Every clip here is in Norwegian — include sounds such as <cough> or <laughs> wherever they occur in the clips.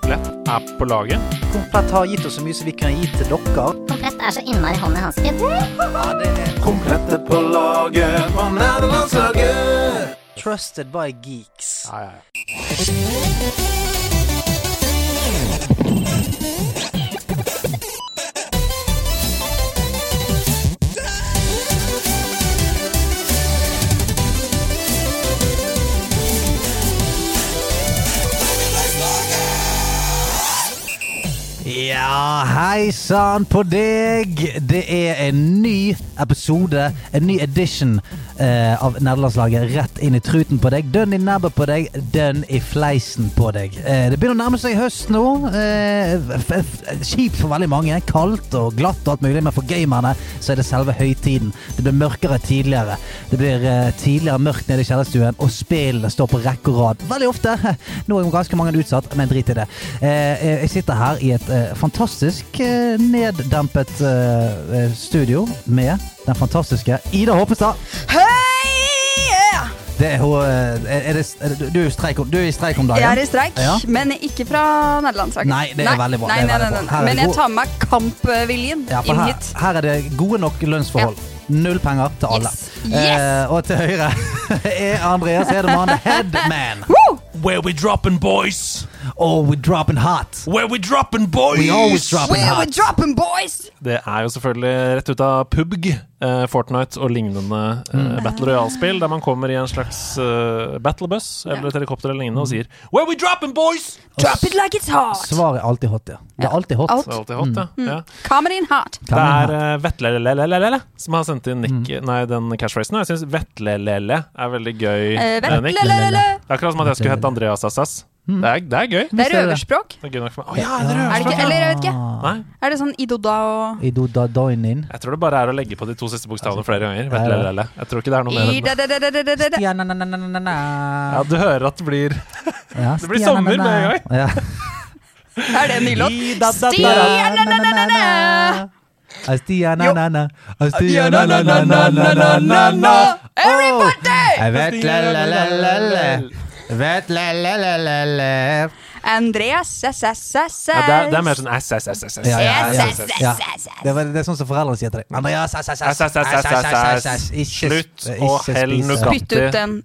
Komplett er på laget. Komplett har gitt oss så mye som vi kan gi til dere. Komplett er så innmari hånd i hansken. Komplette på laget fra nederlandslaget. Trusted by geeks. Ja, ja, ja. Ja, hei sann på deg! Det er en ny episode, en ny edition eh, av Nederlandslaget rett inn i truten på deg. Dønn i nebbet på deg, dønn i fleisen på deg. Eh, det begynner å nærme seg høst nå. Eh, f f kjipt for veldig mange. Kaldt og glatt og alt mulig, men for gamerne så er det selve høytiden. Det blir mørkere tidligere. Det blir eh, tidligere mørkt nede i kjellerstuen, og spillene står på rekke og rad. Veldig ofte. <laughs> Nå er jo ganske mange utsatt, men drit i det. Eh, eh, jeg sitter her i et eh, fantastisk eh, neddempet eh, eh, studio med den fantastiske Ida Håpestad. Hei! Yeah! Det er hun eh, er det, er det, du, er i streik, om- du er i streik om dagen? Jeg er i streik, Ja. men ikke fra nederlandslaget. Nei, det er veldig bra, Nei, det er nei, veldig nei, bra. nei. Her er Men jeg god- tar med meg kampviljen Ja, for inn her, hit. her er det gode nok lønnsforhold. Null penger til alle. Yes. Yes. Eh, og til høyre <laughs> er Andreas Hedemann, the headman. Woo! Where we dropping, boys? Oh, we dropping hot. Where we dropping, boys? We always drop it Where we hot. dropping, boys! Det er jo selvfølgelig rett ut av PubG, eh, Fortnite og lignende eh, Battle Royale-spill, der man kommer i en slags eh, battlebus eller et helikopter eller lignende og sier Where we dropping, boys? Drop it like it's hot! Svaret er alltid hot, ja. Det er alltid hot. Det er alltid hot, ja. ja. Come in hot. Kan Det man er ha- eh, Vetlelelelelele som har sendt inn Nick, nei, den catchphrasen. Og jeg syns Vetlelele er veldig gøy. Eh, eh, Nick. Det Vetlelelele. er akkurat som at jeg skulle hett Andreas Assas. Det er, det er gøy. Det er røverspråk. Det er gøy nok for meg. Å ja, det er Er det røverspråk, ikke, eller jeg vet ikke. ja. Nei, Er det sånn idoda og eh, I do da doinin. jeg tror det bare er å legge på de to siste bokstavene flere ganger. ja. Vetlelele. Jeg tror ikke det er noe mer enn det. Idadadadadadada. Ja, na, na, na, na, na, na. Ja, du hører at det blir Ja, det blir stia, na, na, sommer med en na. gang. Ja. Er det en ny låt? Stia, Stia, na, na, na, na. Ah, Stia, na, na, na. Ah, Stia, na, na, na, na, na, na, na, na. Everybody! Jeg vet, la, la, la, la, la. Vet, la, la, la, la, la. Andreas SSSS. Ja, det, er, det er mer sånn ass, ass, ass, ass, ass. Ja, ja, ja. Yes, yes, yes, Ja. yes, yes. Det, var, det er sånn som foreldrene sier til deg. Andreas, ass, ass, ass, Ass, ass, ass, ass, ass, ass, ass. Ikke- Slutt ikke å helle spise. nougat. Spytt ut den.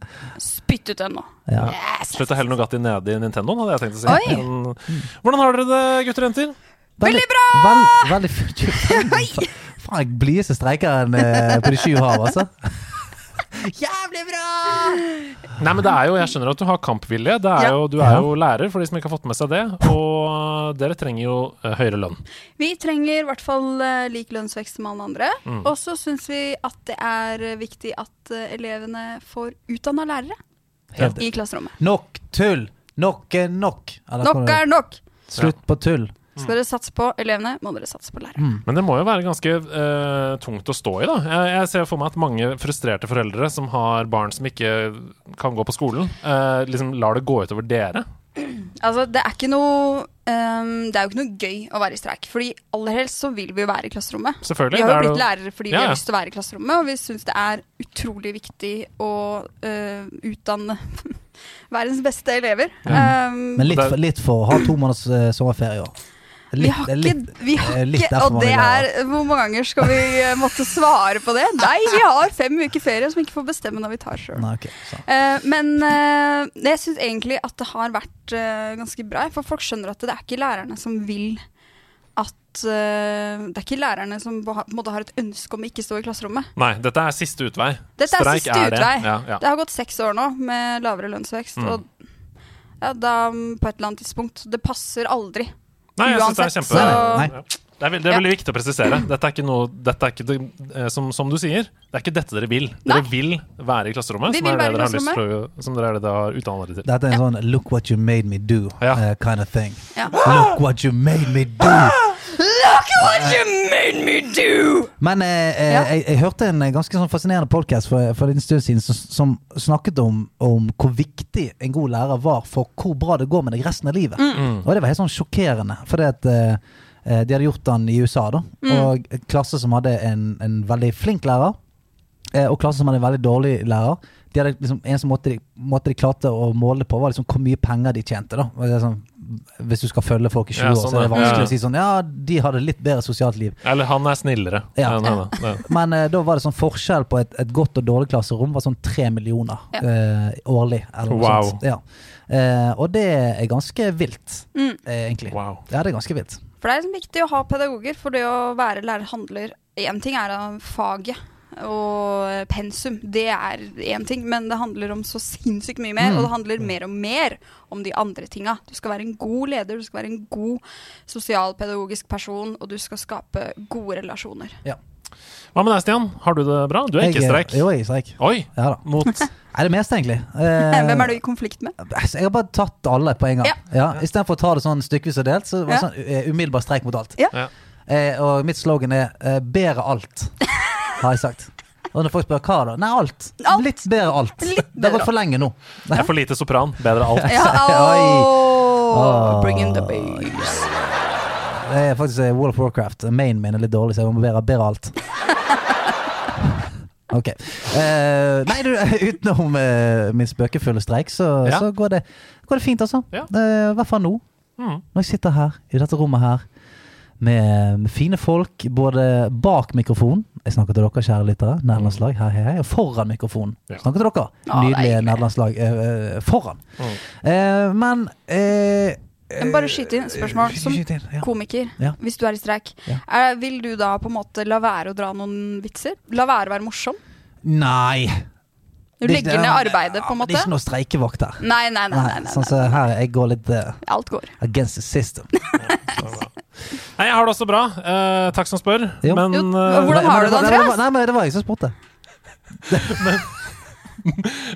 Spytt ut den nå. Ja. Yes. Slutt å helle Nugatti nedi Nintendoen, hadde jeg tenkt å si. Oi. Men, hvordan har dere det, gutter og jenter? Veldig bra! Vel, veldig <laughs> f- Faen, jeg blir så streikeren eh, på de sju hav, altså. Jævlig bra! Nei, men det er jo, Jeg skjønner at du har kampvilje. Det er Ja. jo, du er jo lærer, for de som ikke har fått med seg det. Og dere trenger jo eh, høyere lønn. Vi trenger i hvert fall eh, lik lønnsvekst som alle andre. Mm. Og så syns vi at det er eh, viktig at eh, elevene får utdanna lærere Helt i klasserommet. Nok tull! Nok er nok. Eller, Nok er nok! Slutt på tull. Mm. Mm. Skal dere satse på elevene, må dere satse på lærere. Men det må jo være ganske eh, tungt å stå i, da. Jeg, jeg ser for meg at mange frustrerte foreldre som har barn som ikke kan gå på skolen, eh, liksom lar det gå utover dere. Altså, det er ikke noe ehm, Det er jo ikke noe gøy å være i streik. Fordi aller helst så vil vi jo være i klasserommet. Selvfølgelig. Vi har det er jo jo- blitt lærere fordi Ja, vi ja. har lyst til å være i klasserommet, og vi syns det er utrolig viktig å eh, utdanne <laughs> verdens beste elever. Ehm, Men litt for, litt for ha to måneders eh, sommerferie i år. Vi har det er ikke, vi har eh, litt ikke derfor Og man det vil er ha- Hvor mange ganger skal vi eh, måtte svare på det? Nei, vi har fem uker ferie som vi ikke får bestemme når vi tar sjøl. Nei, ok, sant. men eh, jeg syns egentlig at det har vært eh, ganske bra, for folk skjønner at det er ikke lærerne som vil at eh, Det er ikke lærerne som på en måte har et ønske om å ikke stå i klasserommet. Nei, dette er siste utvei. Dette er Streik siste er det. utvei. Ja, ja. Det har gått seks år nå med lavere lønnsvekst, Mm. og ja, da mm, på et eller annet tidspunkt Det passer aldri. Nei, jeg synes det er Uansett, kjempe... så- Nei. Ja. Det er, veld- det er veldig viktig å presisere. Dette er ikke noe dette er ikke det, eh, som, som du sier, det er ikke dette dere vil. Dere Nei. vil være i klasserommet, Vi som er, det vil være i dere har lyst til, å- som dere er det dere har utdannet dere til. Dette er en sånn 'look what you made me do' Ja. eh, kind of <gasps> thing. Ja. Look what you made me do! Look what you made me do! Men eh, eh, Ja. jeg, jeg hørte en eh, ganske sånn fascinerende podcast for, for en liten stund siden som, som snakket om, om hvor viktig en god lærer var for hvor bra det går med deg resten av livet. Mm. Og det var helt sånn sjokkerende. For det at eh, eh, de hadde gjort den i USA, da. Og en klasse som hadde en, en veldig flink lærer, eh, og klasse som hadde en veldig dårlig lærer. de hadde liksom, eneste måte de, måte de klarte å måle på, var liksom hvor mye penger de tjente. da. Og det er sånn, hvis du skal følge folk i 20 Ja, år, så er sånn, det ja. vanskelig Ja. å si sånn Ja, de hadde litt bedre sosialt liv. Eller han er snillere Ja. enn henne. Ja. Men eh, da var det sånn forskjell på et, et godt og dårlig klasserom var sånn tre millioner Ja. eh, årlig. Eller noe Wow. sånt. Ja. Eh, og det er ganske vilt, Mm. eh, egentlig. Wow. Ja, det er ganske vilt. For det er liksom viktig å ha pedagoger, for det å være lærer handler Én ting er om faget og pensum, det er én ting, men det handler om så sinnssykt mye mer, og det handler mer og mer om de andre tinga. Du skal være en god leder, du skal være en god sosialpedagogisk person, og du skal skape gode relasjoner. Hva med deg, Stian? Har du det bra? Du er ikke i streik. Jo, jeg er i streik. Oi! Ja da. <laughs> Mot Er det meste, egentlig? Eh, Hvem er du i konflikt med? Altså, Jeg har bare tatt alle på en gang. Ja. Ja. Istedenfor å ta det sånn stykkevis og delt, så var det Ja. sånn eh, umiddelbar streik mot alt. Ja. Ja. Eh, og mitt slogan er eh, 'bedre <laughs> alt', har jeg sagt. Og når folk spør hva da? Nei, alt. Alt. Litt bedre alt. Litt det har bedre gått for lenge nå. Det er for lite sopran. Bedre alt. <laughs> Ja, Oi. åh, bring in the babes. Det er faktisk eh, World of Warcraft. Mainen min er litt dårlig, så jeg må bedre, bedre alt. <laughs> Ok. Eh, nei, du, <laughs> utenom eh, min spøkefulle streik, så, Ja. så går, det, går det fint, altså. Ja. Eh, I hvert fall nå. Mm. Når jeg sitter her, i dette rommet her, med, med fine folk både bak mikrofonen Jeg snakker til dere, kjære lyttere. Nederlandslag. Hei, hei, hei. Og foran mikrofonen. Ja. Snakker til dere. Å, det er Nydelige hyggelig. nederlandslag. eh, eh, foran. Mm. Eh, men eh, Men bare skyt inn et spørsmål. Som Skyt inn, ja. komiker, Ja. hvis du er i streik, Ja. er, vil du da på en måte la være å dra noen vitser? La være å være morsom? Nei! Du Det er ikke- legger ned arbeidet, på en Det måte? er ikke noe streikevakt her. Nei, nei, nei. nei, Nei, nei, sånn som her, jeg går litt eh, Alt går. against the system. Nei, jeg har det også bra. Eh, takk som spør. Jo. Men Jo, eh, <laughs> hvordan- har Nei, men du det, var- Andreas? var- Nei, men det var jeg som spurte.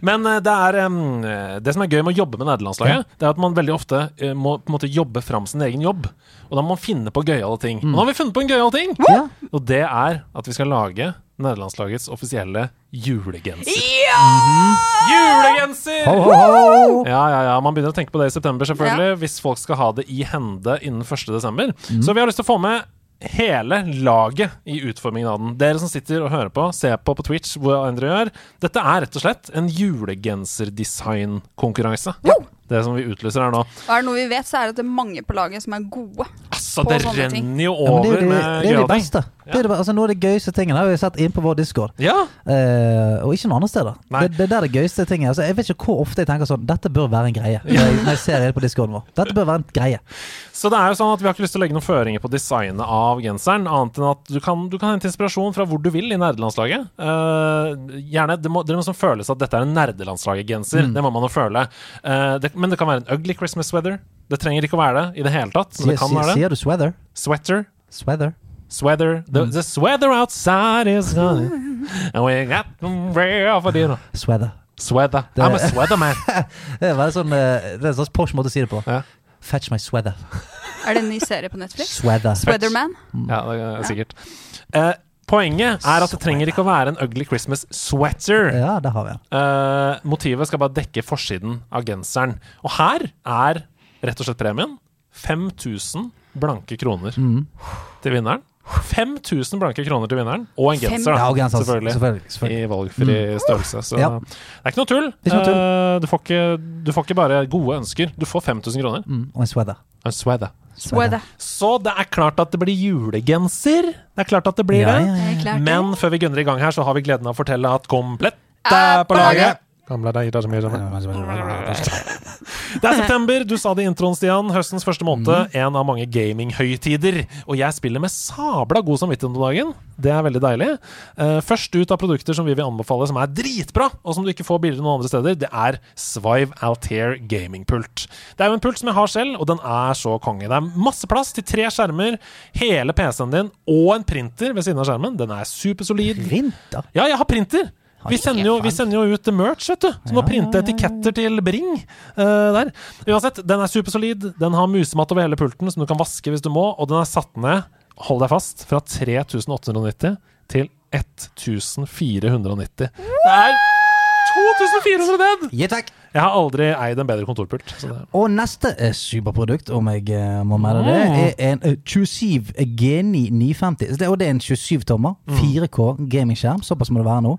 Men eh, det er em, eh, Det som er gøy med å jobbe med nederlandslaget, det er at man veldig ofte eh, må på en måte jobbe fram sin egen jobb. Og da må man finne på gøyale ting. Og nå har vi funnet på en gøyal ting! Mm. Ja. Og det er at vi skal lage nederlandslagets offisielle julegenser. Ja! Julegenser! Ho, ho, ho. Ja, ja, ja. Man begynner å tenke på det i september, selvfølgelig. Hvis folk skal ha det i hende innen 1. desember. Mhm. Så vi har lyst til å få med hele laget i utformingen av den. Dere som sitter og hører på, se på på Twitch hva andre gjør. Dette er rett og slett en julegenserdesignkonkurranse. Det som vi utlyser her nå. Og er det noe vi vet, så er det at det er mange på laget som er gode. Altså, På det sånne ting. renner jo Ja, men over det er jo de, med det er jo de gøyale ting. beste. Det er det, altså, noe av det gøyeste tingene har vi sett inn på vår Discord. Ja. Eh, og ikke noen andre steder. Nei. Det, det er der det gøyeste tinget. er. Altså, jeg vet ikke hvor ofte jeg tenker sånn Dette bør være en greie. Når jeg, når jeg ser det på discorden vår. Dette bør være en greie. Så det er jo sånn at vi har ikke lyst til å legge noen føringer på designet av genseren, annet enn at du kan, du kan hente inspirasjon fra hvor du vil i nerdelandslaget. Eh, gjerne, det må, Dere må sånn føles at dette er en nerdelandslaget-genser. Det må man jo føle. Eh, det, men det kan være en ugly Christmas weather. Det trenger ikke å være det i det hele tatt. Men det Sier- kan sier- være det. Sier du sweather? Sweater. Sweather. Sweater. The, the sweater outside is gone. And we got some rare for dinner. Sweather. Sweater. Det- I'm a sweater man. Det er, veldig sånn, eh, det er en slags posh måte å si det på. Ja. Fetch my sweather. Er det en ny serie på Netflix? Sweather. Weatherman? Ja, det er sikkert. Eh, poenget er at det trenger ikke å være en ugly Christmas sweater. Ja, der har vi den. Eh, motivet skal bare dekke forsiden av genseren. Og her er rett og slett premien. 5000 blanke kroner til vinneren. 5000 blanke kroner til vinneren, og en Fem- genser, da, Ja, og genser, selvfølgelig, selvfølgelig, selvfølgelig. I valgfri størrelse. Så Ja. det er ikke noe tull. Det er ikke noe Eh, du, får ikke, du får ikke bare gode ønsker, du får 5000 kroner. Mm, og en sweather. I swear det. Sweater. Så det er klart at det blir julegenser. Det er klart at det blir Ja, det. ja, Det er klart. det. Men før vi gønner i gang her, så har vi gleden av å fortelle at komplett Er på laget. Gamle deg, det er så mye sammen. <laughs> Det er september, du sa det i introen, Stian. Høstens første måned. En av mange gaminghøytider. Og jeg spiller med sabla god samvittighet om dagen. Det er veldig deilig. Eh, først ut av produkter som vi vil anbefale som er dritbra, og som du ikke får billigere noen andre steder, det er Svive Altair gamingpult. Det er jo en pult som jeg har selv, og den er så konge. Det er masse plass til tre skjermer, hele PC-en din og en printer ved siden av skjermen. Den er supersolid. Vinter. Ja, jeg har printer! Vi ikke sender, jo, vi faen. sender jo ut merch, vet du. Som å printe etiketter til Bring. eh, der. Uansett, den er supersolid. Den har musematt over hele pulten, som du kan vaske hvis du må. Og den er satt ned, hold deg fast, fra 3890 til 1490. Det er 2400 ned! Gi takk. Jeg har aldri eid en bedre kontorpult. Så det. Og neste eh, superprodukt, om jeg eh, må melde det, er en eh, 27 Geni 950. Så Det, og det er en 27-tommer, 4K gamingskjerm. Såpass må det være nå.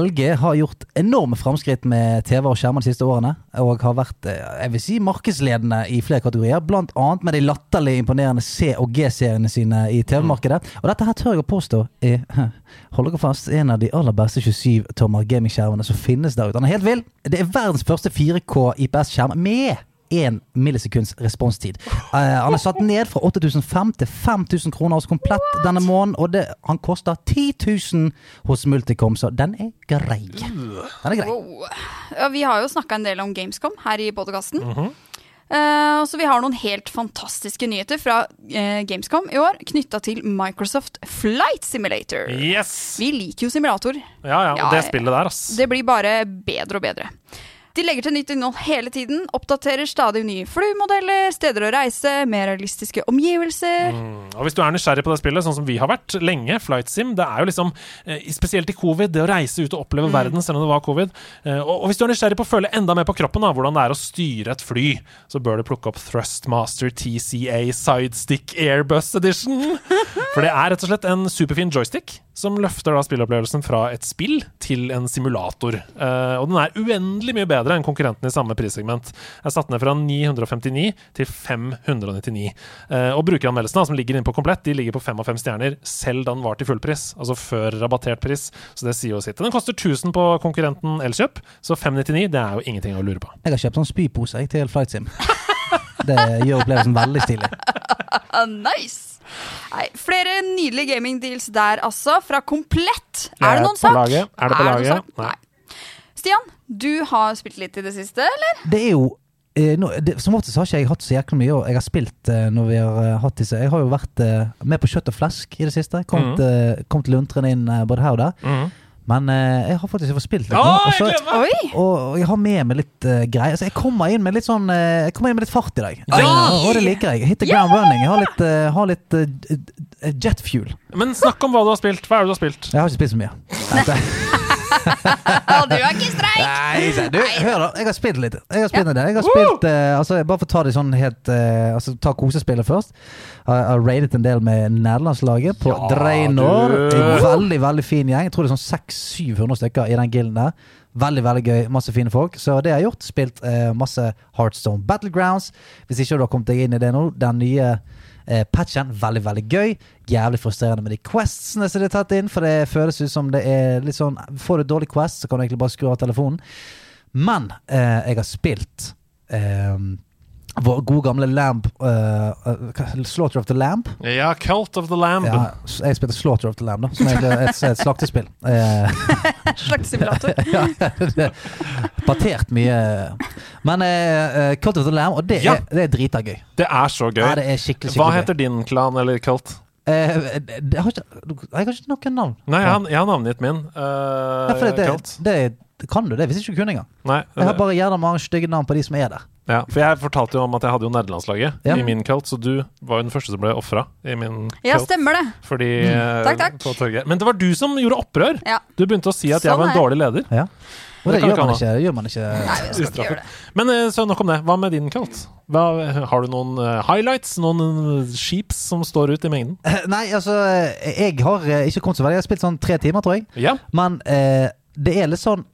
LG har gjort enorme framskritt med TV og skjermer de siste årene. Og har vært eh, jeg vil si, markedsledende i flere kategorier, blant annet med de latterlig imponerende C- og G-seriene sine i TV-markedet. Og dette her tør jeg å påstå er <laughs> Hold dere fast. En av de aller beste 27-tommer gamingskjermene som finnes der ute. Han er helt vill. Det er verdens første 4K IPS-skjerm med 1 millisekunds responstid. Eh, han er satt ned fra 8500 til 5000 kroner hos Komplett denne måneden, og det, han koster 10 000 hos Multicom, så den er grei. Den er grei. Wow. Ja, vi har jo snakka en del om Gamescom her i podkasten. Mhm. Eh, så vi har noen helt fantastiske nyheter fra eh, Gamescom i år knytta til Microsoft Flight Simulator. Yes! Vi liker jo simulatorer. Ja, ja. Ja, Og det ja. spillet der, ass. Det blir bare bedre og bedre. De legger til nytt innhold hele tiden, oppdaterer stadig nye flymodeller, steder å reise, mer realistiske omgivelser. Mm. Og hvis du er nysgjerrig på det spillet, sånn som vi har vært lenge, Flight Sim, det er jo liksom eh, Spesielt i covid, det å reise ut og oppleve verden selv om det var covid. Eh, Og, og hvis du er nysgjerrig på å føle enda mer på kroppen da, hvordan det er å styre et fly, så bør du plukke opp Thrustmaster TCA Sidestick Airbus Edition. For det er rett og slett en superfin joystick som løfter da spilleopplevelsen fra et spill til en simulator. Eh, og den er uendelig mye bedre enn konkurrenten i samme prissegment. Jeg satt ned fra 959 til 599. Eh, og brukeranmeldelsene da, som ligger inne på komplett, de ligger på fem av fem stjerner, selv da den var til fullpris. Altså før rabattert pris. Så det sier jo sitt. Den koster 1000 på konkurrenten Elkjøp, så 599 det er jo ingenting å lure på. Jeg har kjøpt sånn spypose jeg, til Flight Sim. Det gjør opplevelsen veldig stilig. Ah, nice! Nei, flere nydelige gamingdeals der, altså. Fra komplett. Er det noen på sak? laget? Er det på noen laget? sak? Nei. Stian, du har spilt litt i det siste, eller? Det er jo eh, nå- det, Som oftest har ikke jeg hatt så jækla mye, og jeg har spilt eh, når vi har eh, hatt disse. Jeg har jo vært eh, med på Kjøtt og flesk i det siste. Kommet, eh, kommet luntrende inn eh, både her og der. Mhm. Men eh, jeg har faktisk fått spilt litt. Å, nå, og jeg så- gleder meg! Oi! og, og jeg har med meg litt eh, greier. Altså, jeg kommer inn med litt sånn eh, Jeg kommer inn med litt fart i dag. Ja! Eh, og det liker jeg. Hit the ground running. Jeg har litt, eh, har litt eh, d- d- jet fuel. Men snakk om hva du har spilt. Hva er det du har spilt? Jeg har ikke spist så mye. <laughs> Ja, du er ikke streik! Nei, se, du, hør da, jeg har spilt litt. Jeg har spilt, litt. Jeg har spilt eh, altså, Bare for å ta det sånn helt eh, altså, Ta kosespillet først. Jeg har raidet en del med nederlandslaget på Ja, Draenor. du. En Veldig veldig fin gjeng. Jeg tror det er sånn 600-700 stykker i den gilden der. Veldig veldig gøy. Masse fine folk. Så det jeg har jeg gjort. Spilt eh, masse Heartstone Battlegrounds. Hvis ikke du har kommet deg inn i det nå, den nye eh, patchen, veldig, veldig gøy. Jævlig frustrerende med de questsene som de har tatt inn, for det føles ut som det er litt sånn Får du et dårlig quest, så kan du egentlig bare skru av telefonen. Men eh, jeg har spilt eh, vår gode gamle Lamb eh, eh, Slaughter of the Lamb. Ja, Cult of the Lamb. Ja, jeg spilte Slaughter of the Lamb, da, som egentlig er et, et slaktespill. Eh, <laughs> Slags simulator. ja, det Partert mye. Men eh, eh, Cult of the Lamb, og det Ja. er, det er drita gøy. Det er så gøy. Ja, det er skikkelig, Hva skikkelig heter din klan eller cult? gøy. Eh, det- det har ikke, jeg har ikke noe navn. Nei, jeg, har- jeg har navngitt min. Uh, Ja, for det, cult. det, det kan du det, hvis ikke du kunne engang. Nei, Jeg har bare gjerne mange stygge navn på de som er der. ja, for jeg fortalte jo om at jeg hadde jo nederlandslaget Ja. i min cult, så du var jo den første som ble ofra i min Ja, cult. stemmer det. Fordi, eh, Takk, takk. På torget. Men det var du som gjorde opprør! Ja. Du begynte å si at jeg Sånn var en er. dårlig leder. Ja. Og Det det, kan ikke gjør, man han ikke, det gjør man ikke. Ustraffet. Men eh, så nok om det. Hva med din cult? Hva, har du noen eh, highlights? Noen eh, sheeps som står ut i mengden? Nei, altså, jeg har eh, ikke kommet så veldig. Jeg har spilt sånn tre timer, tror jeg. Ja. Men eh, det er litt sånn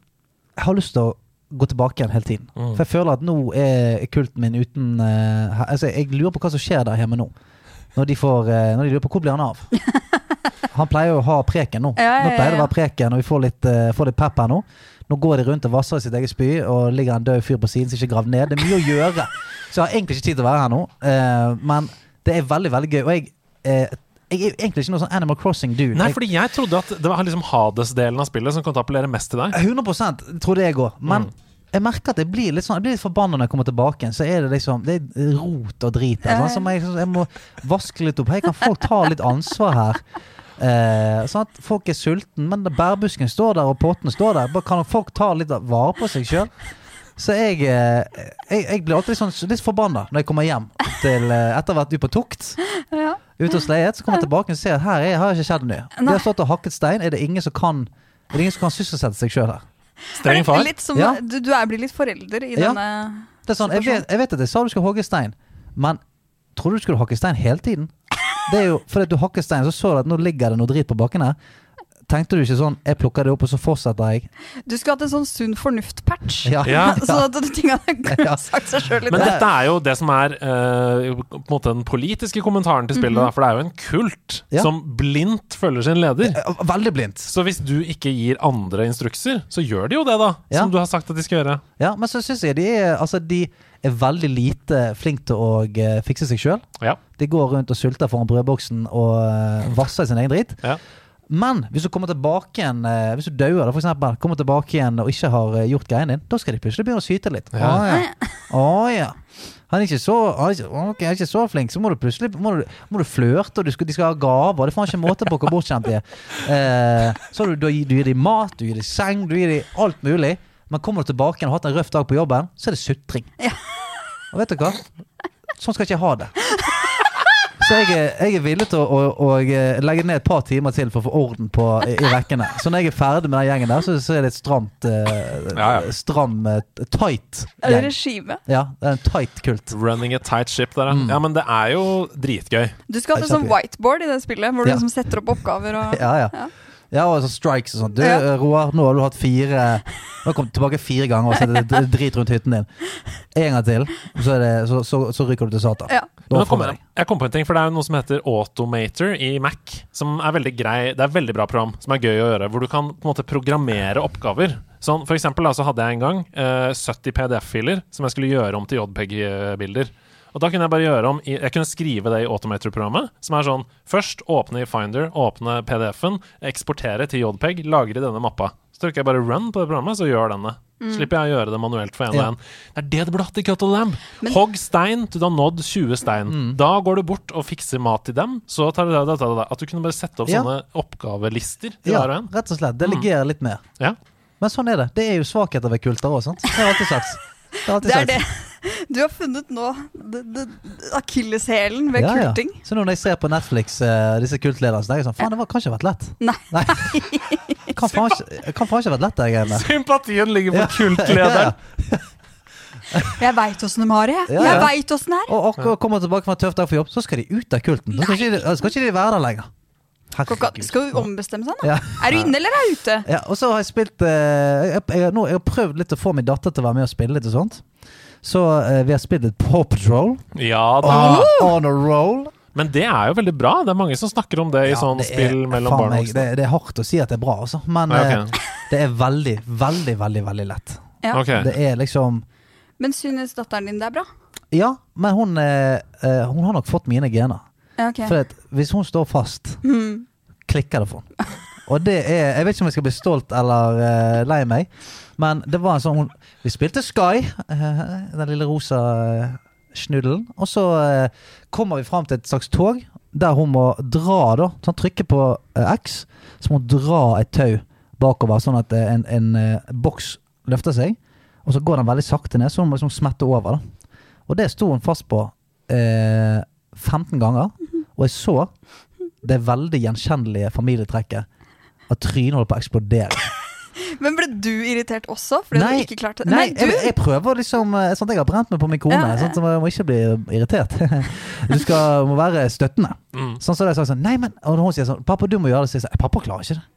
Jeg har lyst til å gå tilbake igjen hele tiden. Mm. Mm. For jeg føler at nå er kulten min uten eh, he- Altså, jeg lurer på hva som skjer der hjemme nå. Når de, får, eh, når de lurer på hvor blir han <laughs> av. Han pleier jo å ha preken nå. Ja, ja, Nå pleier det å ja, ja. være preken, og vi får litt, eh, får litt pep her nå. Nå går de rundt og vasser i sitt eget spy, og ligger en død fyr på siden som ikke er gravd ned. Det er mye å gjøre, så jeg har egentlig ikke tid til å være her nå. Eh, men det er veldig, veldig gøy. Og jeg, eh, jeg er jo egentlig ikke noe sånn Animal Crossing-dude. Nei, Jeg- fordi jeg trodde at det var liksom Hades-delen av spillet som kom til å appellere mest til deg. 100 trodde jeg òg. Men jeg merker at jeg blir litt sånn Jeg blir litt forbanna når jeg kommer tilbake igjen. Så er det liksom Det er rot og drit. der, sant, som jeg, jeg må vaske litt opp. Hei, kan folk ta litt ansvar her? Eh, sånn at Folk er sulten, men bærbusken står der, og pottene står der. Bare kan folk ta litt vare på seg sjøl? Så jeg, eh, jeg, jeg blir alltid litt, sånn, litt forbanna når jeg kommer hjem til, eh, etter å ha vært ute på tukt. Ja. Ute hos leiet, så kommer jeg tilbake og ser at her er, har ikke skjedd noe. De har stått og hakket stein. Er det ingen som kan, er det ingen som kan sysselsette seg sjøl her? Er Streng det far. Litt som, Ja. du, du er blir litt forelder i Ja. denne Det er sånn, jeg vet, jeg vet at jeg sa du skulle hogge stein, men trodde du skulle hakke stein hele tiden? Det er jo fordi at du hakker stein, så så du at nå ligger det noe drit på bakken her. Tenkte du ikke sånn 'jeg plukker det opp, og så fortsetter <laughs> jeg'? Du skulle hatt en sånn sunn fornuft-patch. Ja. <laughs> Ja. <laughs> Sånn at tinga kunne Ja. sagt seg sjøl litt. Men dette er jo det som er eh, på en måte den politiske kommentaren til spillet, da, for det er jo en kult Mhm. Ja. som blindt følger sin leder. Eh, Veldig blindt. Så hvis du ikke gir andre instrukser, så gjør de jo det, da. Ja. Som du har sagt at de skal gjøre. Ja, men så syns jeg de er, altså, de er veldig lite flinke til å eh, fikse seg sjøl. Ja. De går rundt og sulter foran brødboksen og eh, vasser i sin egen drit. Ja. Men hvis du kommer tilbake igjen eh, Hvis du dauer, da, for eksempel, kommer tilbake igjen og ikke har eh, gjort greien din, da skal de plutselig begynne å syte litt. Å Ja. ja. Å ja. Han er ikke så han er ikke, ok, han er ikke så flink, så må du plutselig må du, må du flørte, og du skal, de skal ha gaver. Det er faen ikke måte på hvor bortskjemt de er. Eh, så du, du, gir- du gir dem mat, du gir dem seng, du gir dem alt mulig. Men kommer du tilbake igjen og har hatt en røff dag på jobben, så er det sutring. Og vet du hva? Sånn skal jeg ikke ha det. Så jeg er, jeg er villig til å, å, å eh, legge ned et par timer til for å få orden på i, i rekkene. Så når jeg er ferdig med den gjengen der, så, så er det et stramt eh, Ja, ja. Stram, eh, tight Er det gjeng. regime? Ja, det er en tight kult. Running a tight ship der, ja. Mm. Ja, men det er jo dritgøy. Du skulle hatt Det er en sånn whiteboard i det spillet, hvor du Ja. liksom setter opp oppgaver og <laughs> Ja, ja. Ja. Ja, og så strikes og sånn. Du, Ja. eh, Roar, nå har du hatt fire Nå har du kommet tilbake fire ganger og sett det drit rundt hytten din. En gang til, så, er det, så, så, så ryker du til Satan. Ja. Men Da nå kommer får jeg, jeg kom på en ting, for det er jo noe som heter Automator i Mac, som er veldig grei, det er et veldig bra program som er gøy å gjøre, hvor du kan på en måte programmere oppgaver. Sånn, for eksempel da, så hadde jeg en gang eh, 70 PDF-filer som jeg skulle gjøre om til JPEG-bilder. Og da kunne jeg bare gjøre om, i, jeg kunne skrive det i Automator-programmet, som er sånn, først åpne i Finder, åpne PDF-en, eksportere til JPEG, lagre i denne mappa. Så trykker jeg bare run på det programmet, så gjør denne. Slipper jeg å gjøre det manuelt for en og Mm. Ja. en. Det er det du burde hatt i Cut of the Lamb. Men- Hogg stein til du har nådd 20 stein. Da går du bort og fikser mat til dem. Så tar du det, det, det, det. At du kunne bare sette opp Ja. sånne oppgavelister til Ja, hver og en. rett og slett. Mm. Delegerer litt mer. Ja. Men sånn er det. Det er jo svakheter ved kulter òg, sant. Det har jeg alltid sagt. Det har jeg alltid Det er sagt. det <laughs> du har funnet nå. det- det- Akilleshælen ved Ja, ja. kulting. Så nå når jeg ser på Netflix eh, disse kultlederne, så tenker jeg sånn Faen, det var, kan ikke ha vært lett. Nei. <laughs> Kan faen ikke, kan faen ikke ha vært lett, de greiene. Sympatien ligger på Ja, <laughs> ja. kultlederen. Jeg veit åssen de har det, jeg. Ja, Jeg ja. vet åssen det er. Og akkurat kommer tilbake fra en tøff dag for jobb, så skal de ut av kulten. Da skal ikke, de- da skal ikke de være der lenger. Skal ikke- Skal du ombestemme seg nå? Ja. Er du inne eller er du ute? Ja, og så har jeg spilt eh, jeg, jeg, nå, jeg har prøvd litt å få min datter til å være med og spille litt og sånt. Så eh, vi har spilt litt Paw Patrol. Ja da. On, on a roll. Men det er jo veldig bra. Det er mange som snakker om det i Ja, sånn det er- spill mellom faen barn og meg, voksne. det, det er hardt å si at det er bra, altså. Men Ja, ok. eh, det er veldig, veldig, veldig veldig lett. Ja. Ok. Det er liksom Men synes datteren din det er bra? Ja, men hun, eh, eh, hun har nok fått mine gener. Ja, ok. For at hvis hun står fast, Mm. klikker det for henne. Og det er Jeg vet ikke om jeg skal bli stolt eller eh, lei meg, men det var en sånn hun, Vi spilte Sky, eh, den lille rosa eh, snuddelen, og så eh, kommer vi fram til et slags tog der hun må dra, da. Så hun trykker på eh, X, så må hun dra et tau bakover, sånn at eh, en, en eh, boks løfter seg. Og så går den veldig sakte ned, så hun må liksom smette over. da Og det sto hun fast på eh, 15 ganger. Og jeg så det veldig gjenkjennelige familietrekket. At trynet holder på å eksplodere. Men ble du irritert også? Fordi Nei, du ikke klarte det? Nei, Nei, du? jeg, jeg prøver liksom eh, Sånn at jeg har brent meg på min kone. Ja, ja. Sånn at jeg må ikke bli irritert. <laughs> Du skal, må være støttende. Mm. Sånn som så jeg sa sånn Nei, men Og når hun sier sånn Pappa, du må gjøre det. Så sier jeg sånn Pappa klarer ikke det.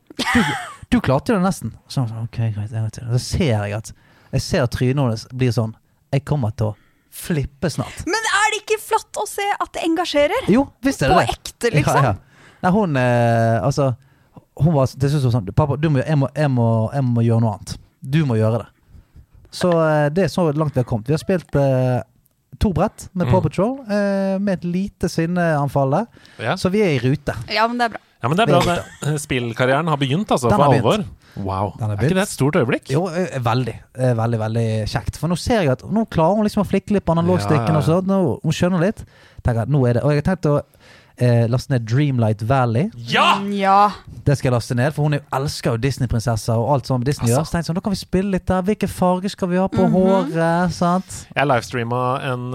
Du, du klarte jo det nesten. Så sånn, ok, greit, jeg vet det. Og Så ser jeg at Jeg ser at trynet hennes blir sånn Jeg kommer til å flippe snart. Men er det ikke flott å se at det engasjerer? Jo, visst er det På det. ekte, liksom? Ja, ja. Nei, hun eh, Altså, hun var til slutt sånn Pappa, du må, jeg, må, jeg, må, jeg må gjøre noe annet. Du må gjøre det. Så eh, det er så langt vi har kommet. Vi har spilt eh, to brett med Paw Mm. Patrol, eh, med et lite sinneanfall der. Ja. Så vi er i rute. Ja, men det er bra. ja, men det er bra. Det. Spillkarrieren har begynt, altså. Den For har alvor. begynt. Wow. Den har Er ikke det et stort øyeblikk? Jo, eh, veldig. Eh, Veldig, veldig kjekt. For nå ser jeg at nå klarer hun liksom å flikke litt på analogstikken Ja, ja, ja. og sånn. Nå- Hun skjønner litt. Tenker at nå er det Og jeg har tenkt å eh, laste ned Dreamlight Valley. Ja! Ja. Det skal jeg laste ned, for hun er- elsker jo Disney-prinsesser og alt sånt. Altså. Disney gjør. Så tenkte jeg sånn, da kan vi spille litt der. Hvilken farge skal vi ha Mhm. på håret? sant? Jeg livestreama en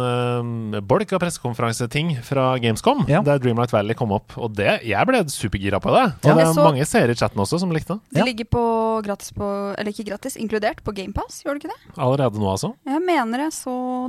uh, bolk av pressekonferanseting fra Gamescom, Ja. der Dreamlight Valley kom opp. Og det, jeg ble supergira på det. Og Ja. det Jeg er så- mange seere i chatten også som likte det. Det Ja. ligger på gratis på Eller ikke gratis, inkludert på GamePass, gjør det ikke det? Allerede nå, altså. Jeg mener jeg så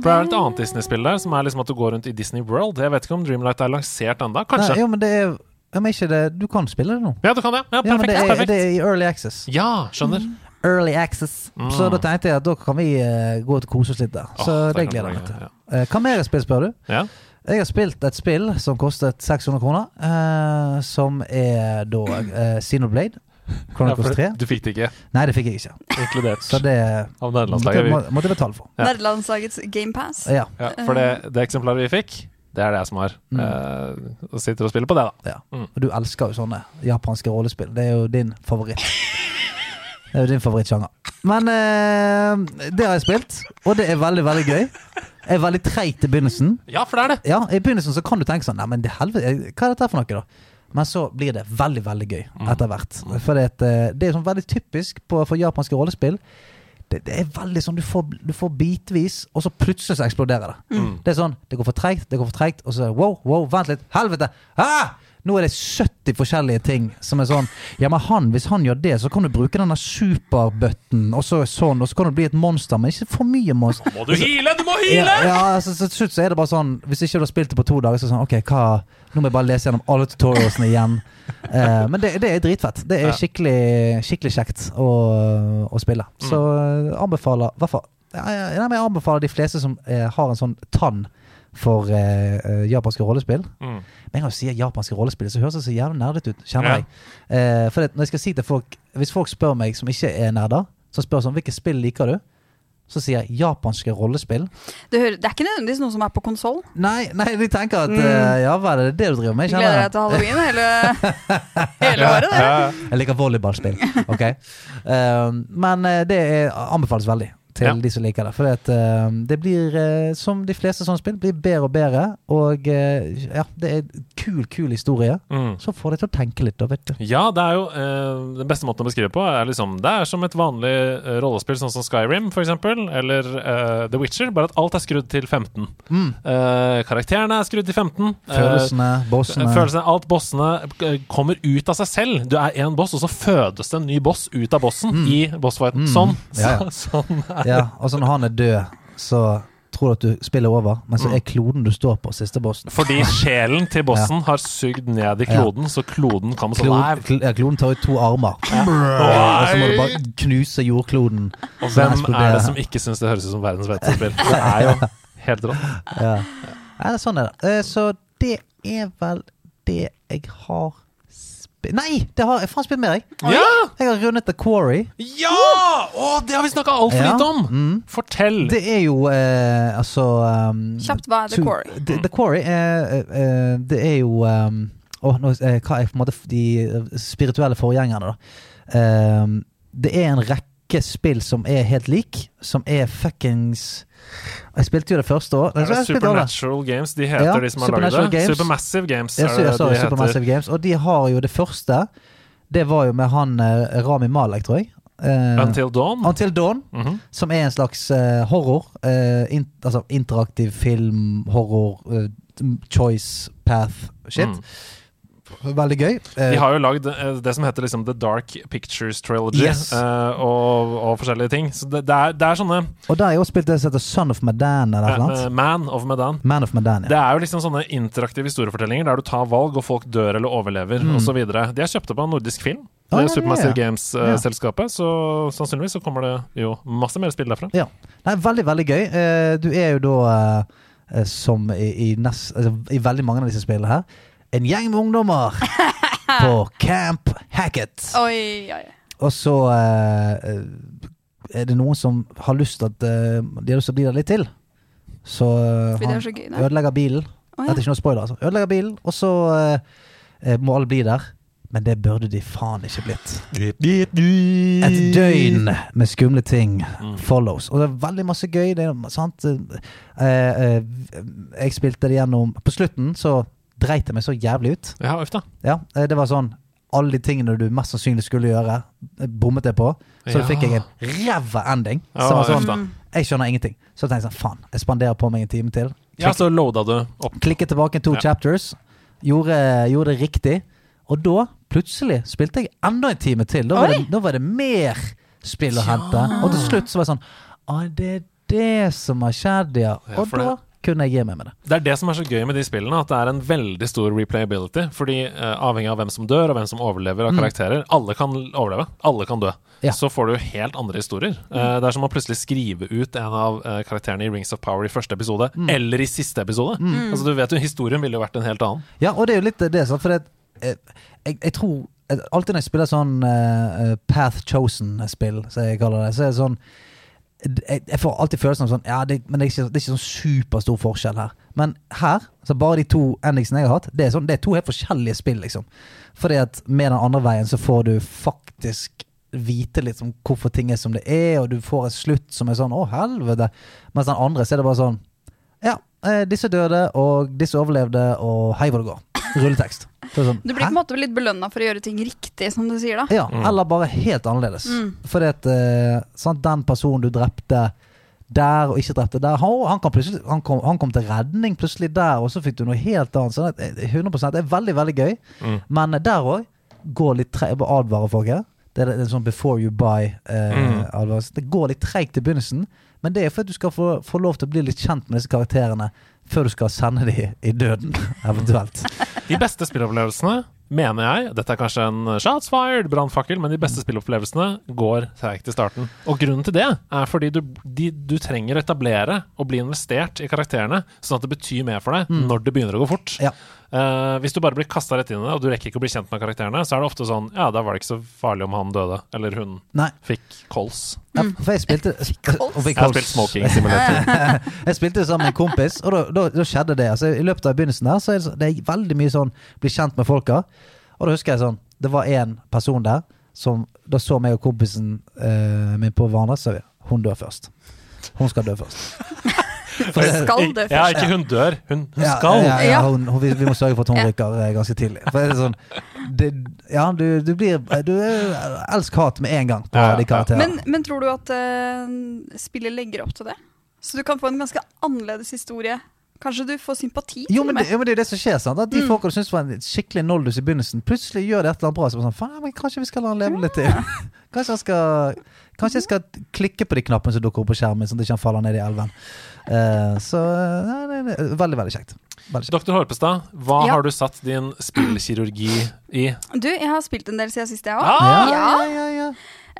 For det er et annet Disney-spill der, som er liksom at du går rundt i Disney World. Jeg vet ikke om Dreamlight er lansert ennå. Nei, Kanskje. jo, men det er ja, men ikke det. Du kan spille det nå. Ja, du kan det. Ja, Ja, men perfekt. det Ja, er, perfekt. det er Mhm. i early access. ja skjønner. Early access. Så da tenkte jeg at da kan vi eh, gå ut og kose oss litt der. Så Mm. Åh, det kan gleder jeg meg være til. gøy, Eh, hva mer spill spør du? Ja. Ja. Jeg har spilt et spill som kostet 600 kroner, eh, som er da eh, Xenoblade. Ja, Chronicles for 3. du fikk det ikke Nei, det fikk jeg ikke. inkludert Så det av måtte, nederlandslaget. må- måtte jeg betale for. Ja. Nerdelandslagets GamePass. Ja. Ja, for det, det eksemplaret vi fikk, det er det jeg som har. Mm. eh, og sitter og spiller på det, da. ja. Mm. Og du elsker jo sånne japanske rollespill. Det er jo din favoritt. Det er jo din favorittsjanger. Men eh, det har jeg spilt, og det er veldig, veldig gøy. Jeg er veldig treigt i begynnelsen. Ja, for det er det! Ja, I begynnelsen så kan du tenke sånn Nei, men det helvete, jeg- hva er dette for noe, da? Men så blir det veldig, veldig gøy etter hvert. For det, det er sånn veldig typisk på, for japanske rollespill. Det, det er veldig sånn du får, du får bitvis, og så plutselig så eksploderer det. Det er sånn Det går for treigt, det går for treigt, og så wow, wow, vent litt. Helvete! Ah! Nå er det 70 forskjellige ting som er sånn Ja, men han, hvis han gjør det, så kan du bruke denne superbøtten, og så sånn, og så kan du bli et monster, men ikke for mye monster. Må du heale! Du må Ja, ja altså, så til slutt så er det bare sånn Hvis ikke du har spilt det på to dager, så er det sånn Ok, hva Nå må jeg bare lese gjennom alle tutorialsene <laughs> igjen. Eh, men det, det er dritfett. Det Ja. er skikkelig, skikkelig kjekt å, å spille. Mm. Så eh, anbefaler i hvert fall ja, ja, nei, men Jeg anbefaler de fleste som eh, har en sånn tann for eh, eh, japanske rollespill. Mm. Med en gang du sier japanske rollespill, så høres det så jævlig nerdete ut. Kjenner Ja. jeg. Eh, for det, når jeg skal si til folk Hvis folk spør meg som ikke er nerder, så spør jeg sånn Hvilke spill liker du? Så sier jeg japanske rollespill. Det, hører, det er ikke nødvendigvis noe som er på konsoll. Nei, nei, de tenker at eh, Ja, hva er det det du driver med? Mm. Kjenner Gleder deg jeg. til <laughs> halloween hele, hele året. det. Jeg liker volleyballspill. Ok Um, Men eh, det er, anbefales veldig til Ja. de som liker det. For det, at, eh, det blir, eh, som de fleste sånne spill, blir bedre og bedre. Og eh, ja, det er kul, kul historie. Mm. Så får deg til å tenke litt, da, vet du. Ja, det er jo eh, Den beste måten å beskrive på er liksom Det er som et vanlig eh, rollespill, sånn som Skyrim f.eks., eller eh, The Witcher, bare at alt er skrudd til 15. Eh, karakterene er skrudd til 15. eh, Mm. Følelsene, bossene Følelsene, alt bossene eh, kommer ut av seg selv. Du er én boss, og så fødes det en ny boss ut av bossen i bossfighten. Mm. Sånn. Ja, ja. Så- <laughs> sånn er det. Ja, altså når han er død, så tror du at du spiller over, men Mm. så er kloden du står på, siste bossen. Fordi sjelen til bossen har sugd ned i kloden, så kloden kan sånn Klod, her. kl, ja, kloden tar ut to armer, og så må du bare knuse jordkloden. Og hvem eksploderer er det han. som ikke syns det høres ut som verdens beste spill? Det er jo helt rått. Ja. Nei, det er sånn er det. Eh, Så det er vel det jeg har spilt Nei! Det har jeg faen spilt mer, jeg. Ja! Jeg har rundet The Quarry. Ja! Å, det har vi snakka altfor Ja. Mm. lite om! Fortell. Det er jo eh, altså ehm, Kjapt, hva er The to- Quarry? The, The Quarry er, eh, eh, det er jo ehm, åh, nå, eh, hva er på en måte f- de eh, spirituelle forgjengerne, da? Ehm, det er en rekke spill som er helt lik, som er fuckings Jeg spilte jo det første òg. er det Supernatural Games de heter, Ja, de som har laget Supernatural det? Games. Supermassive Games Ja, er så, det jeg så de heter. Supermassive Games. Og de har jo det første. Det var jo med han eh, Rami Malek, tror jeg. Eh, Until Dawn. Until Dawn, Mhm. som er en slags eh, horror. eh, in, altså interaktiv film, horror, eh, choice, path, shit. Mm. Veldig gøy. Eh, De har jo lagd eh, det som heter liksom The Dark Pictures Trilogy Yes. eh, og, og forskjellige ting. Så det, det, er, det er sånne Og der har jeg også spilt det som heter Son of Medan, eller noe eh, eh, sånt. Man of Medan. Man of Medan, Det ja. er jo liksom sånne interaktive historiefortellinger der du tar valg, og folk dør eller overlever Mm. og osv. De er kjøpt opp av Nordisk Film, Ah, det ja, er Supermassive ja, ja. Ja. Games-selskapet. Så sannsynligvis så kommer det jo masse mer spill derfra. ja. Nei, veldig, veldig gøy. Eh, du er jo da, eh, eh, som i, i, nest, altså, i veldig mange av disse spillene her, en gjeng med <laughs> ungdommer på Camp Hackett. Oi, oi, oi. Og så eh, eh, er det noen som har lyst til at eh, de har lyst til å bli der litt til. Så eh, Fordi det er så gøy, da. ødelegger bilen. Å, Dette er ja. ikke noe spoiler, altså. Ødelegger bilen, og så eh, eh, må alle bli der. Men det burde de faen ikke blitt. Et døgn med skumle ting follows. Og det er veldig masse gøy. Det er, sant? Eh, eh, jeg spilte det gjennom På slutten så dreit jeg meg så jævlig ut. Ja, uff da. Ja, eh, det var sånn Alle de tingene du mest sannsynlig skulle gjøre, eh, bommet jeg på. Så da Ja. fikk jeg en ræva ending. Ja, som var uff sånn, da. jeg skjønner ingenting. Så tenkte jeg sånn, faen, jeg spanderer på meg en time til. Ja, så loada du opp. Klikket tilbake to Ja. chapters, gjorde, gjorde det riktig. Og da, plutselig, spilte jeg enda en time til. Da var, Oi! det, da var det mer spill å hente. Og til slutt så var jeg sånn Å, det er det som har skjedd, ja. Ja, Og for da kunne jeg gi meg med det. Det er det som er så gøy med de spillene, at det er en veldig stor replayability. Fordi eh, avhengig av hvem som dør, og hvem som overlever av karakterer Alle kan overleve. Alle kan dø. Ja. Så får du jo helt andre historier. Eh, det er som å plutselig skrive ut en av eh, karakterene i Rings of Power i første episode, eller i siste episode. Altså, du vet jo, historien ville jo vært en helt annen. Ja, og det er jo litt det, sant, for det, eh, jeg, jeg tror eh, Alltid når jeg spiller sånn eh, eh, Path Chosen-spill, som jeg kaller det, så er det sånn jeg, jeg får alltid følelsen av sånn Ja, det, men det er, ikke, det er ikke sånn superstor forskjell her. Men her, så bare de to endingsene jeg har hatt, det er, sånn, det er to helt forskjellige spill, liksom. Fordi at med den andre veien så får du faktisk vite litt om hvorfor ting er som det er, og du får et slutt som er sånn Å, helvete. Mens den andre så er det bare sånn Ja, eh, disse døde, og disse overlevde, og hei hvor det går. Rulletekst. Så det er sånn, Du blir hæ? på en måte litt belønna for å gjøre ting riktig, som du sier da. Ja, Mm. eller bare helt annerledes. Fordi at eh, sant, den personen du drepte der og ikke drepte der, han, han, kan plutselig- han, kom, han kom til redning plutselig der, og så fikk du noe helt annet. Sånn at, eh, 100 Det er veldig, veldig gøy. Mm. Men eh, der òg går litt treigt. Jeg bare advarer folk her. Det er en sånn before you Mm. buy-advarsel. Det går litt treigt i begynnelsen, men det er for at du skal få, få lov til å bli litt kjent med disse karakterene før du skal sende dem i døden, <laughs> eventuelt. De beste spillopplevelsene, mener jeg Dette er kanskje en eh, shots fired, brannfakkel, men de beste spillopplevelsene går treigt i starten. Og grunnen til det er fordi du, de, du trenger å etablere og bli investert i karakterene, sånn at det betyr mer for deg når det begynner å gå fort. Mm. Ja. Eh, hvis du bare blir kasta rett inn i det, og du rekker ikke å bli kjent med karakterene, så er det ofte sånn Ja, da var det ikke så farlig om han døde, eller hun Nei, fikk kols. ja, for jeg spilte og fikk Jeg har kols. spilt Smoking <laughs> Simulator. Jeg spilte det sammen med en kompis, og da, da, da skjedde det. Altså, I løpet av begynnelsen der Så er det, så- det er veldig mye sånn bli kjent med folka. Og da husker jeg sånn Det var en person der som Da så meg og kompisen eh, min på hverandre, så sa vi hun dør først. Hun skal dø <laughs> først. Skal dø Ja, først. ikke hun dør, hun, hun Ja, skal. Ja, ja, Ja. hun, hun, vi, vi må sørge for at hun Ja. rykker eh, ganske tidlig. For er det sånn det, Ja, du, du blir Du er elsk-hat med en gang på Ja, ja, ja. de Men, karakterene. men tror du at eh, spillet legger opp til det? Så du kan få en ganske annerledes historie? Kanskje du får sympati? Jo til men, og det, med? Mm. jo, men det er jo det som skjer. sant? At De folka du syntes var en skikkelig noldus i begynnelsen, plutselig gjør det et eller annet bra. Så er man sånn, faen, men Kanskje vi skal la han leve litt til? <laughs> Kanskje, han skal, kanskje jeg skal klikke på de knappene som dukker opp på skjermen, sånn at ikke han faller ned i elven. Eh, så nei, nei, nei, Veldig, veldig kjekt. Veldig kjekt. Doktor Horpestad, hva Ja. har du satt din spillkirurgi i? Du, jeg har spilt en del siden sist, jeg òg. Ah! Ja. ja, ja, ja.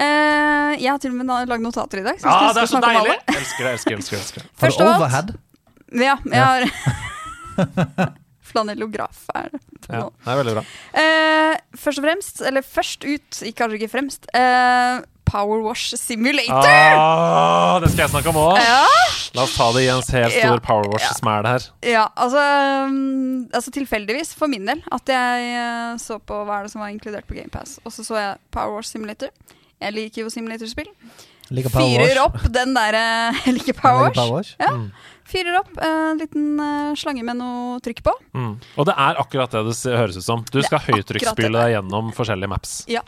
Eh, jeg har til og med na- lagd notater i dag. Så jeg Ja, skal det er huske så å snakke om deilig! alle. Elsker det, elsker, elsker, elsker. Har Først du av alt- overhead? Ja, jeg Ja. har <laughs> <laughs> Flanellograf er det. Ja, det er veldig bra. Eh, først og fremst, eller først ut, ikke- kanskje ikke fremst, eh, Power Wash Simulator. Ah, det skal jeg snakke om òg. Ja. La oss ta det i en helt Ja. stor powerwash-smæl her. Ja, altså, um, altså tilfeldigvis, for min del, at jeg eh, så på hva er det som var inkludert på GamePass. Og så så jeg Power Wash Simulator. Jeg liker jo simulatorspill. Liker power Fyrer wash. opp den derre <laughs> Jeg liker Jeg Power liker Wash. wash. Mm. Fyrer opp eh, en liten eh, slange med noe trykk på. Mm. Og det er akkurat det det se- høres ut som. Du skal Det er akkurat det. høytrykksspyle deg gjennom forskjellige maps. Ja.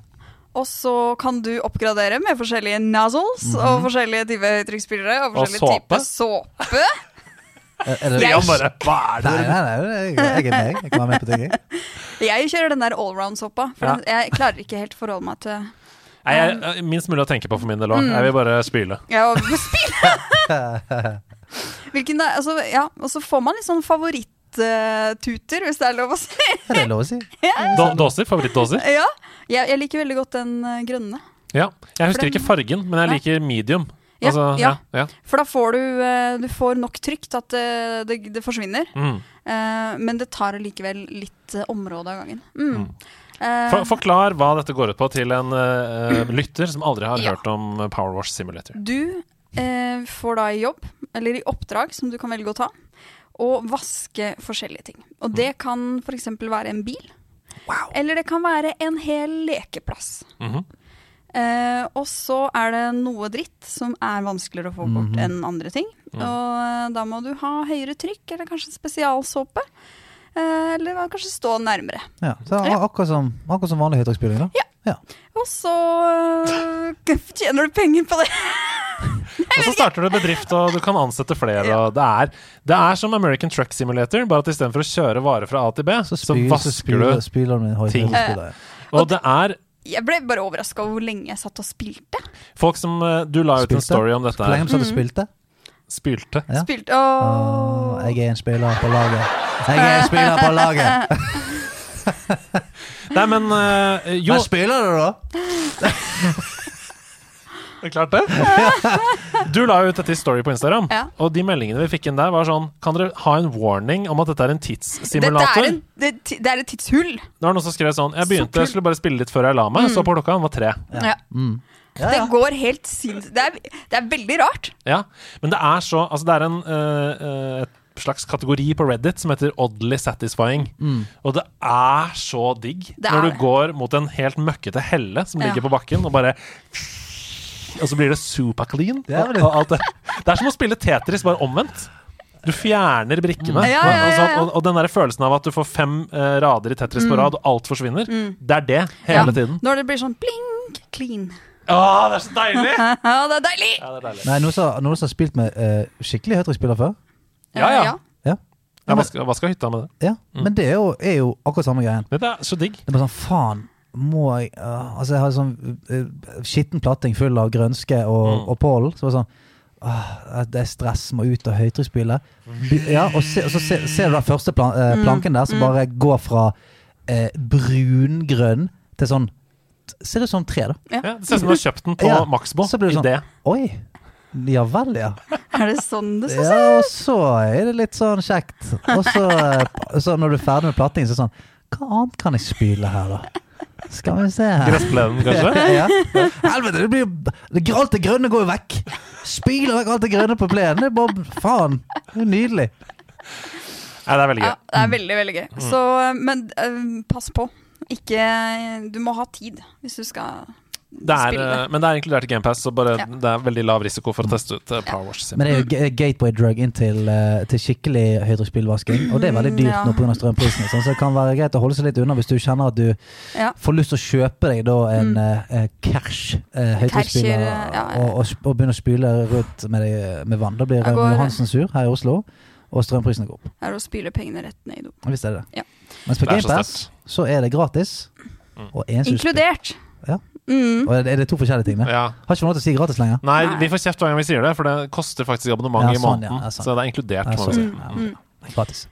Og så kan du oppgradere med forskjellige nozzles og forskjellige typer høytrykksspillere. Og Mhm. Og forskjellige såpe. typer såpe. <laughs> Er- er det- Stian bare Hva er det? Nei, nei, nei, jeg jeg er meg. Jeg kan være med på ting. jeg. Jeg kjører den der allround-såpa, for Ja. den, jeg klarer ikke helt forholde meg til Nei, jeg, jeg- minst mulig å tenke på for min del Mm. òg. Jeg vil bare spyle. Ja, og <laughs> spille! Eh, Hvilken det er, altså, ja, og så får man litt sånn favoritt-tuter, hvis det er lov å si. <laughs> Er det lov å si? Da- Dåser? Favorittdåser? Ja, jeg, jeg liker veldig godt den eh, grønne. Ja. Jeg husker den- ikke fargen, men jeg liker medium. Ja, Altså, ja, ja. ja. For da får du, eh, du får nok trykk til at eh, det, det forsvinner. Mm. Eh, men det tar likevel litt eh, område av gangen. Mm. Eh, For, forklar hva dette går ut på til en eh, lytter som aldri har Ja. hørt om Powerwash Simulator. Du eh, får da i jobb, eller i oppdrag som du kan velge å ta, å vaske forskjellige ting. Og Mm. det kan f.eks. være en bil. Eller det kan være en hel lekeplass. Mhm. Eh, og så er det noe dritt som er vanskeligere å få bort Mhm. enn andre ting. Og eh, da må du ha høyere trykk, eller kanskje spesialsåpe. Eh, Eller kanskje stå nærmere. Ja, så ak- akkurat, som, akkurat som vanlig høytrykksspyling, da. Og så eh, <laughs> tjener du penger på det. Og så starter du en bedrift, og du kan ansette flere. Og det, er, det er som American Truck Simulator, bare at istedenfor å kjøre varer fra A til B, så, spyl- vasker spyler- du. spyler du med ting. høytrykksspyler. Og det er Jeg ble bare overraska over hvor lenge jeg satt og spilte. folk som eh, Du la ut en Spilte? story om dette Hvor lenge her. har du satt og spilte? Spylte. Ja. Spilte Åh. Åh, jeg er en spiller på laget. Jeg er en spiller på laget. Nei, men eh, Jo, Men spiller du, da? det er klart det. <laughs> Du la ut dette i story på Instagram, Ja. og de meldingene vi fikk inn der, var sånn Kan dere ha en warning om at dette er en Dette er, tidssimulator? en, det, det er et tidshull. Det var noen som skrev sånn Jeg Så begynte, kult. jeg skulle bare spille litt før jeg la Mm. meg, så på klokka, den var tre. Ja. Mm. Ja, Det ja. går helt sinnssykt. Det, er- det er veldig rart. Ja, men det er så Altså, det er en eh, eh, et slags kategori på Reddit som heter Oddly Satisfying. Og det er så digg Mm. Det er når du det. går mot en helt møkkete helle som Ja. ligger på bakken, og bare Og så blir det superclean. Det er og- det. og alt det. det er som å spille Tetris, bare omvendt. Du fjerner brikkene. Mm. Ja, ja, og- og ja, ja, sånn, ja. Mm. Og, og den der følelsen av at du får fem eh, rader i Tetris på rad, og alt forsvinner. Det er det hele Ja. tiden. Når det blir sånn blink, clean. <laughs> Å, det er så deilig! Ja, det er deilig! Ja, det er deilig. Nei, noen som noen som har spilt med eh, skikkelig høytrykksspiller før? Ja, ja. Ja. Jeg vasker, vasker hytta med det. ja. Men det er jo, er jo akkurat samme greien. Dette er så digg. Det er bare sånn, faen må jeg ah, Altså, jeg har sånn eh, skitten platting full av grønske og, og pollen. Så bare sånn ah, Det er stress, må ut av høytrykksspylet. Ja, og, se, og så se, ser du den første plan, eh, planken der, som bare går fra eh, brungrønn til sånn Ser ut som tre, da. Ja, det ser ut som du har kjøpt den på Ja, Maxbo. så blir i det sånn. det. Oi! Ja vel, ja. Er det sånn det skal ja. Og så er det litt sånn kjekt. Og så, eh, så når du er ferdig med plattingen, så er det sånn Hva annet kan jeg spyle her, da? Skal vi se her. Gressplenen, kanskje? <laughs> ja. Helvete, det blir jo det- Alt det grønne går jo vekk. Spyler vekk alt det grønne på plenen. Det er bare faen. Det er nydelig. Nei, det er veldig Ja, gøy. det er veldig, veldig gøy. Mm. Så, men eh, pass på. Ikke Du må ha tid hvis du skal Det er, spille det. eh, men det er inkludert i GamePass, så bare, Ja. det er veldig lav risiko for å teste ut eh, Power Wash. Sim. Men det er jo g- gateway drug inn til, eh, til skikkelig høydrykkspillvasking. Og det er veldig dyrt Ja. nå pga. strømprisene, sånn, så det kan være greit å holde seg litt unna hvis du kjenner at du Ja. får lyst til å kjøpe deg da en mm. cash eh, høydrykkspiller Cash, eh, ja, ja. og, og, sp- og begynne å spyle rundt med, deg, med vann. Da blir Jeg går- Raymond Johansen sur her i Oslo, og strømprisene går opp. Det er å spyle pengene rett ned i do. Hvis det er det. Ja. Mens på Det er så GamePass så er det gratis. Og eneste du spiller- Inkludert. Ja. Mm. Og er det- er det to forskjellige ting? Det? Ja. Har ikke man lov til å si gratis lenger? Nei, Nei. vi får kjeft hver gang vi sier det, for det koster faktisk abonnement Ja, i sånn, ja, måneden. ja, sånn. Så det er inkludert, Ja, må man sånn, si. Mm. ja, ja. Gratis.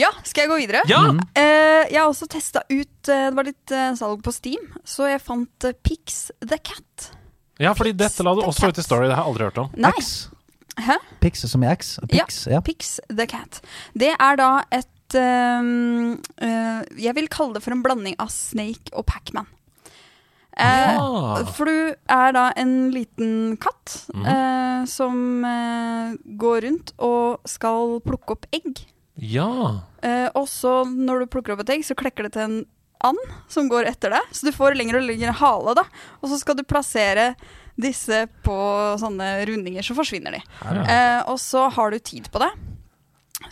Ja, skal jeg gå videre? Ja! Mm. Eh, jeg har også testa ut eh, Det var litt eh, salg på Steam, så jeg fant eh, Pix the Cat. ja, fordi dette la du også ut i Story, det har jeg aldri hørt om. Nei, X. Hæ? Pix som i X. Pix, ja. Pix the Cat. Det er da et eh, eh, Jeg vil kalle det for en blanding av Snake og Pacman. Eh, Ah. For du er da en liten katt eh, som eh, går rundt og skal plukke opp egg. Ja. Eh, og så når du plukker opp et egg, så klekker det til en and som går etter deg. Så du får lengre og lengre hale, da. Og så skal du plassere disse på sånne rundinger, så forsvinner de. Eh, og så har du tid på det.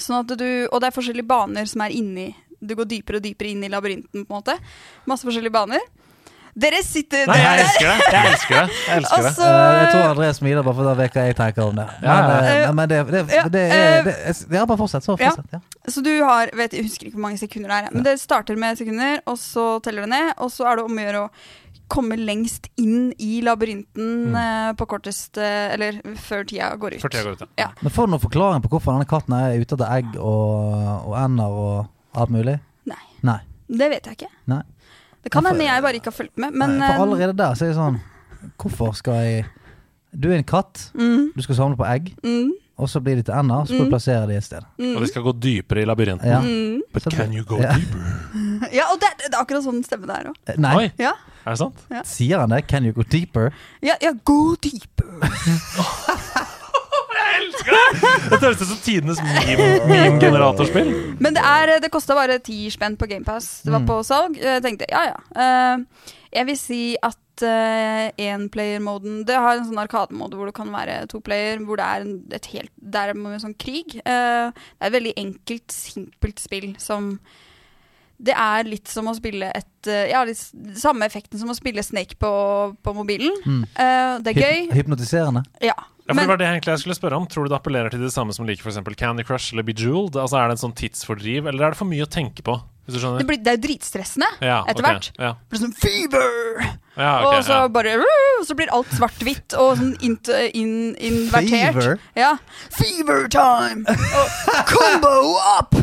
Sånn at du, og det er forskjellige baner som er inni Du går dypere og dypere inn i labyrinten, på en måte. Masse forskjellige baner. Dere sitter Nei, jeg dere- elsker det! Jeg elsker det. Jeg elsker det. Altså, Eh, jeg tror André smiler bare for da vet hva jeg tenker om det. Men, Ja, eh, ja. men det, det, det, Ja, er- det, eh, er- ja, bare fortsett. Så ja. fortsett. Ja. Så du har vet, Jeg husker ikke hvor mange sekunder det er, men det starter med sekunder, og så teller det ned, og så er det om å gjøre å komme lengst inn i labyrinten Mm. eh, på kortest eh, Eller før tida går ut. Før tida går ut, ja. Ja. Men får du noen forklaring på hvorfor denne katten er ute etter egg og, og ender og alt mulig? Nei. Nei. Det vet jeg ikke. Nei. Det kan Nei, for- hende jeg bare ikke har fulgt med, men Nei, For eh, allerede der så er det sånn Hvorfor skal jeg Du er en katt, mm, du skal samle på egg, mm, og så blir de til ender, og så skal Mm. du plassere de et sted. Og vi skal gå dypere i labyrinten. Ja. mm. But Så det- can you go ja. deeper? ja, og det, det er akkurat sånn stemme det er òg. Eh, Nei, Oi, Ja. er det sant? sier han det? Can you go deeper? Ja, ja, gå dypere. elsker <laughs> det! Dette høres ut som tidenes meme- meme-generatorspill. Men det, er- det kosta bare ti spenn på GamePass. Det var Mm. på salg. Jeg tenkte ja, ja. Eh, jeg vil si at uh, enplayer-moden Det har en sånn arkademode hvor det kan være to player, hvor det er en, et helt Der er det en sånn krig. Eh, det er et veldig enkelt, simpelt spill som det er litt som å spille et eh, Ja, litt, s- samme effekten som å spille Snake på, på mobilen. Eh, det er Hyp- gøy. Hypnotiserende. Ja. Ja, Mm. for Men- det var det egentlig jeg skulle spørre om. Tror du det appellerer til det samme som liker for eksempel Candy Crush eller Bejeweled? Altså, er det en sånn tidsfordriv, eller er det for mye å tenke på? Hvis du skjønner? Det, blir, det er jo dritstressende ja, etter ok, hvert. Ja. Det blir sånn fever! Ja, Ah, ok, og så ja. bare uh, Så blir alt svart-hvitt og sånn int, in, Fever? invertert. Ja. Fever time! Og combo up!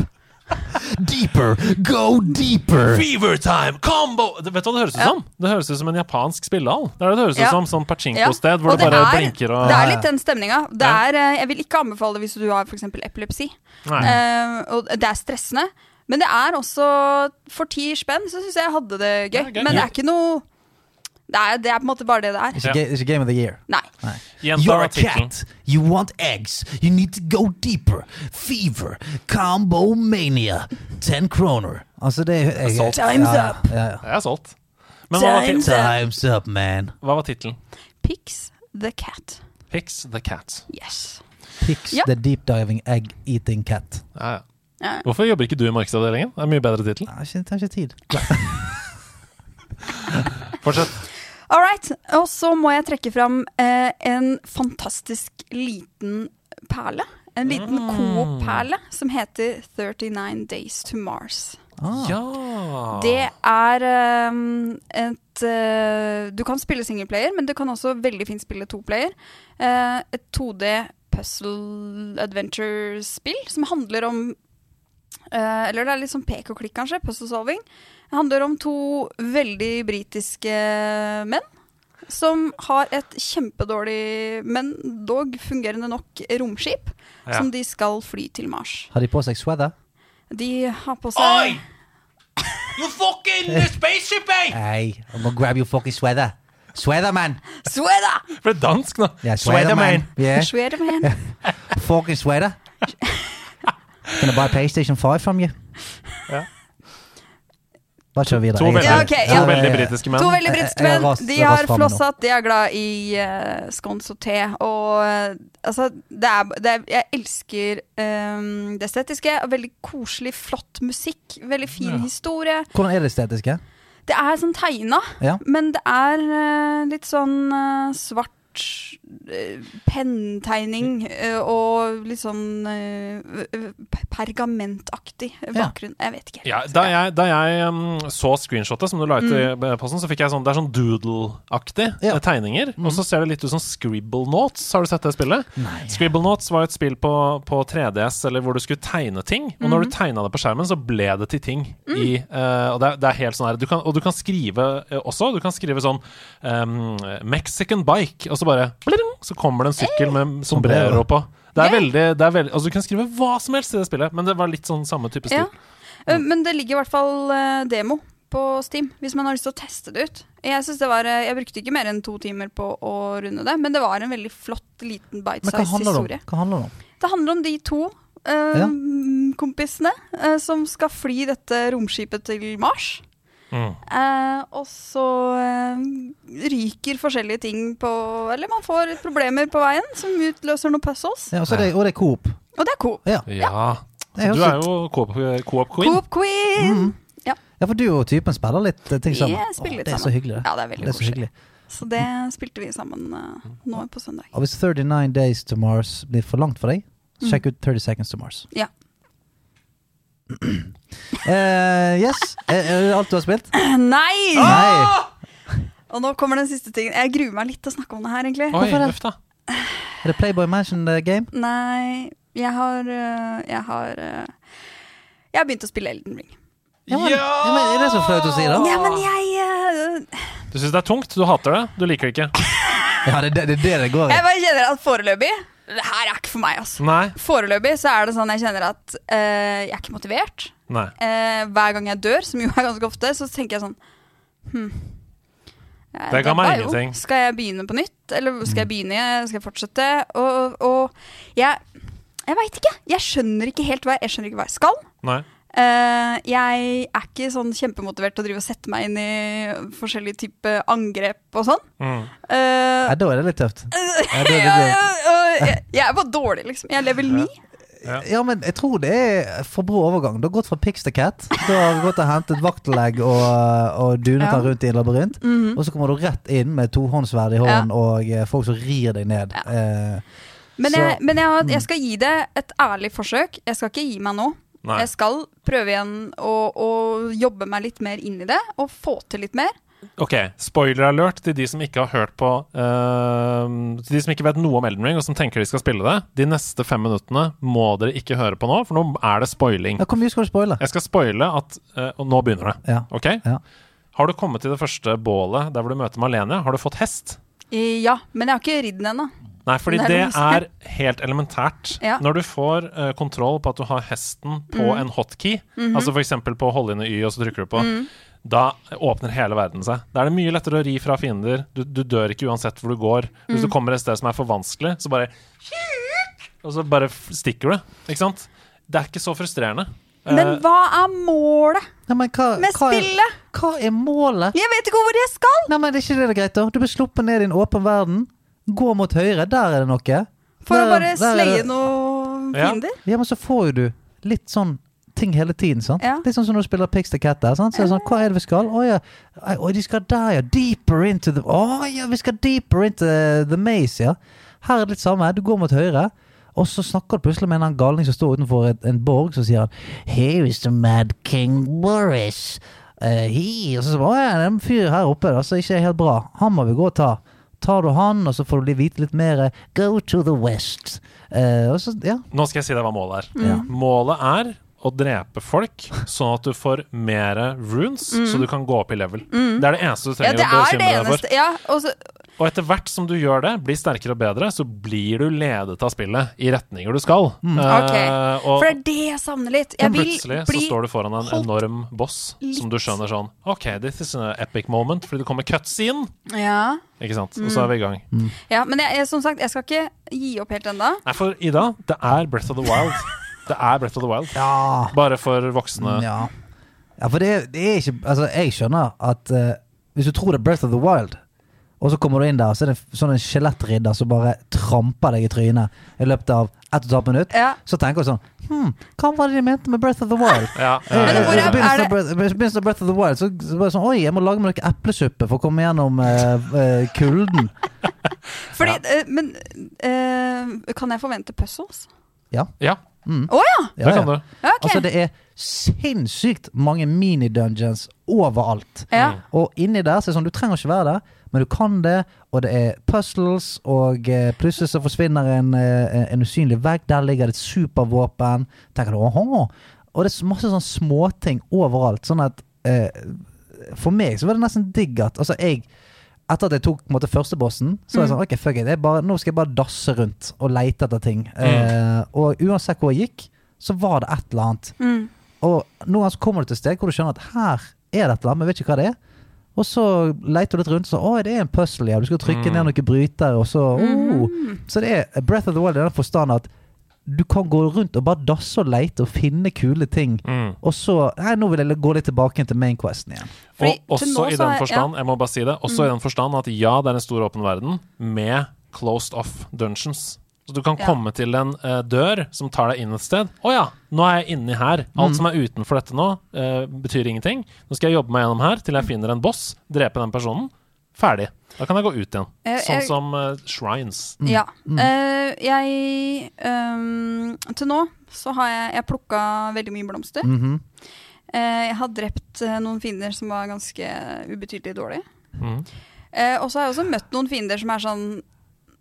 Deeper! Go deeper! Fever time combo! Det, vet du hva det høres ut Ja. som? Det høres ut som en japansk spillehall. Det er det det høres ut Ja. som. Sånn Ja. pachinko-sted hvor Og det, bare er, blinker og Det er litt den stemninga. Det Ah. Ja. er, eh, Jeg vil ikke anbefale det hvis du har f.eks. epilepsi. Nei. Eh, og det er stressende. Men det er også For ti spenn så syns jeg jeg hadde det gøy. Det er gøy. Men det er ikke noe det er, det er på en måte bare det det er. Ikke, ga- ikke Game of the Year. Nei. Gjenta You're a tittelen. cat. You want eggs. You need to go deeper. Fever. Combo mania. Ten kroner. Altså, det er jeg- Solgt. ja, Time's up. Ja, ja. Det er solgt. Men hva var, tit- Time's up, man. hva var tittelen? Pix the cat. Pix the cat. Yes. Pix Ja. the deep diving egg eating cat. Ja, ja. Ja. Hvorfor jobber ikke du i markedsavdelingen? Det er en mye bedre tittel. Ja, ikke- tar ikke tid. Fortsett. All right. Og så må jeg trekke fram eh, en fantastisk liten perle. En liten Coop-perle som heter 39 Days to Mars. Ah. Ja. Det er eh, et eh, Du kan spille singleplayer, men du kan også veldig fint spille toplayer. Eh, et 2D puzzle adventure-spill som handler om eh, Eller det er litt sånn pek og klikk, kanskje. Puzzle solving. Det handler om to veldig britiske menn som har et kjempedårlig, men dog fungerende nok, romskip Ja. som de skal fly til Mars. Har de på seg sweater? De har på seg Hey, I'm gonna grab your fucking sweater. Sweater, man. Sweda! Det ble dansk, nå. Yeah, sweater, man. Yeah. Swederman. fucking sweater. Can I buy PlayStation 5 from you? Ja. Bare kjør videre. To veldig, Ja, ok, to ja. veldig britiske menn. To veldig britiske Jeg- jeg menn. har rast- De har rast fram flosset, de er glad i eh, scones og te. Og eh, altså, det er, det er Jeg elsker eh, det estetiske. og Veldig koselig, flott musikk. Veldig fin Ja. historie. Hvordan er det estetiske? Det er sånn tegna, Ja. men det er eh, litt sånn eh, svart eh, Penntegning eh, og litt sånn eh, eh, pergamentaktig Ja. bakgrunn. Jeg vet ikke. Ja, da jeg, da jeg um, så screenshotet som du la ut i eh, posten, så fikk jeg sånn Det er sånn doodle-aktig Mm. Ja. eh, tegninger. Og så ser det litt ut som Scribble Notes. Har du sett det spillet? Scribble Notes var jo et spill på, på 3DS eller hvor du skulle tegne ting. Og når du Mhm. tegna det på skjermen, så ble det til ting. Mm. I, eh, og det er, det er helt sånn her du kan, Og du kan skrive eh, også. Du kan skrive sånn um, Mexican bike, og så bare bling, Så kommer det en sykkel med sombrero på. Det er veldig, det er veldig Altså Du kan skrive hva som helst i det spillet, men det var litt sånn samme type stil. Ja. Eh, Men det ligger i hvert fall eh, demo på Steam, hvis man har lyst til å teste det ut. Jeg, synes det var, eh, jeg brukte ikke mer enn to timer på å runde det, men det var en veldig flott Men liten hva bite-size handler det om? historie. Hva handler det om? Det handler om de to eh, Ja. kompisene eh, som skal fly dette romskipet til Mars. Mm. Eh, og så eh, ryker forskjellige ting på Eller man får problemer på veien som utløser noen puzzles. Ja, og så er det, og det er Coop. Og det er Coop. Ja. Ja. Det er Du også- er jo co-op- co-op queen. Coop Queen! ja, for du og typen spiller litt eh, ting sammen. Yeah, spiller Mm. Åh, litt det er så sammen. hyggelig, det. Ja, det er det veldig er så koselig. hyggelig. Så det spilte vi sammen eh, nå på søndag. <clears throat> Og hvis 39 Days to Mars blir for langt for deg, så sjekk ut 30 Seconds to Mars. Mm. Ja. <clears throat> Eh, yes. Er er det alt du har spilt? Nei! Ah! Nei. Og nå kommer den siste tingen. Jeg gruer meg litt til å snakke om det her, egentlig. Oi, Hvorfor det? uff da. Er det Playboy Mansion eh, Game? Nei, jeg har øh, Jeg har øh, Jeg har begynt å spille Elden Ring. Ja! men- ja, men er det så flaut å si, da? Ja, men jeg øh, Du syns det er tungt, du hater det, du liker det ikke. Ja, det er det det, det går i. Jeg bare kjenner at foreløpig Det her er ikke for meg, altså. Nei. Foreløpig så er det sånn jeg kjenner at øh, jeg er ikke motivert. Nei. hmm. Eh, hver gang jeg dør, som jo er ganske ofte, så tenker jeg sånn Hm. Jeg Det ga dabba meg jo. ingenting. Skal jeg begynne på nytt, eller skal Mm. jeg begynne, skal jeg fortsette? Og, og jeg, jeg veit ikke. Jeg skjønner ikke helt hva jeg, jeg skjønner ikke hva jeg skal. Nei. Eh, jeg er ikke sånn kjempemotivert til å drive og sette meg inn i forskjellige typer angrep og sånn. Mm. Eh, Nei, da er det litt tøft. Ja, det, <laughs> ja, det, ja, og jeg, jeg er bare dårlig, liksom. Jeg er level 9. det. ja, men jeg tror det er for brå overgang. Du har gått fra Pix til Cat. Du har gått og hentet vaktelegg og, og dunet Ja. deg rundt i en labyrint. Mhm. Og så kommer du rett inn med tohåndsverd i hånden og eh, folk som rir deg ned. Ja. Eh, Men, Så- jeg, men jeg, har- jeg skal gi det et ærlig forsøk. Jeg skal ikke gi meg nå. Nei. Jeg skal prøve igjen å, å jobbe meg litt mer inn i det, og få til litt mer. Ok, spoiler alert til de som ikke har hørt på eh, Til de som ikke vet noe om Elden Ring, og som tenker de skal spille det. De neste fem minuttene må dere ikke høre på nå, for nå er det spoiling. ja, hvor mye skal du spoile? Jeg skal spoile at eh, Og nå begynner det, Ja. OK? Ja. Har du kommet til det første bålet der hvor du møter Malenia? Har du fått hest? Eh, Ja, men jeg har ikke ridd den ennå. Nei, fordi Det er det det er helt elementært. Ja. Mm. Når du får eh, kontroll på at du har hesten på en hotkey, Mhm. altså for eksempel på å holde inn i Y, og så trykker du på, Mm. da åpner hele verden seg. Da er det mye lettere å ri fra fiender. Du, du dør ikke uansett hvor du går. Hvis Mm. du kommer et sted som er for vanskelig, så bare Og så bare f- stikker du. Ikke sant? Det er ikke så frustrerende. Eh, Men hva er målet Nei, men hva, med hva, er, spillet? hva er målet? Jeg vet ikke hvor jeg skal! Nei, men det er ikke det det er greit, da. Du blir sluppet ned i en åpen verden. Gå mot høyre, der er det noe. For Der- å bare der er det- sløye noen Ja. fiender. Ja, men så får jo du litt sånn ting hele tiden, sant? Ja. Litt sånn som når du spiller Pix the Cat der, sant? Så er det sånn, hva er det vi skal? Å ja, Ai, oi, de skal der, ja. Deeper into the... Å ja, vi skal deeper into the maze, ja. Her er det litt samme, du går mot høyre, og så snakker du plutselig med en eller annen galning som står utenfor et, en borg, så sier han, Here is the mad king Boris. Eh, he, og så sier han, å ja, det er en fyr her oppe, da, så ikke er helt bra. Han må vi gå og ta. Tar du han, og så får du vite litt mer, eh, go to the west. Eh, og så, ja. Nå skal jeg si deg hva målet er. Mm. Ja. Målet er å drepe folk, sånn at du får mer runes, så du kan gå opp i level. Det er det eneste du Mm. trenger å Ja, det er det bekymre deg for. eneste. Ja, og så, Og etter hvert som du gjør det, blir sterkere og bedre, så blir du ledet av spillet i retninger du skal. ok. Eh, og For det er det jeg savner litt. Jeg vil plutselig så bli står du foran en holdt enorm boss som du skjønner sånn OK, this is an epic moment, fordi det kommer cutscene. Ja, Ikke sant? Mm. Og så er vi i gang. ja men jeg, jeg, som sagt, jeg skal ikke gi opp helt ennå. Nei, for Ida, det er Breath of the <laughs> Wild. Det er Breath of the Wild. Ja. Bare for voksne. Ja. ja, for det, er- det er ikke Altså, jeg skjønner at eh, hvis du tror det er Breath of the Wild, og så kommer du inn der, så er det en sånn en skjelettridder som bare tramper deg i trynet i løpet av ett og et halvt minutt, Ja. så tenker du sånn Hm, hva var det de mente med Breath of the Wild? Ja, ja, <laughs> Men Eh, hvor I er- begynnelsen er det- av Breath- i begynnelsen av Breath of the Wild så, så bare sånn Oi, jeg må lage meg noe eplesuppe for å komme gjennom eh, eh, kulden. Fordi, eh, men eh, kan jeg forvente puzzles? ja, Ja, <laughs> det kan ja. du. Ja, ok. Altså, det er sinnssykt mange mini-dungeons overalt. ja. Mm. Og inni der så er det sånn, du trenger ikke være der, men du kan det, og det er puzzles, og eh, plutselig så forsvinner en, eh, en usynlig vegg, der ligger det et supervåpen. Tenker du, åhå! Og det er masse sånn småting overalt, sånn at eh, for meg så var det nesten digg at, altså jeg, etter at jeg tok på en måte første bossen, så var jeg sånn, ok, fuck it, jeg bare, nå skal jeg bare dasse rundt og leite etter ting. Eh, og uansett hvor jeg gikk, så var det et eller annet. Mm. Og noen ganger så kommer du til et sted hvor du skjønner at her er det et eller annet, men vet ikke hva det er. Og så leter du litt rundt, så å, det er en puzzle, ja. Du skal trykke ned noen brytere, og så oh. Så det er Breath of the Wild i den forstand at du kan gå rundt og bare dasse og leite og finne kule ting. Mm. Og så Nei, nå vil jeg gå litt tilbake igjen til mainquesten igjen. Fordi Og til også nå i så den er- Mm. forstand, jeg må bare si det, også i den forstand at ja, det er en stor åpen verden med closed off dungeons. Så du kan Ja. komme til en eh, dør som tar deg inn et sted. Å ja, nå er jeg inni her. Mm. Alt som er utenfor dette nå, eh, betyr ingenting. Nå skal jeg jobbe meg gjennom her Mm. til jeg finner en boss, drepe den personen. Ferdig. Da kan jeg gå ut igjen. Eh, Sånn jeg- som eh, shrines. Ja. Eh, jeg ehm, Til nå så har jeg, jeg plukka veldig mye blomster. Mhm. Eh, jeg har drept eh, noen fiender som var ganske ubetydelig dårlige. Mhm. Eh, og så har jeg også møtt noen fiender som er sånn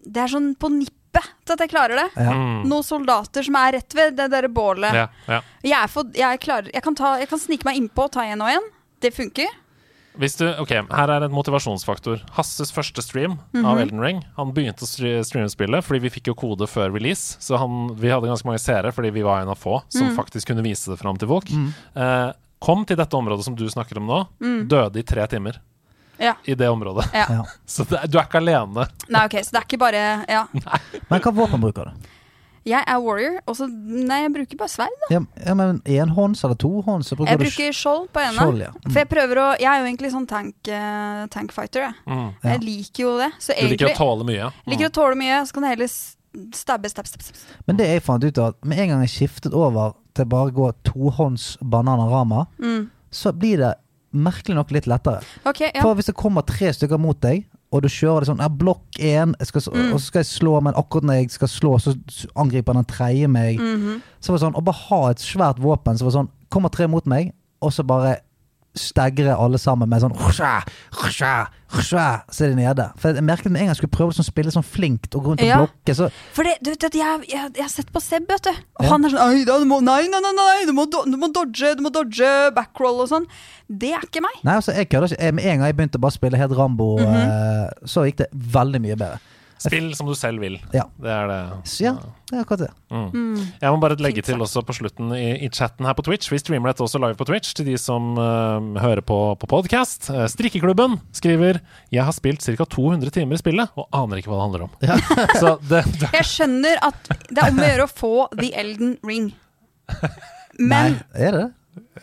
Det er sånn på nippet til at jeg klarer det. Ja. Mm. Noen soldater som er rett ved det derre bålet. Ja, ja. Jeg, er for, jeg, klarer, jeg, kan ta, jeg kan snike meg innpå og ta en og en. Det funker. Hvis du, ok, Her er et motivasjonsfaktor. Hasses første stream Mhm. av Elden Ring. Han begynte å stre- streame spillet fordi vi fikk jo kode før release. Så han, vi hadde ganske mange seere fordi vi var en av få som Mm. faktisk kunne vise det fram til folk. Eh, kom til dette området som du snakker om nå. Døde i tre timer. Mm. Ja. i det området. Ja. Ja. <laughs> Så det, er- du er ikke alene. Nei, ok, så det er ikke bare Ja. Men hva våpen bruker du? Jeg er warrior, og så Nei, jeg bruker bare sverd. da. Ja, ja, men enhånds eller tohånds? så Bruker Jeg du sk- bruker skjold på ena. skjold, ja. For jeg prøver å Jeg er jo egentlig sånn tank, eh, tankfighter, jeg. Mm. Ja. Jeg liker jo det. Så Du liker å egentlig tåle mye. liker å tåle mye, så kan jeg heller s- stabbe, stabbe, stabbe. stabbe. Men det jeg fant ut av, at med en gang jeg skiftet over til bare å gå tohånds bananarama, Mm. så blir det merkelig nok litt lettere. Ok, ja. For hvis det kommer tre stykker mot deg, og du kjører det sånn ja, Blokk én, jeg skal s- og så skal jeg slå, men akkurat når jeg skal slå, så s- angriper den tredje meg. Så var det sånn, Å bare ha et svært våpen som var sånn Kommer tre mot meg, og så bare stegre alle sammen med sånn husha, husha, husha, Så er de nede. For jeg merket med en gang jeg skulle prøve å sånn, spille sånn flinkt og gå rundt og Ja. blokke, så For det, du vet at jeg, jeg, jeg har sett på Seb, vet du. Og Ja. han er sånn Nei, da, du må, nei, nei, nei, nei du, må, do- du må dodge, du må dodge backroll og sånn. Det er ikke meg. Nei, altså, jeg kødder ikke. Jeg- Med en gang jeg begynte å bare spille helt Rambo, eh, så gikk det veldig mye bedre. Mm. Spill som du selv vil. Ja. Det er det. Så ja, det er akkurat det. Mm. Jeg må bare legge Mm. Fint til også sagt. på slutten i, i chatten her på Twitch. Vi streamer dette også live på Twitch til de som eh, hører på på podkast. strikkeklubben skriver 'Jeg har spilt ca. 200 timer i spillet og aner ikke hva det handler om'. Så det, det Jeg skjønner at det er om å gjøre å få The Elden Ring. Men Nei, er det det?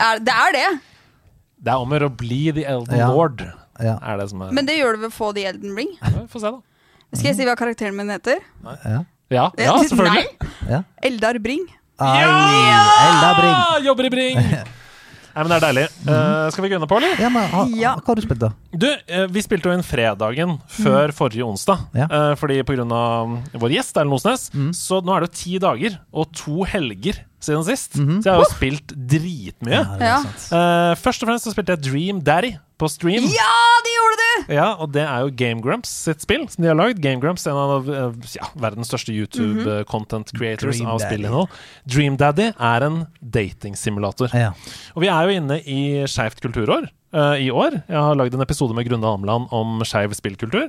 er, det er det. det er om å gjøre å bli The Elden Ja. Lord. Ja. Er det som er Men det gjør det ved å få The Elden Ring. Få se, da. Skal jeg si hva karakteren min heter? Ja. <laughs> Ja, ja selvfølgelig. Nei. ja. Eldar Bring. Ai, Elda Bring. Ah, jobber i <laughs> Bring! Nei, men det er deilig. Eh, skal vi gunne på, eller? Ja, men, ha, Ja. Hva har du spilt, da? Du, eh, vi spilte jo inn fredagen før forrige onsdag. Mm. Ja. Mm. Eh, fordi pga. vår gjest, Erlend Osnes. Så nå er det jo ti dager og to helger siden sist. Mm-hmm. Så jeg har jo spilt dritmye. det er Ja. sant. Eh, først og fremst så spilte jeg Dream Daddy på stream. Ja, det gjorde du! Ja, og det er jo Game Grumps sitt spill som de har lagd. Game Grumps, en av eh, ja, verdens største YouTube-content creators Mm-hmm. Dream av Daddy. spillinnhold. Dream Daddy er en datingsimulator. Ja. Og vi er jo inne i Skeivt kulturår eh, i år. Jeg har lagd en episode med Grunde Almland om skeiv spillkultur.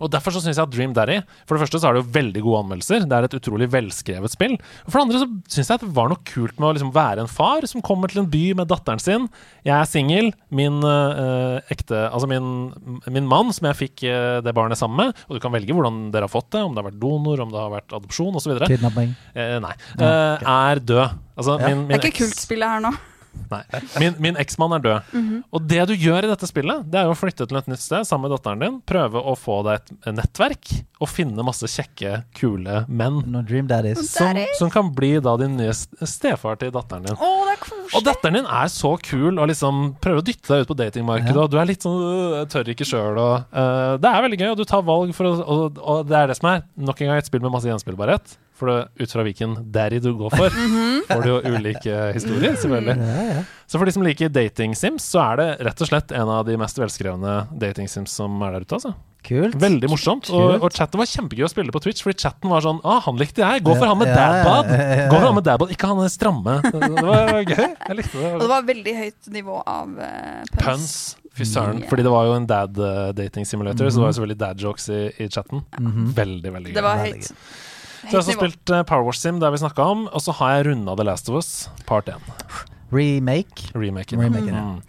Og Derfor så syns jeg at Dream Daddy For det første så er det jo veldig gode anmeldelser. Det er et utrolig velskrevet spill. Og For det andre så syns jeg at det var noe kult med å liksom være en far som kommer til en by med datteren sin. Jeg er singel. Min eh, ekte Altså min, min mann som jeg fikk eh, det barnet sammen med. Og du kan velge hvordan dere har fått det, om det har vært donor, om det har vært adopsjon osv. Eh, Kidnapping. nei. Eh, er død. Altså Ja. min, min Det er eks- ikke kult spillet her nå. Nei. Min, min eksmann er død. Og det du gjør i dette spillet, Det er jo å flytte til et nytt sted sammen med datteren din, prøve å få deg et eh, nettverk, og finne masse kjekke, kule menn. No Dream Daddies. Som, som kan bli da din nye s- stefar til datteren din. Å, det er Og koselig. datteren din er så kul og liksom prøver å dytte deg ut på datingmarkedet, Ja. og du er litt sånn øh, jeg tør ikke sjøl og øh, Det er veldig gøy, og du tar valg for å og, og det er det som er. Nok en gang et spill med masse gjenspillbarhet. For det, ut fra hvilken daddy du går <laughs> for, Mhm. får du jo ulike historier, selvfølgelig. Ja, ja. Så for de som liker dating sims, så er det rett og slett en av de mest velskrevne dating sims som er der ute. altså. Kult. Veldig morsomt. Og, Kult. og chatten var kjempegøy å spille på Twitch, fordi chatten var sånn ah, 'Han likte jeg! Gå for han med Ja, ja, dadbod!' ja, ja. Gå for han med dadbod, ikke han stramme. Det var gøy. Jeg likte Og det. det var veldig høyt nivå av eh, Puns. puns. Fy søren. Ja. Fordi det var jo en dad-dating simulator, så det var jo selvfølgelig dad-jokes i, i chatten. Mhm. Veldig, veldig gøy. Det var Veldig høyt. så jeg har Høyt også nivå. spilt eh, Power Wash Sim, der vi snakka om, og så har jeg runda The Last of Us, part 1. Remake. Remaken. Remaken, ja. Mm.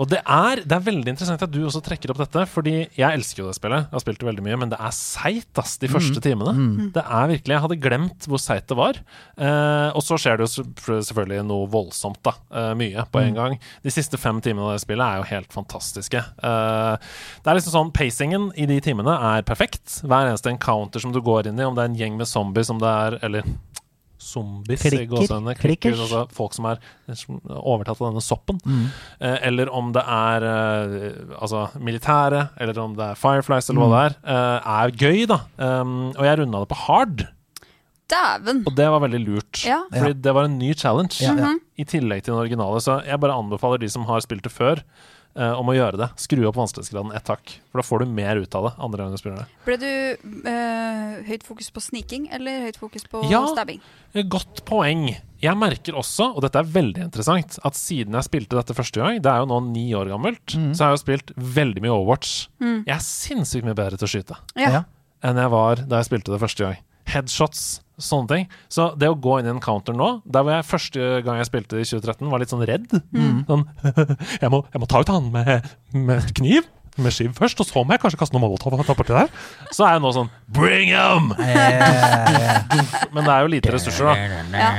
Og det er, det er veldig interessant at du også trekker opp dette, fordi jeg elsker jo det spillet. Jeg har spilt det veldig mye, men det er seigt, ass, Mm. de første timene. Det er virkelig, Jeg hadde glemt hvor seigt det var. Eh, og så skjer det jo s- selvfølgelig noe voldsomt, da. Eh, mye på Mm. en gang. De siste fem timene av det spillet er jo helt fantastiske. Eh, det er liksom sånn, Pacingen i de timene er perfekt. Hver eneste encounter som du går inn i, om det er en gjeng med zombier, som det er Eller zombies, i Klikker. gåseøynene. Klikker, Klikkers. altså folk som er som er overtatt av denne soppen. Eh, eller om det er eh, altså, militære, eller om det er Fireflies, eller hva det er, eh, er gøy, da. Um, og jeg runda det på hard, Dæven. og det var veldig lurt. Ja. Fordi det var en ny challenge, Ja, ja. i tillegg til den originale. Så jeg bare anbefaler de som har spilt det før, eh, om å gjøre det. Skru opp vanskelighetsgraden ett hakk, for da får du mer ut av det andre gang du spiller det. Ble du eh, høyt fokus på sniking eller høyt fokus på Ja. stabbing? Eh, Godt poeng. Jeg merker også, og dette er veldig interessant, at siden jeg spilte dette første gang, det er jo nå ni år gammelt, så har jeg jo spilt veldig mye Overwatch. Jeg er sinnssykt mye bedre til å skyte Ja. Ja. enn jeg var da jeg spilte det første gang. Headshots sånne ting. Så det å gå inn i en counter nå Der hvor jeg første gang jeg spilte i 2013, var litt sånn redd. Sånn <laughs> jeg må, jeg må ta ut han med, med kniv. Med skiv først, og så må jeg kanskje kaste noe molotov. og ta borti der. Så er jeg nå sånn Bring 'em! Men det er jo lite ressurser, da.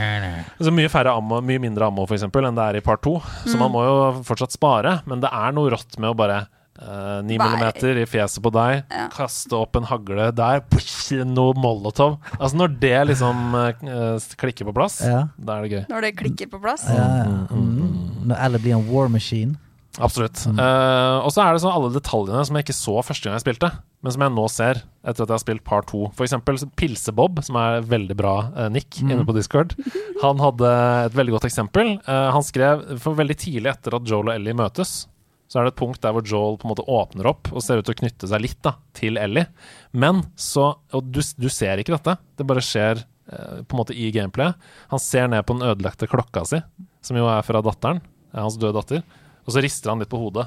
Så mye, færre ammo, mye mindre ammo for eksempel, enn det er i part 2. Så man må jo fortsatt spare. Men det er noe rått med å bare eh, 9 Nei. millimeter i fjeset på deg, Ja. kaste opp en hagle der, push, noe molotov. Altså Når det liksom eh, klikker på plass, Ja. da er det gøy. Når det klikker på plass. Ja, ja. Mm. Når Ellie blir en war machine. Absolutt. Eh, og så er det sånn alle detaljene som jeg ikke så første gang jeg spilte, men som jeg nå ser etter at jeg har spilt par to. For eksempel Pilsebob, som er veldig bra eh, Nick inne på Discord. Han hadde et veldig godt eksempel. Eh, han skrev for veldig tidlig etter at Joel og Ellie møtes, så er det et punkt der hvor Joel på en måte åpner opp og ser ut til å knytte seg litt da, til Ellie. Men så Og du, du ser ikke dette, det bare skjer eh, på en måte i gameplayet. Han ser ned på den ødelagte klokka si, som jo er fra datteren, eh, hans døde datter, og så rister han litt på hodet.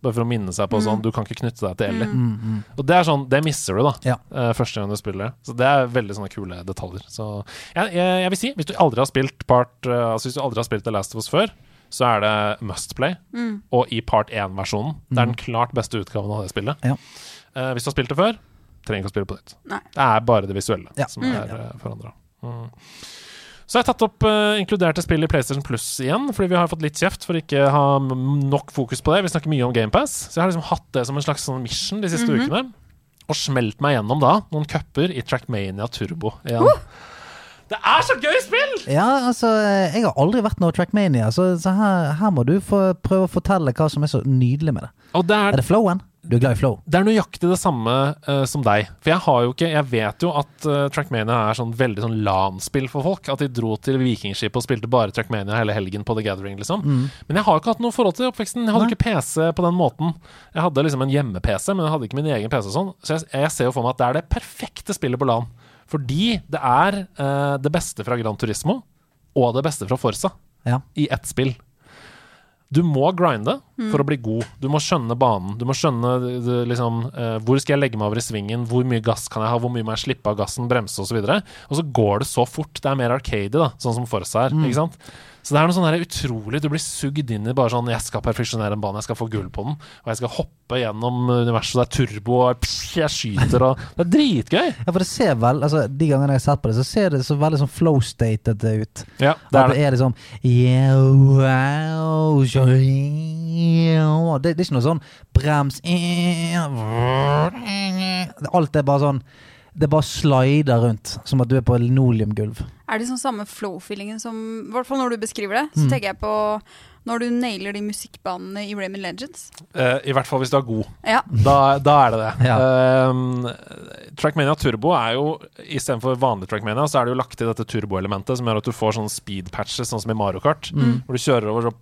Bare for å minne seg på sånn, du kan ikke knytte deg Mm, til Ellie. Og det er sånn, det misser du, da. Ja. eh, første gang du spiller det. Så det er veldig sånne kule detaljer. Så jeg, jeg, jeg vil si, hvis du aldri har spilt part eh, Altså hvis du aldri har spilt The Last of Us før, så er det must play. mm. Og i part 1-versjonen. Det er den klart beste utgaven av det spillet. Mm. Ja. Eh, hvis du har spilt det før, trenger ikke å spille på nytt. Nei. Det er bare det visuelle Ja. som er uh, forandra. Mm. Så jeg har tatt opp eh, inkluderte spill i PlayStation Plus igjen, fordi vi har fått litt kjeft for ikke å ha m- nok fokus på det. Vi snakker mye om GamePass, så jeg har liksom hatt det som en slags sånn mission de siste ukene. Og smelt meg gjennom da noen cuper i Trackmania Turbo igjen. Det er så gøy spill! Ja, altså, jeg har aldri vært noe Trackmania, så, så her, her må du få, prøve å fortelle hva som er så nydelig med det. Og det er, Er det flowen? Du er glad i flow? det er nøyaktig det samme eh, som deg. For jeg har jo ikke Jeg vet jo at eh, Trackmania er sånn veldig sånn LAN-spill for folk. At de dro til Vikingskipet og spilte bare Trackmania hele helgen på The Gathering, liksom. Men jeg har jo ikke hatt noe forhold til oppveksten. Jeg hadde Mm. Nei. ikke PC på den måten. Jeg hadde liksom en hjemme-PC, men jeg hadde ikke min egen PC og sånn. Så jeg, jeg ser jo for meg at det er det perfekte spillet på LAN. Fordi det er eh, det beste fra Gran Turismo og det beste fra Forsa Ja. i ett spill. Du må grinde Mm. for å bli god. Du må skjønne banen. Du må skjønne eh, liksom, eh, hvor skal jeg legge meg over i svingen, hvor mye gass kan jeg ha, hvor mye må jeg slippe av gassen, bremse osv. Og så går det så fort. Det er mer arcade, da, sånn som Forsa Mm. er. Ikke sant? Så det er noe sånn her utrolig Du blir sugd inn i bare sånn Jeg skal perfeksjonere en bane, jeg skal få gull på den. Og jeg skal hoppe gjennom universet, det er turbo, og pss, jeg skyter og Det er dritgøy! Ja, for det ser vel, altså De gangene jeg har sett på det, så ser det så veldig sånn flow-stated ut. Ja, Det er, det er liksom yeah, wow, sure, yeah. det, det er ikke noe sånn brems yeah. Alt er bare sånn Det bare slider rundt, som at du er på linoleumgulv. Er det sånn samme flow-feelingen som I hvert fall når du beskriver det, så Mm. tenker jeg på når du nailer de musikkbanene i Raymond Legends. Eh, I hvert fall hvis du er god. Ja. Da, da er det det. Ja. Ehm, Trackmania Turbo er jo istedenfor vanlig Trackmania, så er det jo lagt til dette turboelementet som gjør at du får sånne speed patches, sånn som i Mario Kart. Mm. Hvor du kjører over så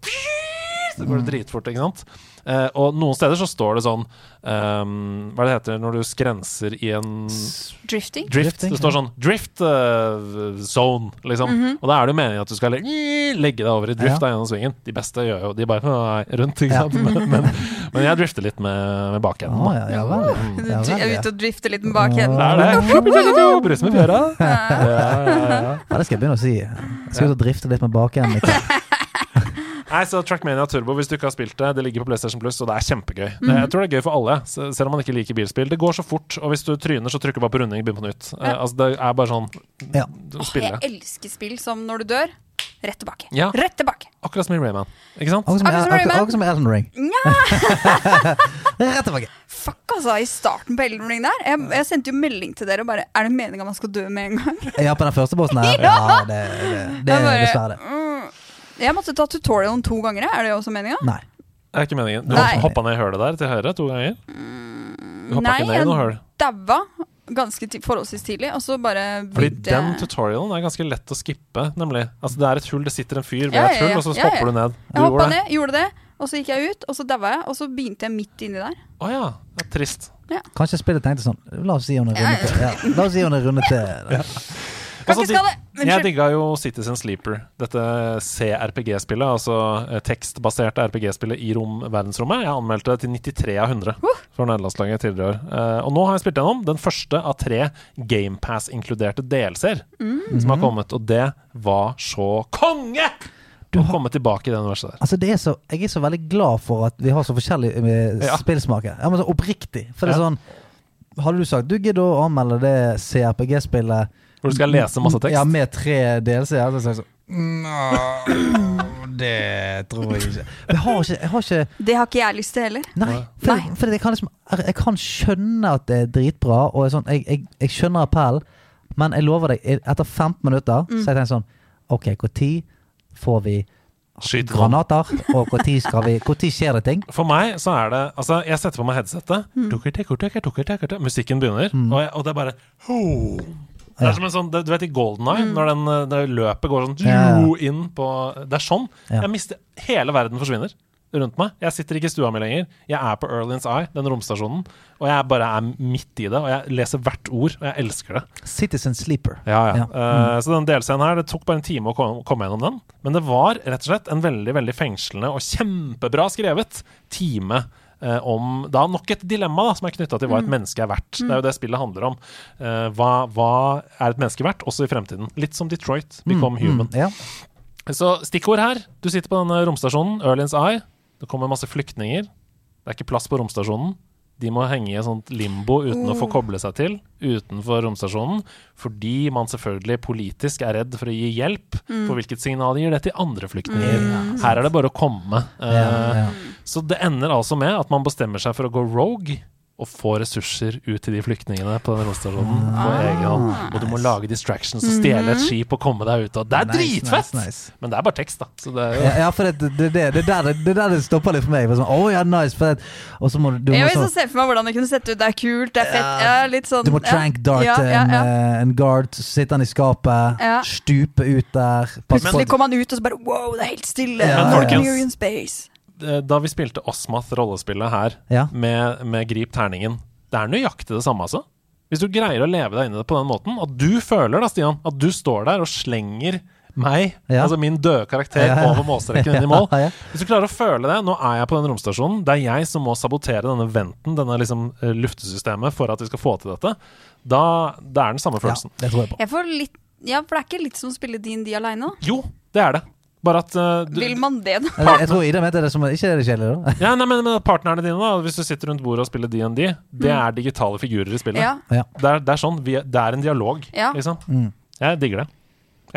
Så går det dritfort, ikke sant. Eh, og noen steder så står det sånn ehm, Hva er det heter når du skrenser i en Drifting. Drift. Drifting, Det står sånn 'drift eh, zone', liksom. Og da er det jo meningen at du skal le legge deg over i drift da, gjennom svingen. De beste gjør jo De bare «Nei», rundt, ikke sant. Men, men, men jeg drifter litt med, med bakenden. Å, da. Mm. ja, ja vel. Du Ja, vel, dri- er ja. ute og drifter litt med bakhjelen. Det er det. Brus med fjøra. Ja, ja, ja. Ja, det skal jeg begynne å si. Jeg skal ut og drifte litt med bakenden. litt. Nei, så Trackmania Turbo, hvis du ikke har spilt det, det ligger på PlayStation Plus, og det er kjempegøy. Det- Jeg tror det er gøy for alle, s- selv om man ikke liker bilspill. Det går så fort, og hvis du tryner, så trykker du bare på runding og begynner på nytt. Eh, Altså, det er bare sånn Ja. Du spiller Jeg det. elsker spill som når du dør, rett tilbake. Ja. Rett tilbake. Akkurat som i Rayman. Ikke sant? Akkurat som, Akkurat som akkurat, Rayman. akkurat som Elden Ring. <laughs> Rett tilbake. Fuck, altså, i starten på Elden Ring der. Jeg, jeg sendte jo melding til dere og bare Er det meninga man skal dø med en gang? Ja, på den første bossen her. Ja, det, det, det Jeg er bare- dessverre det. Mm. Jeg måtte ta tutorialen to ganger, jeg. er det også meninga? Nei. Det er ikke meningen. Du Nei. hoppa ned i hølet der til høyre to ganger. Du hoppa Nei, ikke ned i noe høl. jeg daua ganske ti forholdsvis tidlig, og så bare Fordi begynte den jeg- tutorialen er ganske lett å skippe, nemlig. Altså Det er et hull, det sitter en fyr ved Ja, et ja, hull, ja. og så Ja, ja. hopper du ned. Du Jeg hoppa gjorde det. ned, gjorde det, og så gikk jeg ut, og så daua jeg, og så begynte jeg midt inni der. Å ja. Det er trist. Kanskje spillet tenkte sånn La oss si hun er runde til. Ja, la oss si hun er runde til. Altså, Kan ikke skal det! Jeg Unnskyld. digga jo Citizen Sleeper, dette CRPG-spillet. Altså eh, tekstbaserte RPG-spillet i rom, verdensrommet. Jeg anmeldte det til 93 av 100 fra nederlandslaget tidligere i år. Eh, og nå har jeg spilt gjennom den første av tre GamePass-inkluderte DLC-er som har kommet, og det var så konge! Du å har- komme tilbake i det universet der. Altså det er så, Jeg er så veldig glad for at vi har så forskjellig eh, Ja. spillsmak. her. Ja, men så oppriktig. For det er Ja. sånn Hadde du sagt du gidder å anmelde det CRPG-spillet Hvor du skal lese masse tekst. Ja, med tre DLC, hadde jeg sagt sånn Nå, det tror jeg ikke. Jeg har ikke, jeg har ikke Det har ikke jeg lyst til heller. Nei, for, Nei. for jeg, kan liksom, jeg kan skjønne at det er dritbra, og jeg, er sånn, jeg, jeg, jeg skjønner appellen, men jeg lover deg, et- etter 15 minutter så har jeg tenkt sånn OK, når får vi Skyt noen. granater, og når skjer det ting? For meg så er det Altså, jeg setter på meg headsetet. Mm. Tukker, tukker, tukker, tukker, tukker, tukker. Musikken begynner, og, jeg, og det er bare ho. Det Ja. Mm. er som en sånn, det- Du vet i Golden Eye, når den, eh, det løpet går sånn Ja, ja. jo, inn på Det er sånn. Ja. Jeg mister Hele verden forsvinner rundt meg. Jeg sitter ikke i stua mi lenger. Jeg er på Erlins Eye, den romstasjonen, og jeg bare er midt i det. Og jeg leser hvert ord, og jeg elsker det. Citizen Sleeper. Ja, ja. Ja. Eh, Så den delscenen her, det tok bare en time å kom- komme gjennom den. Men det var rett og slett en veldig veldig fengslende og kjempebra skrevet time eh, om da nok et dilemma da, som er knytta til hva et menneske er verdt. Det er jo det spillet handler om. Eh, hva, hva er et menneske verdt, også i fremtiden? Litt som Detroit, Become Human. Ja. Så stikkord her. Du sitter på denne romstasjonen, Erlins Eye. Det kommer masse flyktninger. Det er ikke plass på romstasjonen. De må henge i et sånt limbo uten å få koble seg til utenfor romstasjonen. Fordi man selvfølgelig politisk er redd for å gi hjelp. For hvilket signal gir det til andre flyktninger? Her er det bare å komme. Eh, Ja, ja. Så det ender altså med at man bestemmer seg for å gå rogue og få ressurser ut til de flyktningene på den romstasjonen på Ah. egen hånd. Og du må lage distractions og stjele et skip og komme deg ut av Det er Nice, dritfett! nice, nice. Men det er bare tekst, da. Så det er jo Ja, ja, for det, det, det, det, er der, det, det er der det stopper litt for meg. For sånn, oh, ja, nice, for det, og så må du, du må Jeg vil så sånn- se for meg hvordan det kunne sett ut. Det er kult, det er fett. Ja, litt sånn Du må ja. trank dart Ja, ja, En, ja. eh, en guard, så sitter han i skapet, Ja. stupe ut der passe på Plutselig at- kom han ut, og så bare wow, det er helt stille. Ja, Men ja, ja. folkens- We're in space. Eh, Da vi spilte Osmath rollespillet her, Ja. med, med Grip terningen Det er nøyaktig det samme, altså. Hvis du greier å leve deg inn i det på den måten, at du føler da, Stian, at du står der og slenger meg, Ja. altså min døde karakter, Ja, ja. over målstreken <laughs> inn i mål Ja, ja. Hvis du klarer å føle det Nå er jeg på den romstasjonen. Det er jeg som må sabotere denne venten, denne liksom eh, luftesystemet, for at vi skal få til dette. Da det er den samme Ja, følelsen. det tror jeg på. Jeg får litt Ja, for det er ikke litt som å spille DND aleine. Jo, det er det. Bare at eh, du, Vil man det, da? Jeg, jeg tror Ida mente det som Ikke er det kjedelig, da? Ja, nei, men, men partnerne dine, da. Hvis du sitter rundt bordet og spiller DND, det er digitale figurer i spillet. Mm. Ja. Det, er, det er sånn. Vi, er- det er en dialog, Ja. liksom. Mm. Jeg digger det.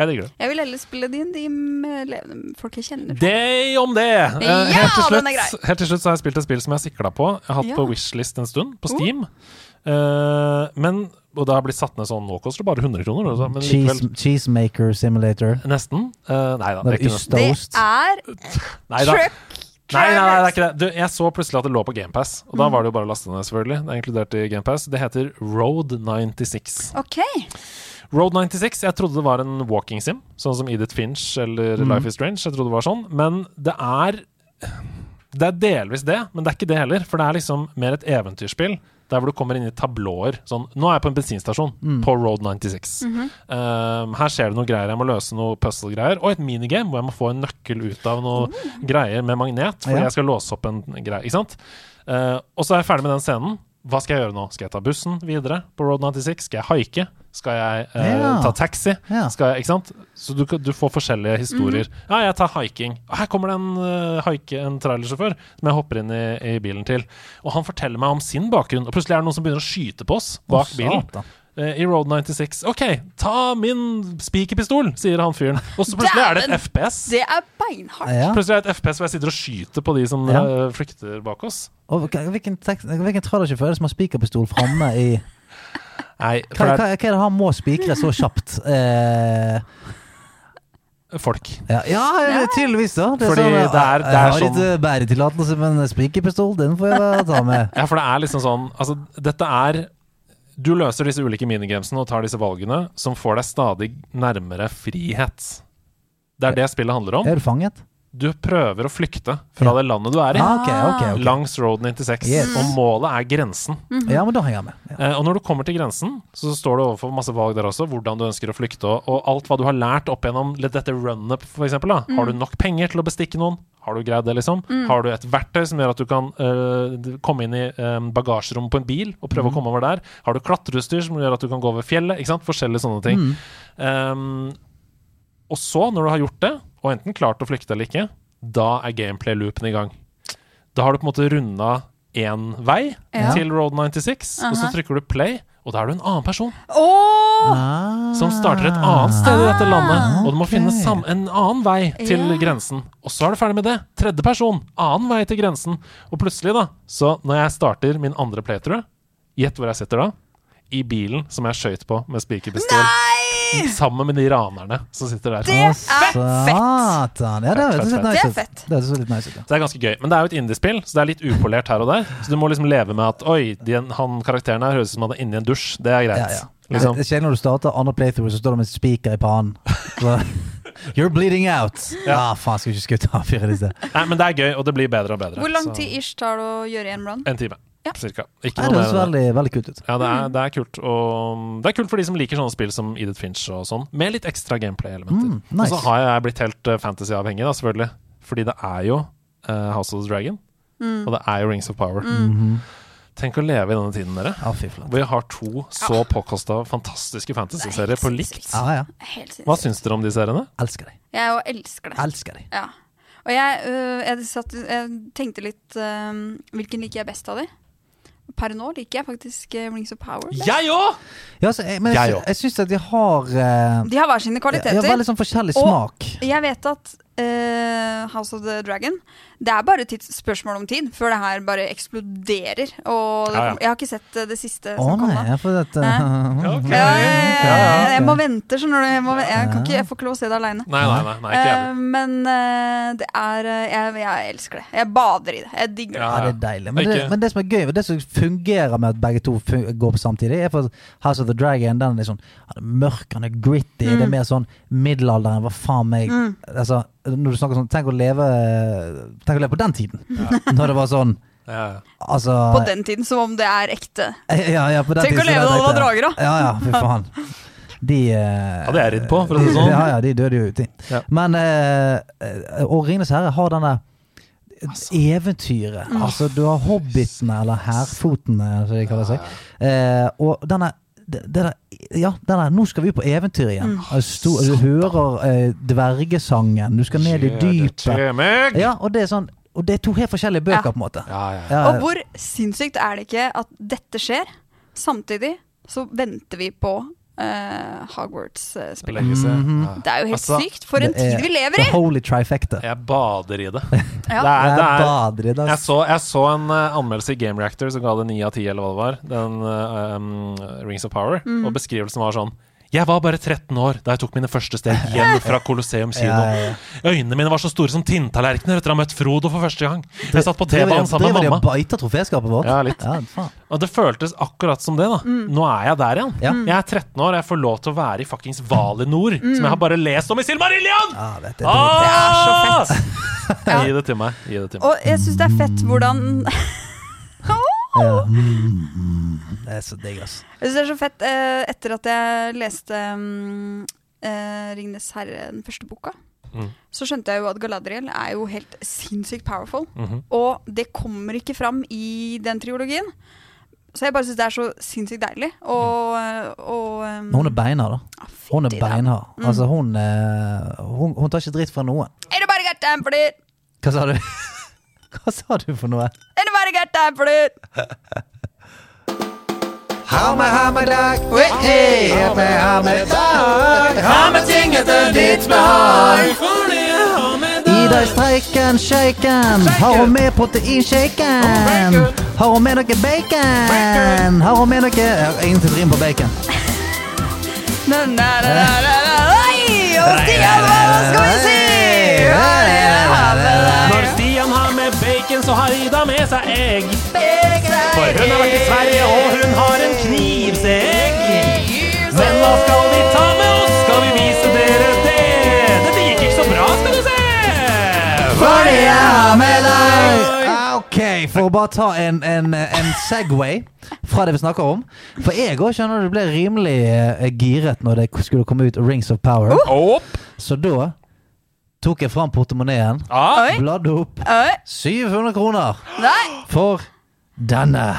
Jeg digger det. Jeg vil heller spille DND med levende folk jeg kjenner. Det om det! Eh, Ja, helt, til den slutt, er grei. helt til slutt så har jeg spilt et spill som jeg sikla på. Jeg har hatt Ja. Oh. på Wishlist en stund, på Steam. Eh, men, og det har blitt satt ned sånn Nå koster det bare 100 kroner. altså, Men likevel, Cheese, cheesemaker simulator. nesten. Eh, nei da. Når Det er det ikke nesten. yster ost. er Nei da. truck Nei, nei, nei, det drivers. er ikke det. Du, jeg så plutselig at det lå på GamePass, og da var det jo bare å laste ned, selvfølgelig. Det er inkludert i GamePass. Det heter Road 96. OK. Road 96, jeg trodde det var en walking sim, sånn som Edith Finch eller Life is Strange. Jeg trodde det var sånn, men det er Det er delvis det, men det er ikke det heller. For det er liksom mer et eventyrspill der hvor du kommer inn i tablåer. Sånn Nå er jeg på en bensinstasjon Mm. på Road 96. Um, her skjer det noe greier. Jeg må løse noe puzzle-greier. Og et minigame hvor jeg må få en nøkkel ut av noe greier med magnet. Fordi Ja. jeg skal låse opp en greie. Ikke sant? Eh, og så er jeg ferdig med den scenen. Hva skal jeg gjøre nå? Skal jeg ta bussen videre på Road 96? Skal jeg haike? Skal jeg eh, Ja. ta taxi? Ja. Mhm. Skal jeg, ikke sant? Så du, kan- du får forskjellige historier. Ja, jeg tar hiking. Her kommer det en, eh, haike, en trailersjåfør som jeg hopper inn i, i bilen til. Og han forteller meg om sin bakgrunn, og plutselig er det noen som begynner å skyte på oss bak Å, bilen. satan. Eh, I Road 96. OK, ta min spikerpistol, sier han fyren. Og så plutselig er det et Dæven! FPS. Det er beinhardt. Ja. Plutselig er det et FPS hvor jeg sitter og skyter på de som Ja. eh, flykter bak oss. Og hva- hvilken, tekst- hvilken trailersjåfør er det som har spikerpistol framme i Nei, hva, for hva, hva det er det han må spikre så <laughs> kjapt? Eh, er folk. ja, ja, det er tydeligvis, da. Det er Fordi sånn, det er- det er jeg har sånn- ikke bæretillatelse, men spikerpistol, den får jeg bare ta <laughs> med. Ja, for det er liksom sånn Altså, dette er Du løser disse ulike minigamesene og tar disse valgene som får deg stadig nærmere frihet. Det er det spillet handler om. Er du fanget? Du prøver å flykte fra det landet du er i, Ah, ok, ok, ok. langs Road 96, Yes. og målet er grensen. Mhm. Ja, men da henger jeg med. Ja. Eh, og når du kommer til grensen, så står du overfor masse valg der også, hvordan du ønsker å flykte, og, og alt hva du har lært opp gjennom litt dette runnet, for eksempel. Da. Har du nok penger til å bestikke noen? Har du greid det, liksom? Har du et verktøy som gjør at du kan eh, d- komme inn i eh, bagasjerommet på en bil og prøve å komme over der? Har du klatreutstyr som gjør at du kan gå over fjellet? Ikke sant? Forskjellige sånne ting. Ehm, og så, når du har gjort det, og enten klart å flykte eller ikke, da er gameplay-loopen i gang. Da har du på en måte runda én vei Ja. til Road 96, og så Aha. trykker du play, og da er du en annen person Åh! Ah. som starter et annet sted i dette landet, og du må ok. finne sam en annen vei til Ah, Ja. grensen. Og så er du ferdig med det. Tredje person, annen vei til grensen. Og plutselig, da, så når jeg starter min andre playthrough, gjett hvor jeg sitter da? I bilen som jeg skøyt på med spikerpistol. Nei! Sammen med de ranerne som sitter der. Det er Å, Ah, Satan. Ja, det Fett, høres fett, litt Det nice er ut. fett. Det høres litt nice ut, ja. Så det er ganske gøy. Men det er jo et indiespill, så det er litt upolert her og der. Så du må liksom leve med at oi, de, han karakteren her høres ut som han er inni en dusj. Det er Ja, greit. ja. Liksom. Det skjer når du starter andre playthrough, så står det med en spiker <laughs> i pannen. Så- You're bleeding out! Ja, ah, faen, skulle ikke skutt av fyren i sted. Nei, men det er gøy, og det blir bedre og bedre. Hvor lang Så- tid ish tar det å gjøre en run? En time, Ja. cirka. Ikke Nei, noe Det mer høres enn det. veldig, Mm. veldig kult ut. Ja, det er, det er kult. Og det er kult for de som liker sånne spill som Edith Finch og sånn, med litt ekstra gameplay-elementer. Mm, nice. Og så har jeg blitt helt eh, fantasy-avhengig, da, selvfølgelig. Fordi det er jo eh, House of the Dragon, Mm. og det er jo Rings of Power. Mm. Mhm. Tenk å leve i denne tiden, dere. Ja, Ah, fy flate. Hvor jeg har to så påkosta fantastiske fantasy-serier på likt. sinnssykt. Ah, Ja, ja. Helt sinnssykt. Hva syns dere om de seriene? Elsker deg. Jeg jo elsker det. Elsker deg. Ja. Og jeg, øh, jeg, satt, jeg tenkte litt øhm, Hvilken liker jeg best av de? Per nå liker jeg faktisk øh, Rings of Power. best. Jeg òg! Ja, altså, jeg, men Jeg jeg, òg. sy- jeg syns at de har eh, De har hver sine ja, kvaliteter. veldig sånn forskjellig Og- smak. Jeg vet at eh, House of the Dragon Det er bare et tids spørsmål om tid før det her bare eksploderer. Og det Ja, ja. kom, jeg har ikke sett eh, det siste Å som kom nei, da. ja, for at, eh, Ja, ok. Ja, ja, ja, ja. ok. Jeg må vente, skjønner du. Jeg, må, jeg, kan ikke, jeg får ikke lov å se det aleine. Nei, nei, nei, nei, ikke jeg heller. men eh, det er eh, jeg, jeg elsker det. Jeg bader i det. Jeg digger <laughs> det. Ja, det er deilig. Men det, Ikke- men det som er gøy, og det som fungerer med at begge to fun går på samtidig, er for at House of the Dragon den er sånn han er mørk, han er gritty. Mm. Det er mer sånn middelalderen. Hva faen meg altså, Når du snakker sånn Tenk å leve Tenk å leve på den tiden. <laughs> Når det var sånn Ja, ja. Altså På den tiden som om det er ekte. <laughs> ja, ja, på den Tenk å tiden, så leve da det var tenkte jeg- drager, da. Ja, ja, fy <laughs> faen. De eh, Hadde jeg ridd på, for å si det sånn. Ja, ja, de døde jo uti. Ja. Men eh, eh, Og Ringenes herre har denne Altså. eventyret. Altså, du har hobbitene, eller hærfotene, som de kaller seg. Eh, og denne det, det der, ja, den der, nå skal vi ut på eventyr Mm. igjen. Altså, sto- du hører eh, dvergesangen, du skal ned i dypet. Kjemeg! Ja, og det er sånn Og det er to helt forskjellige bøker, Ja. på en måte. Ja, ja, ja. Ja, Og hvor sinnssykt er det ikke at dette skjer? Samtidig så venter vi på eh, Hogwarts-spillet. Legge seg. Mhm. Ja. Det er jo helt Altså, sykt for en det er tid vi lever i! The Holy Trifecta. Jeg bader i det. <laughs> Ja. Det er, Jeg det er, bader i dag. Jeg så, jeg så en eh, anmeldelse i Game Reactor som ga det 9 av 10, eller hva det var. Den eh, um, Rings of Power. Mhm. Og beskrivelsen var sånn Jeg var bare 13 år da jeg tok mine første steg hjem fra Colosseum kino. Ja, ja, Øynene mine var så store som tinntallerkener etter å ha møtt Frodo for første gang. Jeg satt på Driver T-banen de- sammen driver med de og mamma. biter troféskapet vårt? Ja, litt. faen. Og det føltes akkurat som det, da. Mm. Nå er jeg der igjen. Ja. Jeg er 13 år, jeg får lov til å være i fuckings Valinor, Mm. som jeg har bare lest om i Silmarillion! Ja, vet du, Ah! er så Ja. Gi det til meg. Gi det til meg. Og jeg syns det er fett hvordan <laughs> det- ja. Mm, Det er så digg, ass. Jeg synes det er så fett eh, etter at jeg leste um, eh, Ringnes herre, den første boka. Mm. Så skjønte jeg jo at Galadriel er jo helt sinnssykt powerful. Mhm. Og det kommer ikke fram i den triologien. Så jeg bare syns det er så sinnssykt deilig. Og, Mm. og um, Men Hun er beinhard, da. ah, fytti Mm. Hun er da. beinhard. Altså, hun, eh, hun Hun tar ikke dritt fra noen. Anybody got time for it? Hva sa du? <laughs> Hva sa du for noe? Anybody got time for it? Ha med, ha med dag. Ha med, ha med dag. Ha med ting etter ditt behag. Ida i streiken, shaken. Har hun med proteinshaken? Har hun med noe bacon? Har hun med noe Jeg har Ingenting rim på bacon. Na, na, na, na, na, na. Oi, og Stian, hva skal vi si? Hva er det jeg har med deg? Når Stian har med bacon, så har Ida med seg egg. For hun har vært i Sverige, og hun har en knivsegg. Men hva skal vi ta med oss? Skal vi vise dere det? Dette gikk ikke så bra, skal du se. For det jeg har med deg. Ah, Ok, jeg, for å bare ta en, en, en Segway fra det vi snakker om. For jeg òg skjønner du ble rimelig eh, giret når det skulle komme ut Rings of Power. Oh! Opp. Så da tok jeg fram portemoneen, Ah. Oi. bladde opp Oi, 700 kroner nei! for denne.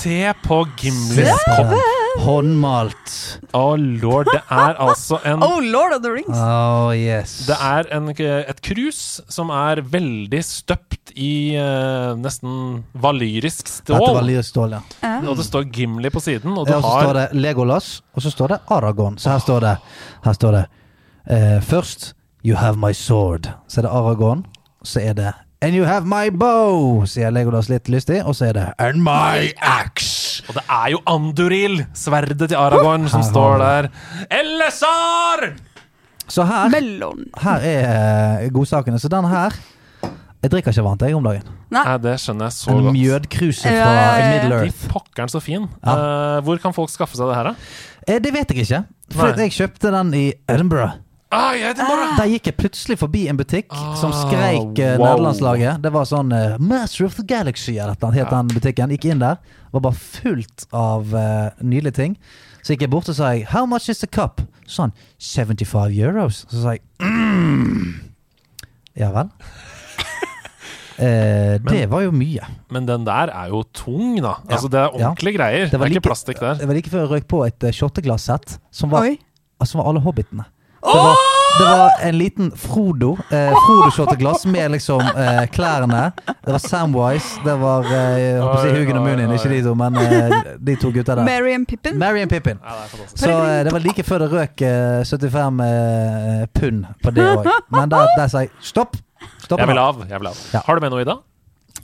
Se på Gimlis kopp. Siste håndmalt. Å lord, det er altså en Oh, Lord of the Rings. Oh yes. Det er en, et krus som er veldig støpt i eh, nesten valyrisk stål. Dette var lyrstål, ja. Og det står Gimli på siden, og du Ja, Og så står har det Legolas, og så står det Aragon. Så her står det, her står det eh, Først You have my sword. Så er det Aragon. Så er det And you have my bow, sier Legolas litt lystig. Og så er det And my axe. Og det er jo Anduril, sverdet til Aragorn, som Her står har der. Elesar! Så her, Mellom. her er eh, godsakene. Så den her Jeg drikker ikke varmt, jeg, om dagen. Nei, det skjønner jeg så En godt. mjødkruse Ja, fra ja, ja, ja. Middle De Earth. pokkeren så fin. Ja. Eh, hvor kan folk skaffe seg det her, da? Eh, det vet jeg ikke. For Nei. jeg kjøpte den i Edinburgh. Ah, jeg heter Nora. Der gikk jeg plutselig forbi en butikk som Ah, skreik eh, wow. nederlandslaget. Det var sånn eh, Master of the Galaxy eller noe het den butikken. Gikk inn der. Var bare fullt av eh, nydelige ting. Så gikk jeg bort og sa jeg, How much is the cup? Så sa han 75 euros. Så sa jeg mm. Ja vel. <laughs> Eh, det var jo mye. Men den der er jo tung, da. Altså, det er ordentlige greier. Det, var er like- ikke plastikk der. Det var like før jeg røyk på et eh, shotteglass-sett som, var- Oi. som Altså, var alle hobbitene. Det var, det var en liten Frodo. Eh, Frodo-shotteglass med liksom eh, klærne. Det var Samwise, det var eh, jeg håper å si Oi, Hugin og oi, Munin, oi. ikke de to, men eh, de to gutta der. Mary and Pippin. Mary and Pippin. Ja, det er fantastisk. Så eh, det var like før det røk eh, 75 eh, pund på det òg. Men der, der sa jeg stopp. Stopp. Jeg vil nå. av. jeg vil av Ja. Har du med noe, Ida?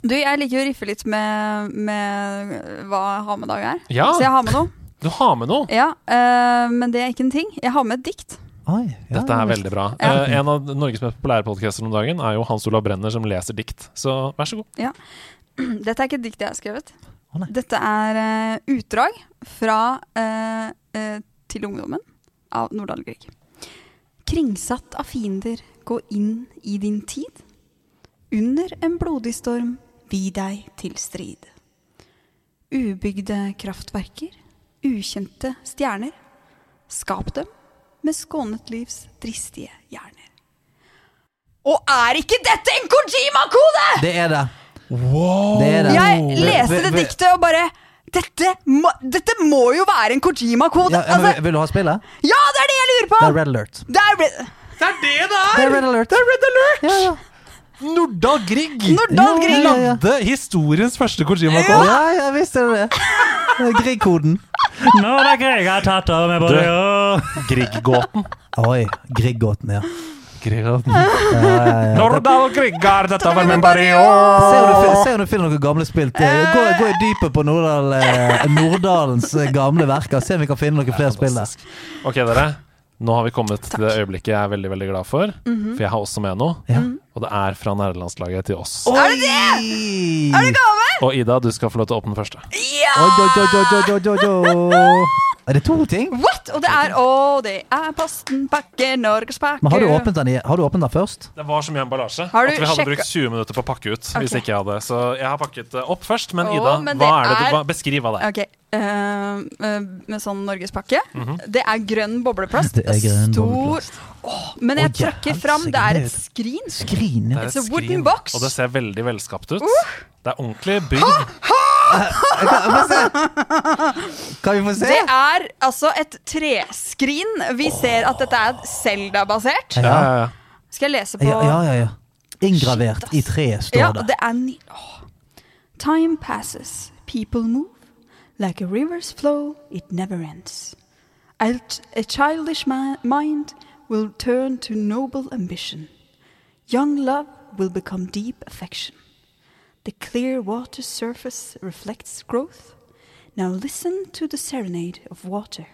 Du, jeg liker jo å riffe litt med, med hva jeg har med dag er. Ja. Så jeg har med noe. Du har med noe? Ja, øh, men det er ikke en ting. Jeg har med et dikt. Oi, ja, Dette ja, er visst. veldig bra. Ja. Eh, en av Norges mest populære podcaster om dagen er jo Hans Olav Brenner som leser dikt. Så vær så god. <clears throat> Dette er ikke et dikt jeg har skrevet. Å, nei. Dette er øh, utdrag fra øh, øh, Til ungdommen av Nordahl Grieg. Kringsatt av fiender, gå inn i din tid. Under en blodig storm, vi deg til strid. Ubygde kraftverker, ukjente stjerner. Skap dem med skånet livs dristige hjerner. Og er ikke dette en Kojima-kode?! Det er det. Det er det. Jeg leste Vil- det vil- diktet og bare dette må, dette må jo være en Kojima-kode! Ja, Ja, vil, altså, vil du ha spillet? ja, det er det jeg lurer på! Det er Red Alert. Det er Red- Det er Red Alert. Ja, ja. Nordahl Grieg! Nordahl Grieg! Ja, ja, ja. Lagde historiens første Ja, Kojima-kål. ja, visst er det det. Det er Grieg-koden. Når er Greg har tatt av med Du. både og Grieg-gåten. Oi, Grieg-gåten, ja. Nordahl Grieg har dette var min Se om, du, fi- barrio! se om du finner noen gamle spilt. eh, Gå, gå i dypet på Norddal, eh, Norddalens eh, gamle verker. Se om vi kan finne noen flere spill der. Ok, dere. Nå har vi kommet til det øyeblikket jeg er veldig veldig glad for. Mhm. For jeg har også med noe. Mhm. Ja. Og det er fra nærlandslaget til oss. Er det det? Er det Gave! Og Ida, du skal få lov til å åpne første. Ja! Oi, oi, oi, oi, oi, oi, oi. Er det to ting? What? Og det er Å, det er Posten pakke, Norges pakke Men har du åpnet den, i- har du åpnet den først? Det var så mye emballasje Har du at vi hadde sjekka- brukt 20 minutter på å pakke ut. Hvis Ok. ikke jeg hadde Så jeg har pakket det opp først. Men Å, Ida, men det hva er det du, er- hva, beskriv hva det er. Ok, øh, øh, med sånn norgespakke. Det er grønn bobleplast. Det er grønn Stor bobleplast. Åh, Men jeg Å, ja, trykker helsike, fram. Det er det er- et skrin. Skrin. ja. Det er It's et a skrin, wooden box. Uh. Og det ser veldig velskapt ut. Det er ordentlig bygd. Kan vi få se? Det er altså et treskrin. Vi ser at dette er Selda-basert. Ja, Ja, ja, ja. Skal jeg lese på ja, ja. ja, ja. Inngravert i treet Ja, står det. det er ny... Åh. Time passes, people move. Like a river's flow, it never ends. A, a childish ma- mind will turn to noble ambition. Young love will become deep affection. The clear water surface reflects growth. Now listen to the serenade of water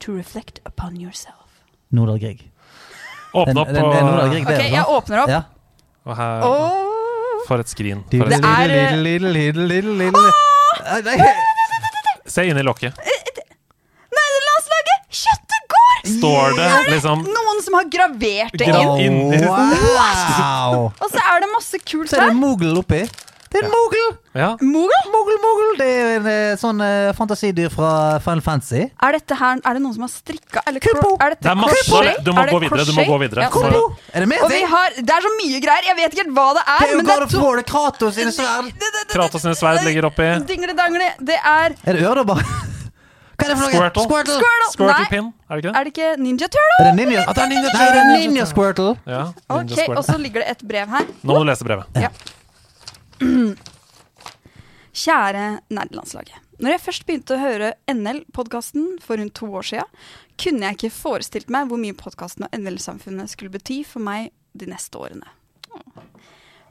to reflect upon yourself. Nordahl Grieg. Den- Åpne opp den- den Nordahl Grieg, og, det er Ok, det, jeg sant? åpner opp. Ja. og her, Oh. For et skrin. For Det et, er- er Lille, lille, lille, lille Nei, nei. se inn i lokket. Nederlandslaget! Kjøttet går! står det liksom Noen som har gravert det inn. Gra- Inni- wow! Og så er det masse kult Så er det her. en mogel oppi. Det er en mogel! ja. Mogul? Mogel, mogel! Det er jo en eh, sånn eh, fantasidyr fra Final Fantasy. Er dette her Er det noen som har strikka eller kro- Kubo. Er dette Det er masse- crochet? du må Er det gå videre, du må crochet? gå videre. Ja, Kom sorry. på. Er det mer Og vi ting? har Det er så mye greier. Jeg vet ikke helt hva det er. Det er jo men God er of to- War, det er Kratos sine sverd. Det- det- det- Kratos sine sverd ligger oppi. Dingle-dangle. Det er Er det øredobber? Hva er det for noe? Squirtle. Squirtle. Squirtle Nei. pin, er det ikke det? Er det ikke Ninja Turtle? Er det ninja? det er ninja- Nei, det er ninja squirtle. Ja, Ninja Ok, Squirtle. Og så ligger det et brev her. Nå må du lese brevet. Ja. Kjære nerdelandslaget. Når jeg først begynte å høre NL-podkasten for rundt to år siden, kunne jeg ikke forestilt meg hvor mye podkasten og NL-samfunnet skulle bety for meg de neste årene.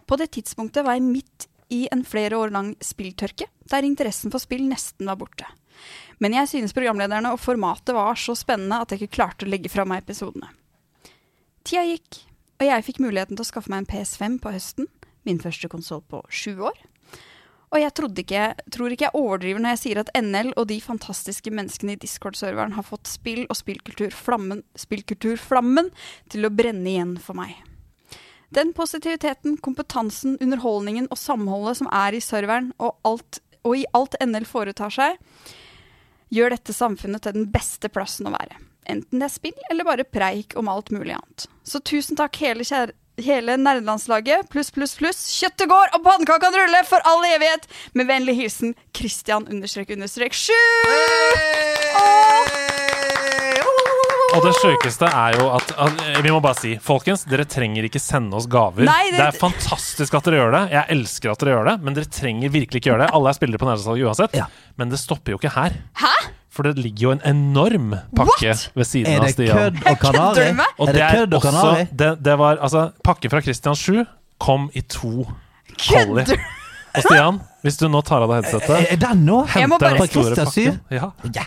På det tidspunktet var jeg midt i en flere år lang spilltørke, der interessen for spill nesten var borte. Men jeg synes programlederne og formatet var så spennende at jeg ikke klarte å legge fra meg episodene. Tida gikk, og jeg fikk muligheten til å skaffe meg en PS5 på høsten, min første konsoll på sju år. Og jeg trodde ikke, tror ikke jeg overdriver når jeg sier at NL og de fantastiske menneskene i Discord-serveren har fått spill og spillkulturflammen spillkulturflammen til å brenne igjen for meg. Den positiviteten, kompetansen, underholdningen og samholdet som er i serveren, og, alt, og i alt NL foretar seg, gjør dette samfunnet til den beste plassen å være. Enten det er spill eller bare preik om alt mulig annet. Så tusen takk hele, kjære, hele nerdelandslaget, pluss, pluss, pluss. Kjøttet går, og pannekakene ruller for all evighet! Med vennlig hilsen Christian understrek understrek sju! Og det sjukeste er jo at, at Vi må bare si, folkens, dere trenger ikke sende oss gaver. Nei, det- det... er fantastisk at dere gjør det. Jeg elsker at dere gjør det, men dere trenger virkelig ikke gjøre det. Alle er spillere på nærhetslaget uansett. Ja. Men det stopper jo ikke her. Hæ? For det ligger jo en enorm pakke What? ved siden Er av det Stian. kødd og kanari? Kødder du med? Og Er det kødd og kanari? det, det var altså Pakke fra Christian 7 kom i to collie. Kødder Og Stian, hvis du nå tar av deg headsetet Er den nå? Jeg må henter den bare- store Fra Christian pakken. Ja.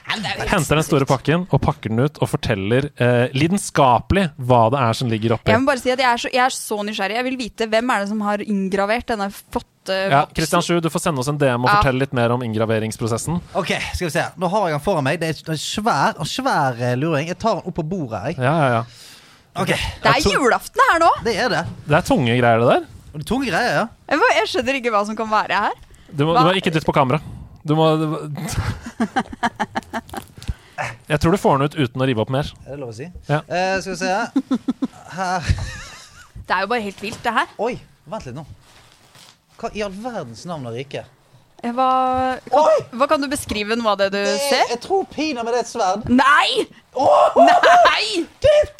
Henter den store pakken og pakker den ut og forteller eh, lidenskapelig hva det er som ligger oppi. Jeg må bare si at jeg er, så, jeg er så nysgjerrig. Jeg vil vite hvem er det som har inngravert denne flotte Ja, boksen. Kristian Sju, du får sende oss en DM og Ja. fortelle litt mer om inngraveringsprosessen. Ok, skal vi se. Nå har jeg den foran meg. Det er en svær, en svær eh, luring. Jeg tar den opp på bordet. her, Jeg. Ja, ja, ja. Ok, Det er julaften her nå! Det er det. Det er tunge greier, det der. Og det er tunge greier, ja. Jeg bare- Jeg skjønner ikke hva som kan være her. Du må, Hva? du må ikke dytte på kamera. Du må du må- <laughs> Jeg tror du får den ut uten å rive opp mer. Er det lov å si? Ja. Eh, skal vi se. Her Det er jo bare helt vilt, det her. Oi, vent litt nå. Hva i all verdens navn og rike? Eh, Hva Oi! kan, hva kan du beskrive noe av det du Det er, ser? Eh, jeg tror pinadø det er et sverd. Nei! Åh, Nei! det er et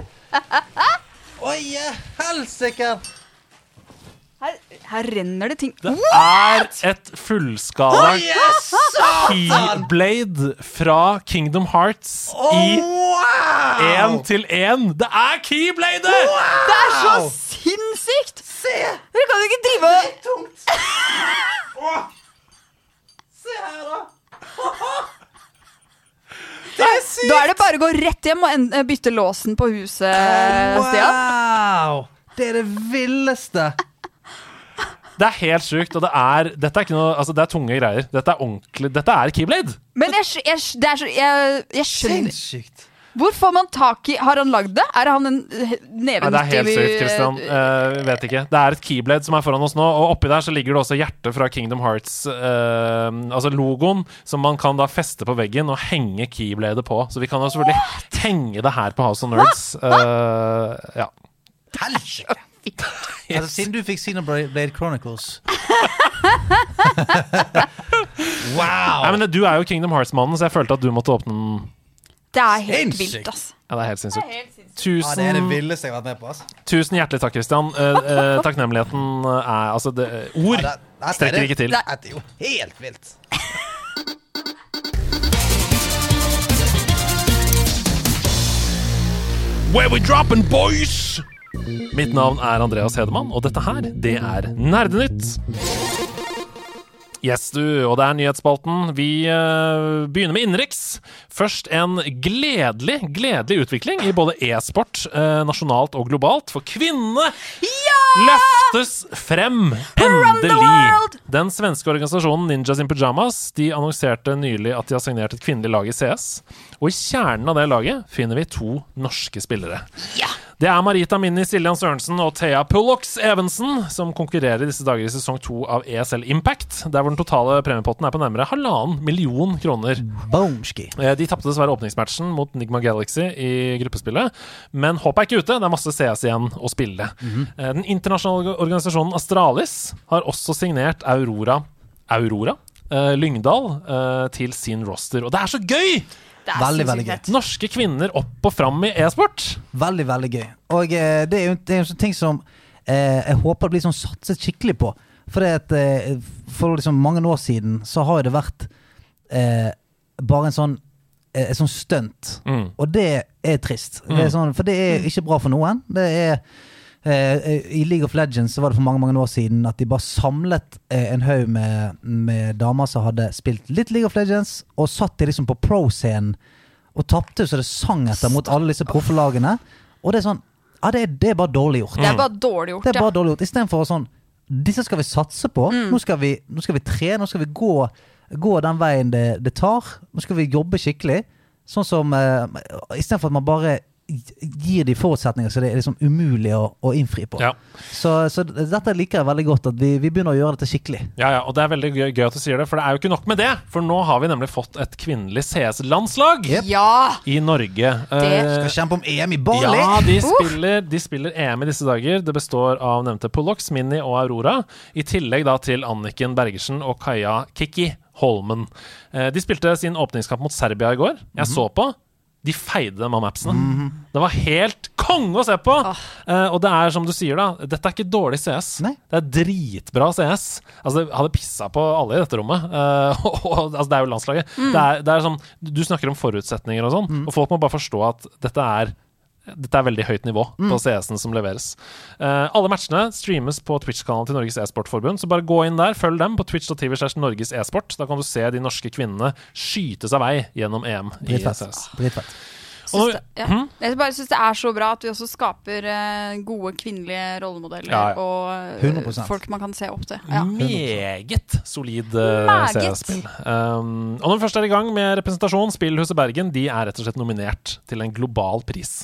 keyblade! <laughs> Oi, eh, helsike! Her, her renner det ting Det What? er et fullskala Oi, eh, satan! Keyblade fra Kingdom Hearts i Oh, én wow! til én. Det er Keyblade! Det er så sinnssykt! Se! Dere kan jo ikke drive og Tungt. Åh. Se her, da. Det er sykt! Da er det bare å gå rett hjem og en- eh, bytte låsen på huset, Stian. Wow! Det er det villeste. Det er helt sjukt, og det er, dette er ikke noe, altså det er tunge greier. Dette er ordentlig, dette er Keyblade. Men jeg, skj- jeg, skj- det er så, jeg, jeg skjønner Sinnssykt. Hvor får man tak i Har han lagd det? Er han en eh, Nei, det er helt nevenyttig sykt, Christian. Eh, vi vet ikke. Det er et keyblade som er foran oss nå, og oppi der så ligger det også hjertet fra Kingdom Hearts, eh, altså logoen, som man kan da feste på veggen og henge keybladet på. Så vi kan jo selvfølgelig henge det her på House of Nerds. Eh, ja. <laughs> Helsike. Altså, Yes. siden du fikk Xenoblade Chronicles <laughs> Wow! Nei, men Du er jo Kingdom Hearts-mannen, så jeg følte at du måtte åpne den. Det er helt Sinnssykt. vilt, ass. Ja, det er helt sinnssykt. Ja, det er det Tusen, villeste jeg har vært med på. altså. ass. tusen hjertelig takk, Christian. Eh, eh, takknemligheten er Altså, det, ord Ja, det- dette er strekker det- ikke til. Dette er jo helt vilt. Where we dropping, boys? Mitt navn er Andreas Hedemann, og dette her, det er Nerdenytt. Yes, du. Og det er nyhetsspalten. Vi eh, begynner med innenriks. Først en gledelig, gledelig utvikling i både e-sport eh, nasjonalt og globalt. For kvinnene løftes frem! Endelig! world! Den svenske organisasjonen Ninjas in Pyjamas de annonserte nylig at de har signert et kvinnelig lag i CS. Og i kjernen av det laget finner vi to norske spillere. Det er Marita Minni Siljan Sørensen og Thea Pullox Evensen som konkurrerer i disse dager i sesong to av ESL Impact, der hvor den totale premiepotten er på nærmere halvannen million kroner. Boomski. Eh, De tapte dessverre åpningsmatchen mot Nigma Galaxy i gruppespillet, men håpet er ikke ute. Det er masse CS igjen å spille. Eh, Den internasjonale organisasjonen Astralis har også signert Aurora Aurora? eh, Lyngdal eh, til sin roster. Og det er så gøy! Det Veldig, sinnssykt veldig gøy. fett. Norske kvinner opp og fram i e-sport. Veldig, veldig gøy. Og eh, det er jo det er jo en sånn ting som eh, jeg håper det blir sånn satset skikkelig på. For, det at, eh, for liksom mange år siden så har jo det vært eh, bare en sånn eh, et sånt stunt. Mm. Og det er trist. Det er sånn, for det er ikke bra for noen. Det er eh, I League of Legends så var det for mange mange år siden at de bare samlet eh, en haug med, med damer som hadde spilt litt League of Legends, og satt de liksom på pro-scenen og tapte så det sang etter mot alle disse proffelagene. Og det er sånn Ja, det er, det er bare dårlig gjort. Mm. Det er bare dårlig gjort. Det er bare ja. Mm. dårlig gjort. Istedenfor å sånn Disse skal vi satse på. Nå, skal vi, nå skal vi tre. Nå skal vi gå, gå den veien det, det tar. Nå skal vi jobbe skikkelig. Sånn som eh, Istedenfor at man bare gi- gir de forutsetninger som det er liksom umulig å, å innfri på. Ja. Så, så dette liker jeg veldig godt, at vi, vi begynner å gjøre dette skikkelig. Ja, ja, og det er veldig gøy, gøy at du sier det, for det er jo ikke nok med det. For nå har vi nemlig fått et kvinnelig CS-landslag Yep. Ja! i Norge. Eh, Det Skal kjempe om EM i Bali! Ja, de Uh! spiller, de spiller EM i disse dager. Det består av nevnte Pollox, Minni og Aurora. I tillegg da til Anniken Bergersen og Kaja Kikki Holmen. Eh, De spilte sin åpningskamp mot Serbia i går. Jeg så på. De feide dem av mapsene. Det var helt konge å se på! Eh, og det er som du sier, da. Dette er ikke dårlig CS. Nei. Det er dritbra CS. Altså, jeg hadde pissa på alle i dette rommet. Eh, <laughs> og, og, altså, det er jo landslaget. Det er, det er som, du snakker om forutsetninger og sånn, og folk må bare forstå at dette er dette er veldig høyt nivå på CS-en som leveres. Eh, alle matchene streames på Twitch-kanalen til Norges e-sportforbund, så bare gå inn der, følg dem på twitch.tv. slash Norges e-sport. Da kan du se de norske kvinnene skyte seg vei gjennom EM i Dritfett. CS. Dritfett. Og Hm? Syns det, ja. Jeg bare syns det er så bra at vi også skaper eh, gode kvinnelige rollemodeller Ja, Mm. ja. og eh, 100%. folk man kan se opp til. Ja. Meget solid eh, Meget. CS-spill. Um, og når vi først er i gang med representasjon, Spillhuset Bergen de er rett og slett nominert til en global pris.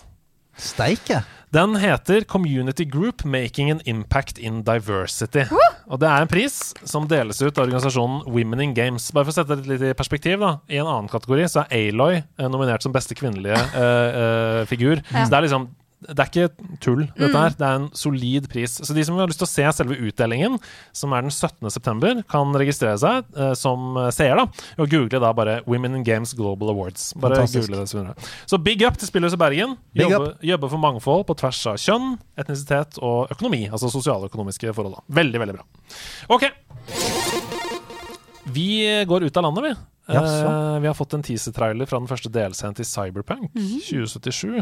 Steike! Den heter Community Group Making an Impact in Diversity. Og det er en pris som deles ut av organisasjonen Women in Games. Bare for å sette det litt i perspektiv, da. I en annen kategori så er Aloy eh, nominert som beste kvinnelige eh, eh, figur. Så det er liksom det er ikke tull, dette her. Det er en solid pris. Så de som har lyst til å se selve utdelingen, som er den 17. september, kan registrere seg eh, som seer, da. Og google da bare Women in Games Global Awards. Bare Fantastisk. google det. Så finner du det. Så big up til Spillhuset Bergen. Big Jobbe, jobbe for mangfold på tvers av kjønn, etnisitet og økonomi. Altså sosialøkonomiske forhold. da. Veldig, veldig bra. Ok. Vi går ut av landet, vi. Jaså. Eh, vi har fått en teaser-trailer fra den første delscenen til Cyberpunk 2077.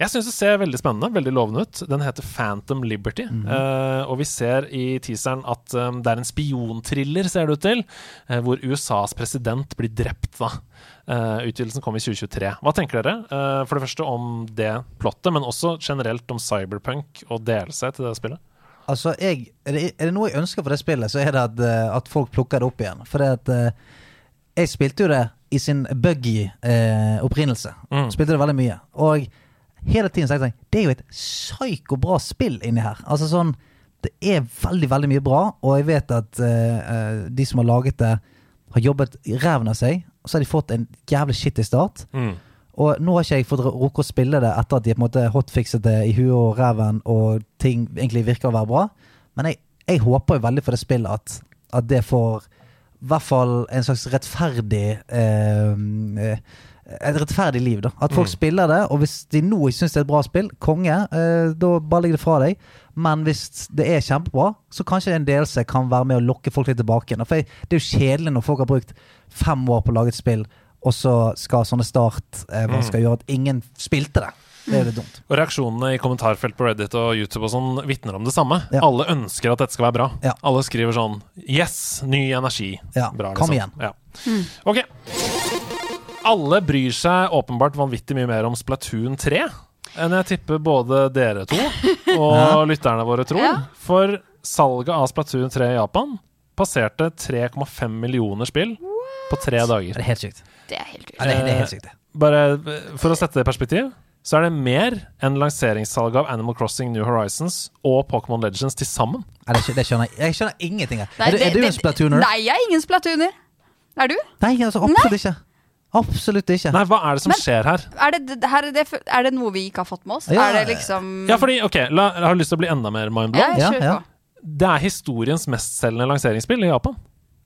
Jeg syns det ser veldig spennende veldig lovende ut. Den heter Phantom Liberty. Eh, og vi ser i teaseren at eh, det er en spionthriller, ser det ut til, eh, hvor USAs president blir drept. da. Eh, utgivelsen kom i 2023. Hva tenker dere? eh, for det første om det plottet, men også generelt om cyberpunk og delelse til det spillet. Altså, jeg, er, det, er det noe jeg ønsker for det spillet, så er det at, eh, at folk plukker det opp igjen. For det at eh, Jeg spilte jo det i sin buggy eh, opprinnelse. Mm. Spilte det veldig mye. Og hele tiden tenkte jeg sånn, det er jo et psyko bra spill inni her. Altså sånn Det er veldig, veldig mye bra, og jeg vet at eh, eh, de som har laget det, har jobbet i ræven av seg, og så har de fått en jævlig skittig start. Og nå har ikke jeg fått rukket å spille det etter at de på en måte hotfixet det i huet og ræven, og ting egentlig virker å være bra. Men jeg, jeg håper jo veldig for det spillet at, at det får i hvert fall en slags rettferdig eh, eh, Et rettferdig liv, da. At folk spiller det, og hvis de nå ikke syns det er et bra spill, konge, eh, da bare legg det fra deg. Men hvis det er kjempebra, så kanskje en delelse kan være med å lokke folk litt tilbake igjen. For jeg- det er jo kjedelig når folk har brukt Mm. fem år på å lage et spill, og så skal sånne start eh, hva skal gjøre at ingen spilte det. Det Mm. er litt dumt. Og reaksjonene i kommentarfelt på Reddit og YouTube og sånn vitner om det samme. Ja. Alle ønsker at dette skal være bra. Ja. Alle skriver sånn Yes, ny energi. Ja, Bra, kom liksom. igjen. Ja. Ok. Alle bryr seg åpenbart vanvittig mye mer om Splatoon 3 enn jeg tipper både dere to og lytterne våre tror. Ja. For salget av Splatoon 3 i Japan passerte 3,5 millioner spill på tre dager. Det er helt sykt. Det er helt Ja, vilt. det, det er helt sykt. det. Bare eh, for å sette det i perspektiv, så er det mer enn lanseringssalget av Animal Crossing New Horizons og Pokémon Legends til sammen. Ja, det, skj- det skjønner jeg. Jeg skjønner ingenting her. Nei, Er du, det- er du det- en splatooner? Nei, jeg er ingen splatooner. Er du? Nei, altså, absolutt ikke. Absolutt ikke. Nei, hva er det som Men- skjer her? Er det, det- her er, det, f- er det noe vi ikke har fått med oss? Ja. Er det liksom Ja, fordi, ok, la, Jeg har lyst til å bli enda mer Ja, mindblown. jeg Ja, kjører ja. på. Det er historiens mestselgende lanseringsspill i Japan.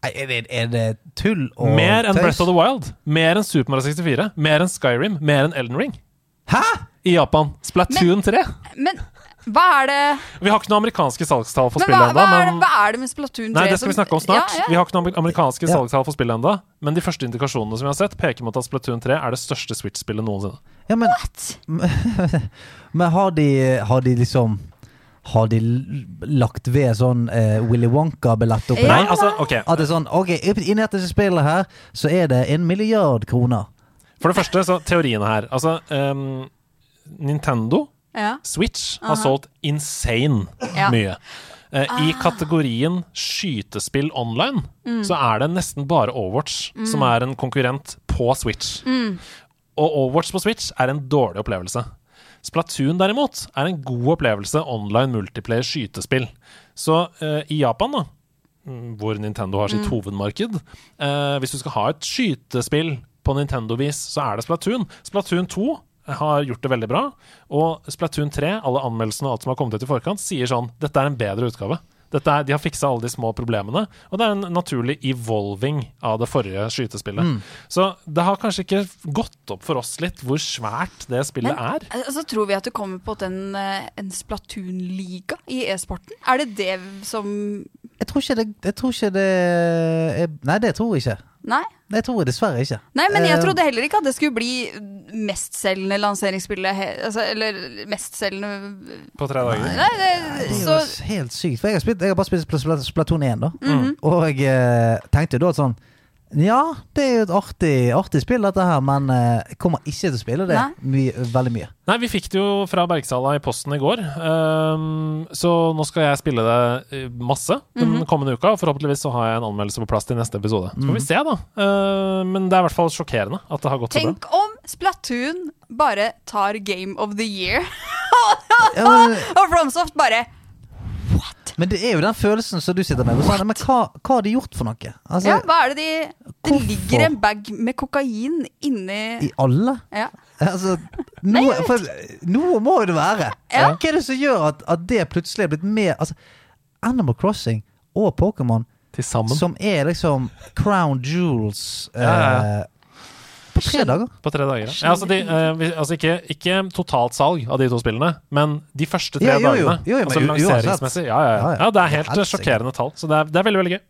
Nei, Er, det, er det tull og Mer enn tøys? Breath of the Wild, mer enn Super Mario 64, mer enn Skyrim, mer enn Elden Ring. Hæ?! I Japan. Splatoon 3. Men hva er det Vi har ikke noen amerikanske salgstall for Men spillet hva, hva, er, det- ennå. Men... hva er det med Splatoon 3 Nei, det skal vi snakke om snart. Ja, Vi ja. har ikke noen amerikanske Ja. salgstall for spillet ennå. Men de første indikasjonene som vi har sett, peker mot at Splatoon 3 er det største Switch-spillet noensinne. Ja, men, <laughs> men har de, har de liksom Har de l- lagt ved sånn eh, Willy Wonka-billett oppi Nei, Ja. der? altså, ok At det er sånn OK, inni dette spillet her, så er det en milliard kroner. For det første, så teoriene her. Altså, ehm, Nintendo Ja. Switch har solgt insane Ja. Ah. mye. Eh, I kategorien skytespill online Mm. så er det nesten bare Overwatch som er en konkurrent på Switch. Mm. Og Overwatch på Switch er en dårlig opplevelse. Splatoon derimot er en god opplevelse online multiplayer skytespill. Så eh, i Japan, da, mm, hvor Nintendo har sitt hovedmarked eh, Hvis du skal ha et skytespill på Nintendo-vis, så er det Splatoon. Splatoon 2 har gjort det veldig bra, og Splatoon 3, alle anmeldelsene og alt som har kommet ut i forkant, sier sånn Dette er en bedre utgave. Dette er, de har fiksa alle de små problemene, og det er en naturlig evolving av det forrige skytespillet. Så det har kanskje ikke gått opp for oss litt hvor svært det spillet er. Altså, Så tror vi at det kommer på en, eh, en Splatoon-liga i e-sporten. Er det det som Jeg tror ikke det, jeg tror ikke det er, Nei, det tror jeg ikke. Nei? Det tror jeg dessverre ikke. Nei, men jeg Eh, trodde heller ikke at det skulle bli mestselgende lanseringsspillet he- altså, Eller mestselgende På tre dager. Nei, det, Det er jo så Mhm. s- helt sykt. For jeg har, spilt, jeg har bare spilt Spl- Spl- Splatoon 1, da. Og jeg eh, tenkte jo da at sånn Ja, det er jo et artig, artig spill, dette her, men eh, jeg kommer ikke til å spille det Nei. mye- veldig <laughs> mye. Nei, vi fikk det jo fra Bergsala i posten i går, ehm, så nå skal jeg spille det eh, masse den Mhm. kommende uka. og Forhåpentligvis så har jeg en anmeldelse på plass til neste episode. Så får Mm. vi se, da. Eh, men det er i hvert fall sjokkerende at det har gått så bra. Tenk om Splatoon bare tar Game of the Year, <laughs> Ja, men, og Fromsoft bare men det er jo den følelsen som du sitter med. hvor Sånn, men hva, hva har de gjort for noe? Altså, Ja, hva er det de Det Hvorfor? ligger en bag med kokain inni I alle? ja. <laughs> Altså, noe, for, noe må jo det være. Ja. Hva er det som gjør at, at det plutselig er blitt mer altså, Animal Crossing og Pokémon Til sammen. Som er liksom crown jewels eh, Ja, ja, på tre dager. På tre dager, ja. ja altså, de, eh, vi, altså ikke, ikke totalt salg av de to spillene, men de første tre Ja, jo, jo. dagene. Jo, jo, men altså u- uansett. lanseringsmessig. Ja, ja, ja. Ja, ja. ja, det er helt eh, Helsike. sjokkerende tall. Så det er, det er veldig, veldig gøy.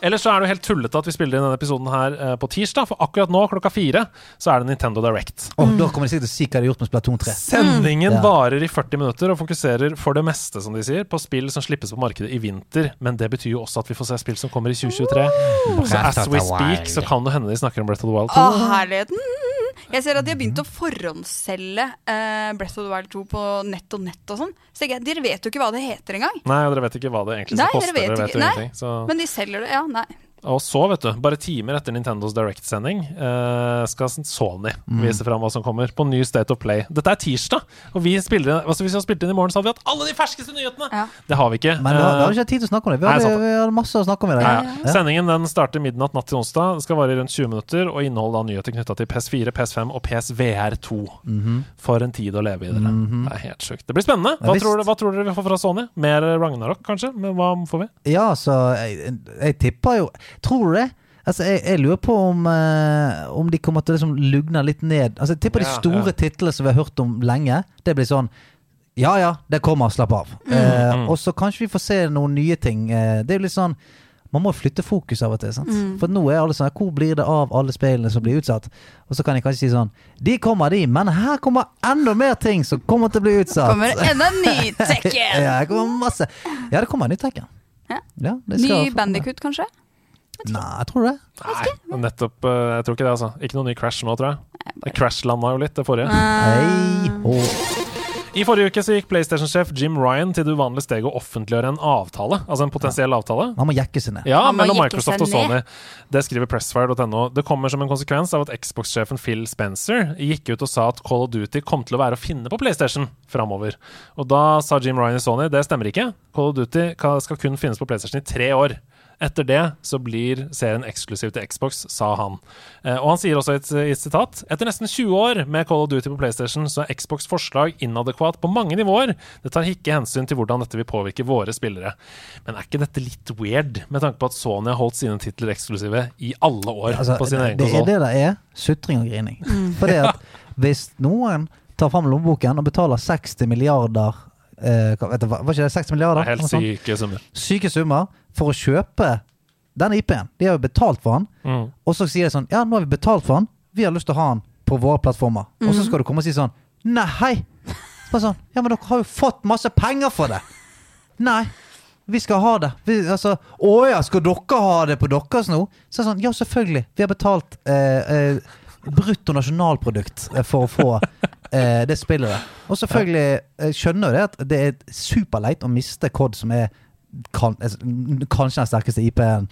Ellers så er det jo helt tullete at vi spiller inn denne episoden her eh, på tirsdag, for akkurat nå klokka fire så er det Nintendo Direct. Mm. Og da kommer de sikkert til å si hva de har gjort med Splatoon 3. Sendingen Mm, Ja. varer i 40 minutter og fokuserer for det meste som de sier, på spill som slippes på markedet i vinter. Men det betyr jo også at vi får se spill som kommer i 2023. Mm. Så as we speak så kan det hende de snakker om Breath of the Wild Å, 2. herligheten! Jeg ser at de har begynt å forhåndsselge eh, Breath of the Wild 2 på nett og nett og sånn. Så tenker jeg, Dere vet jo ikke hva det heter engang. Nei, og dere vet ikke hva det egentlig Nei, skal dere koste. vet Dere vet ikke. jo Nei. ingenting. Så. Men de selger det. Ja, nei. Og så, vet du, bare timer etter Nintendos Direct-sending, eh, skal Sony vise fram hva som kommer på ny State of Play. Dette er tirsdag, og vi spiller, altså hvis vi hadde spilt inn i morgen, så hadde vi hatt alle de ferskeste nyhetene! Ja. Det har vi ikke. Men vi har, vi Eh, har ikke hatt tid til å snakke om det. Vi Nei, hadde, sant det. vi hadde masse å snakke om i dag. Ja, ja. Sendingen den starter midnatt natt til onsdag. Den skal vare i rundt 20 minutter og inneholde da nyheter knytta til PS4, PS5 og PSVR2. For en tid å leve i, dere. Det er helt sjukt. Det blir spennende. Ja, Hva visst. tror, dere- hva tror dere vi får fra Sony? Mer Ragnarok, kanskje? Men hva får vi? Ja, så jeg, jeg tipper jo Tror du det? Altså, jeg, jeg lurer på om, eh, om de kommer til å liksom lugne litt ned. Altså, jeg tipper de Ja, store ja. titlene som vi har hørt om lenge, det blir sånn Ja Mm. ja, det kommer, slapp av. Eh, og så kanskje vi får se noen nye ting. Eh, det er jo litt sånn man må flytte fokus av og til. sant? For nå er alle sånn Hvor blir det av alle speilene som blir utsatt? Og så kan jeg kanskje si sånn De kommer, de, men her kommer enda mer ting som kommer til å bli utsatt. Kommer enda en <laughs> ny Tekken! Ja, det kommer masse. Ja, det kommer en ny Tekken. Ja. Ja, det skal- Ny Bandicoot, kanskje? Nei, jeg tror det. Nei, nettopp. eh, Jeg tror ikke det, altså. Ikke noe ny Crash nå, tror jeg. Crash landa jo litt, det forrige. Ah. Hei, hå. I forrige uke så gikk PlayStation-sjef Jim Ryan til det uvanlige steget å offentliggjøre en avtale, altså en potensiell avtale. Man må jekke seg ned. Ja, Han må mellom jekke Microsoft seg og Sony. Det skriver pressfire.no. Det kommer som en konsekvens av at Xbox-sjefen Phil Spencer gikk ut og sa at Call of Duty kom til å være å finne på PlayStation framover. Og da sa Jim Ryan i Sony det stemmer ikke. Call of Duty ka- skal kun finnes på PlayStation i tre år. Etter det så blir serien eksklusiv til Xbox, sa han. Eh, Og han sier også i et, i et sitat Etter nesten 20 år med Call of Duty på PlayStation så er Xbox forslag inadekvat på mange nivåer. Det tar ikke hensyn til hvordan dette vil påvirke våre spillere. Men er ikke dette litt weird, med tanke på at Sony har holdt sine titler eksklusive i alle år Altså, på sin egen det er konsoll? det det er. Sutring og grining. <laughs> Mm. For det at hvis noen tar fram lommeboken og betaler 60 milliarder eh, hva- vet du, hva- Var ikke det 60 milliarder? Det er helt Eller noe sånt? syke summer. Syke summer for å kjøpe den IP-en. De har jo betalt for den. Mm. Og så sier de sånn Ja, nå har vi betalt for den. Vi har lyst til å ha den på våre plattformer. Og Mm. så skal du komme og si sånn Nei! hei!» Bare sånn Ja, men dere har jo fått masse penger for det! Nei. Vi skal ha det. Vi, altså, å ja, skal dere ha det på deres nå? Så er det sånn, ja, selvfølgelig. Vi har betalt eh, eh, brutto nasjonalprodukt eh, for å få eh, det spillet der. Og selvfølgelig eh, skjønner jo det at det er superleit å miste COD, som er kan, altså, kanskje den sterkeste IP-en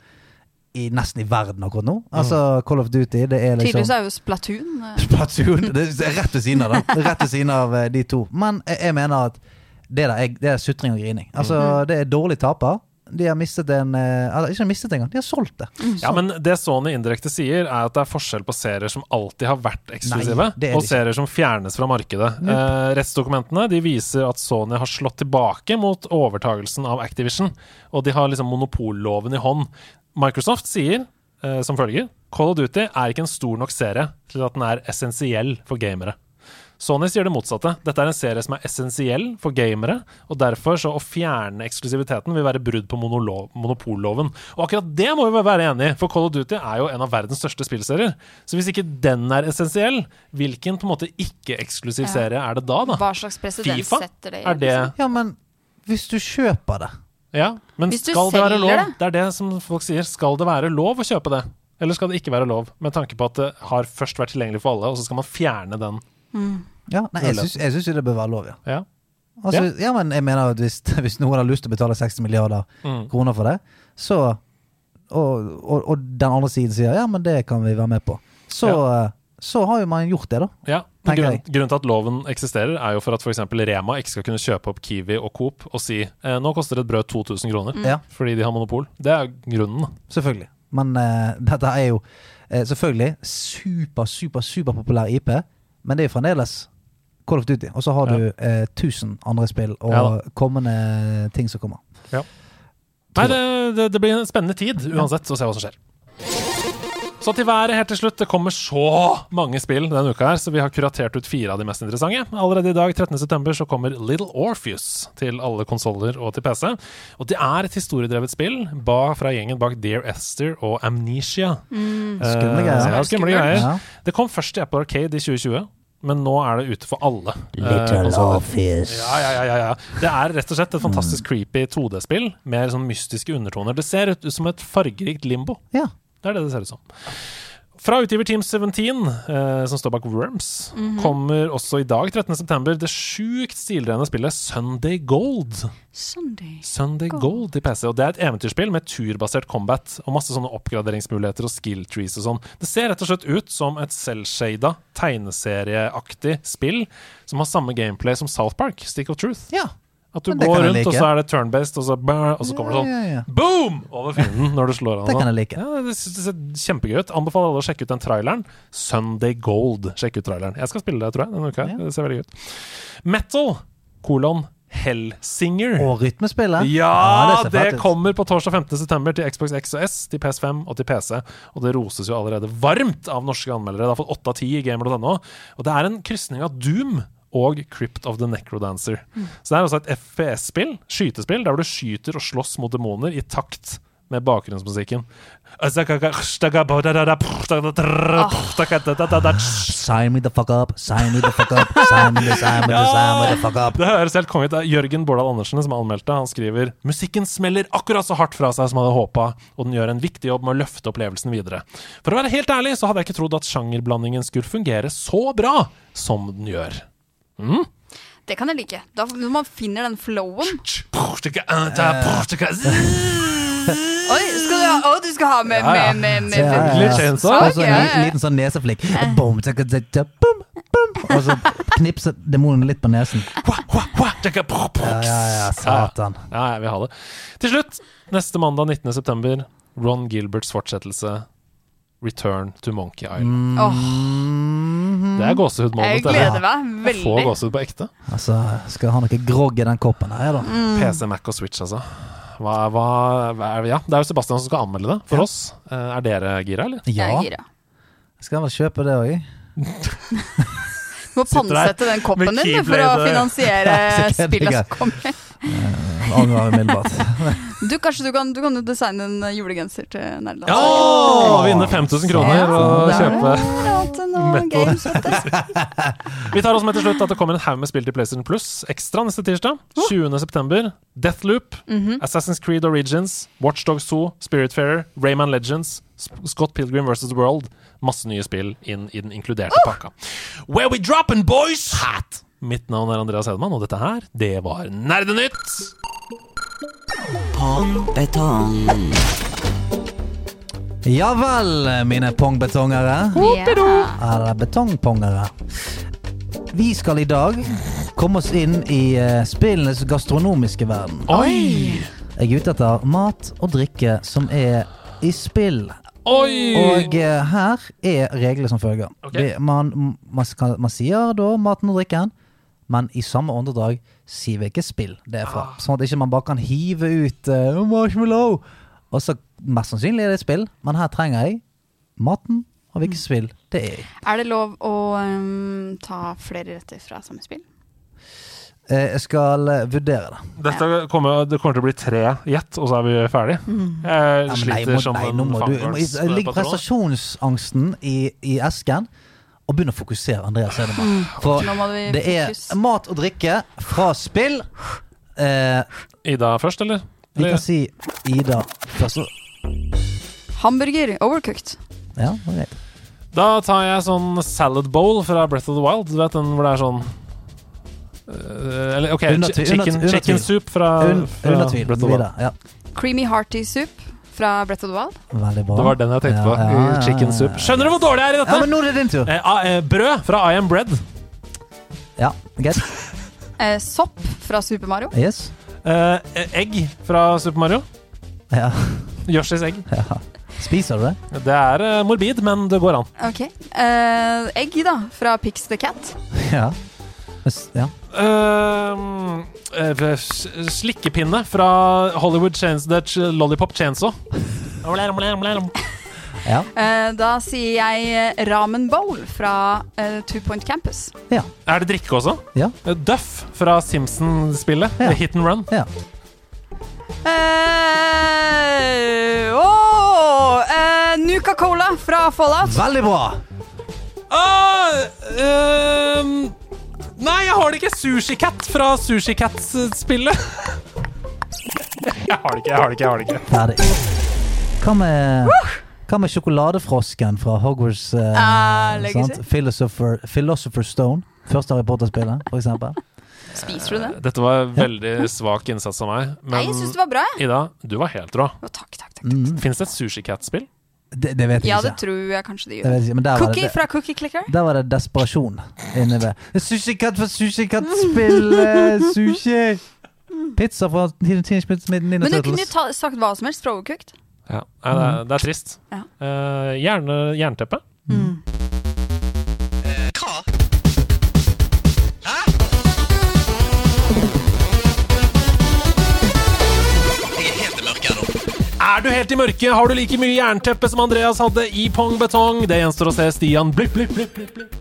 i, nesten i verden akkurat nå. Altså Call of Duty, det er liksom Tydeligvis er jo Splatoon eh, Platoon. Det er rett ved siden av den. Rett ved siden av eh, de to. Men jeg, jeg mener at det der er, det er sutring og grining. Altså, det er dårlig taper. De har mistet en eh, Eller ikke mistet engang, de har solgt det. Ja, men det Sony indirekte sier, er at det er forskjell på serier som alltid har vært eksklusive, Nei, det er det og ikke. serier som fjernes fra markedet. Eh, rettsdokumentene de viser at Sony har slått tilbake mot overtagelsen av Activision, og de har liksom monopolloven i hånd. Microsoft sier eh, som følger Call of Duty er ikke en stor nok serie til at den er essensiell for gamere. Sony sier det motsatte. Dette er en serie som er essensiell for gamere, og derfor så å fjerne eksklusiviteten vil være brudd på monolo- monopolloven. Og akkurat det må vi være enig i, for Call of Duty er jo en av verdens største spillserier. Så hvis ikke den er essensiell, hvilken på en måte ikke-eksklusiv Ja. serie er det da, da? Hva slags presedens FIFA? setter det i? liksom- Er det Ja, men hvis du kjøper det Ja, men Hvis du skal det være selger lov? det? Det er det som folk sier. Skal det være lov å kjøpe det? Eller skal det ikke være lov, med tanke på at det har først vært tilgjengelig for alle, og så skal man fjerne den? ja, Nei, jeg syns- jeg syns jo det bør være lov, ja. Ja. Altså, ja. men jeg mener at hvis, <laughs> hvis noen har lyst til å betale 60 milliarder Mm. kroner for det, så og, og, og den andre siden sier ja, men det kan vi være med på, så, eh, så har jo man gjort det, da. Ja, men Tenker grunn, jeg. Grunnen til at loven eksisterer, er jo for at f.eks. Rema ikke skal kunne kjøpe opp Kiwi og Coop og si eh, nå koster et brød 2000 kroner Mm. Ja. fordi de har monopol. Det er grunnen. Selvfølgelig. Men eh, <laughs> dette er jo eh, selvfølgelig super, super, superpopulær IP, men det er jo fremdeles Call of Duty. Og så har Ja. du eh, 1000 andre spill og Ja da. kommende ting som kommer. Nei, det, det, det blir en spennende tid uansett å se hva som skjer. Så til været helt til slutt. Det kommer så mange spill denne uka her, så vi har kuratert ut fire av de mest interessante. Allerede i dag, 13.9, så kommer Little Orpheus til alle konsoller og til PC. Og det er et historiedrevet spill ba fra gjengen bak Dear Esther og Amnesia. Skumle greier. Eh, ja, skumle greier. Ja. Det kom først i Apple Arcade i 2020, men nå er det ute for alle. eh, Little konsoler. Office. Mm. Ja, ja, ja, ja, ja. Det er rett og slett et fantastisk creepy 2D-spill med sånn mystiske undertoner. Det ser ut som et fargerikt limbo. Ja. Det er det det ser ut som. Fra utgiver Team 17, eh, som står bak Worms, kommer også i dag, 13.9, det sjukt stilrene spillet Sunday Gold. Sunday. Sunday Gold. Gold i PC. Og det er et eventyrspill med turbasert combat og masse sånne oppgraderingsmuligheter og skill trees og sånn. Det ser rett og slett ut som et selvshada, tegneserieaktig spill som har samme gameplay som South Park, Stick of Truth. ja. At du Men det går kan jeg rundt, og like. så er det turn-based, og så, brr, og så kommer det sånn Ja, ja, ja. boom! Over fienden når du slår han. Det og kan sånn. jeg like. Ja, det synes jeg ser kjempegøy ut. Anbefaler alle å sjekke ut den traileren. Sunday Gold. Sjekk ut traileren. Jeg skal spille det, tror jeg, denne uka. her. Ja. Det ser veldig gøy ut. Metal kolon Hellsinger. Og rytmespillet. Ja, ser det, fett ut. kommer på torsdag 15.9 til Xbox X og S, til PS5 og til PC. Og det roses jo allerede varmt av norske anmeldere. Det har fått 8 av 10 i gamer.no. Og det er en krysning av Doom og Crypt of the Mm. Necrodancer. Så det er altså et FPS-spill, skytespill, der hvor du skyter og slåss mot demoner i takt med bakgrunnsmusikken. Det Sign me the fuck up, sign me the fuck up, sign me the, sign me the, sign me the fuck up. høres helt konge ut. Det er Jørgen Bårdal Andersen som har anmeldt det. Han skriver musikken smeller akkurat så hardt fra seg som jeg hadde håpa, og den gjør en viktig jobb med å løfte opplevelsen videre. For å være helt ærlig så hadde jeg ikke trodd at sjangerblandingen skulle fungere så bra som den gjør. Det kan jeg like. Da, når man finner den flowen Oi, skal du ha, å, du skal ha med, Ja, ja. med, med, Ja, med, ja, med. ja. Litt chainsaw. Og så en liten, liten sånn neseflikk. Boom, tjekka, tjekka, boom, boom. Og så knipser demonen litt på nesen. Ja, ja, ja, satan. Ja, jeg vil ha det. Til slutt, neste mandag 19. september, Ron Gilberts fortsettelse. Return to Monkey Island. Åh, Mm. Det er gåsehud jeg målet. gleder meg Jeg får veldig. gåsehud på ekte. Altså, skal jeg ha noe grogg i den koppen her, Mm, da? PC, Mac og Switch, altså. Hva, hva, hva er, ja, det er jo Sebastian som skal anmelde det for oss. Eh, Er dere gira, eller? Jeg er Ja, gira. skal jeg vel kjøpe det òg? Du må Sitter der pantsette den koppen med din du, for å keyblade. <laughs> finansiere Så kødder spillet jeg. som kommer. Angrer <laughs> umiddelbart. Du, kanskje du kan, du kan jo designe en eh, julegenser til Nerdeland. Ja! Vinne 5000 kroner og kjøpe games, vet du. Vi tar også med til slutt at det kommer en haug med spill til PlayStation Plus ekstra neste tirsdag. 20. september. Deathloop, Assassin's Creed Origins, Watchdog 2, Spiritfarer, Rayman Legends, Sp- Scott Pilgrim vs. The World. Masse nye spill inn i den inkluderte pakka. Where we droppin', boys! Hat! Mitt navn er Andreas Hedman, og dette her, det var Nerdenytt! Ja vel, mine pongbetongere. Eller betongpongere. Vi skal i dag komme oss inn i eh, spillenes gastronomiske verden. Oi! Jeg er ute etter mat og drikke som er i spill. Oi! Og eh, her er reglene som følger. Ok. Det, man, man, skal, man sier da maten og drikken, men i samme åndedrag sier vi ikke spill det er fra. Sånn at ikke man bare kan hive ut eh, marshmallow. Og så mest sannsynlig er det spill, men her trenger jeg maten og hvilket spill det er i. <laughs> Er det lov å ehm, ta flere retter fra samme spill? Eh, Jeg skal eh, vurdere det. Dette kommer, det kommer til å bli tre gjett, og så er vi ferdig. Jeg Mm. Ja, men nei, sliter må- som nei, en nå må du- må- fangorns- jeg Ligger patron. prestasjonsangsten i, i esken, og begynn å fokusere, Andreas Edemann. For Mm. Nå må vi det er fokus. mat og drikke fra spill. Eh, Ida først, eller? vi Eller- kan si Ida først. Hamburger, overcooked. Ja, det var greit. Da tar jeg sånn salad bowl fra Breath of the Wild. Du vet den hvor det er sånn Eh, Eller OK, Under chi- tvil, chicken, under- under chicken tvil. soup fra, Un, fra under tvil. Breath of the Wild. Videre. Ja, Creamy hearty soup fra Brett of the Wild. veldig bra. Det var den jeg tenkte på. Ja, ja, ja, Chicken soup. ja. Skjønner du hvor dårlig jeg er i Ja, dette? men nå er det din tur. Eh, ah, eh, brød fra I Am Bread. Ja, greit. Eh, sopp fra Super Mario. Yes. Eh, eh, egg fra Super Mario. Ja. Yoshis egg. Spiser du det? Det er eh, morbid, men det går an. Ok. Eh, egg, da, fra Pix the Cat. Ja. Hvis- ja. Eh, eh, s- slikkepinne fra Hollywood Chains, det er ch- Lollipop Chainsaw. ja. Eh, da sier jeg eh, ramen bowl fra eh, Two Point Campus. Er det drikke også? Ja. Eh, Duff fra Simpson-spillet. Ja. Hit and Run. Ja. Eh, åh, eh, Nuka Cola fra Fallout. Veldig bra! Ah, ehm, nei, jeg har det ikke. Sushicat fra Sushicat-spillet. Jeg har det ikke, jeg har det ikke. jeg har det ikke Ferdig. Hva med, hva med sjokoladefrosken fra Hogwarts eh, Ah, legger sant? seg. Philosopher, Philosopher Stone? Første Harry Potter-spillet, for eksempel. Spiser du den? Dette var veldig svak innsats av meg. Eh, Nei, Men Mm. jeg syns det var bra. jeg. Ida, du var helt rå. Å, takk, takk, takk. Mm. Fins det et Sushicat-spill? Det, det vet jeg Ja, det ikke. tror jeg kanskje det Det gjør. vet jeg ikke. Men der var Cookie det, fra Cookie Clicker. der var det desperasjon inni det. Sushikatt for sushikatt-spillet! Sushi! Pizza fra Teenage Mutant Ninja Men du kunne jo Turtles. ta, sagt hva som helst fra Overcooked. Ja. Nei, det, er, det er trist. Mm. Ja. Mm. Eh, Hjerne, jernteppe. Er du helt i mørket? Har du like mye jernteppe som Andreas hadde i Pong Betong? Det gjenstår å se Stian blipp, blipp, blipp, blipp, blipp.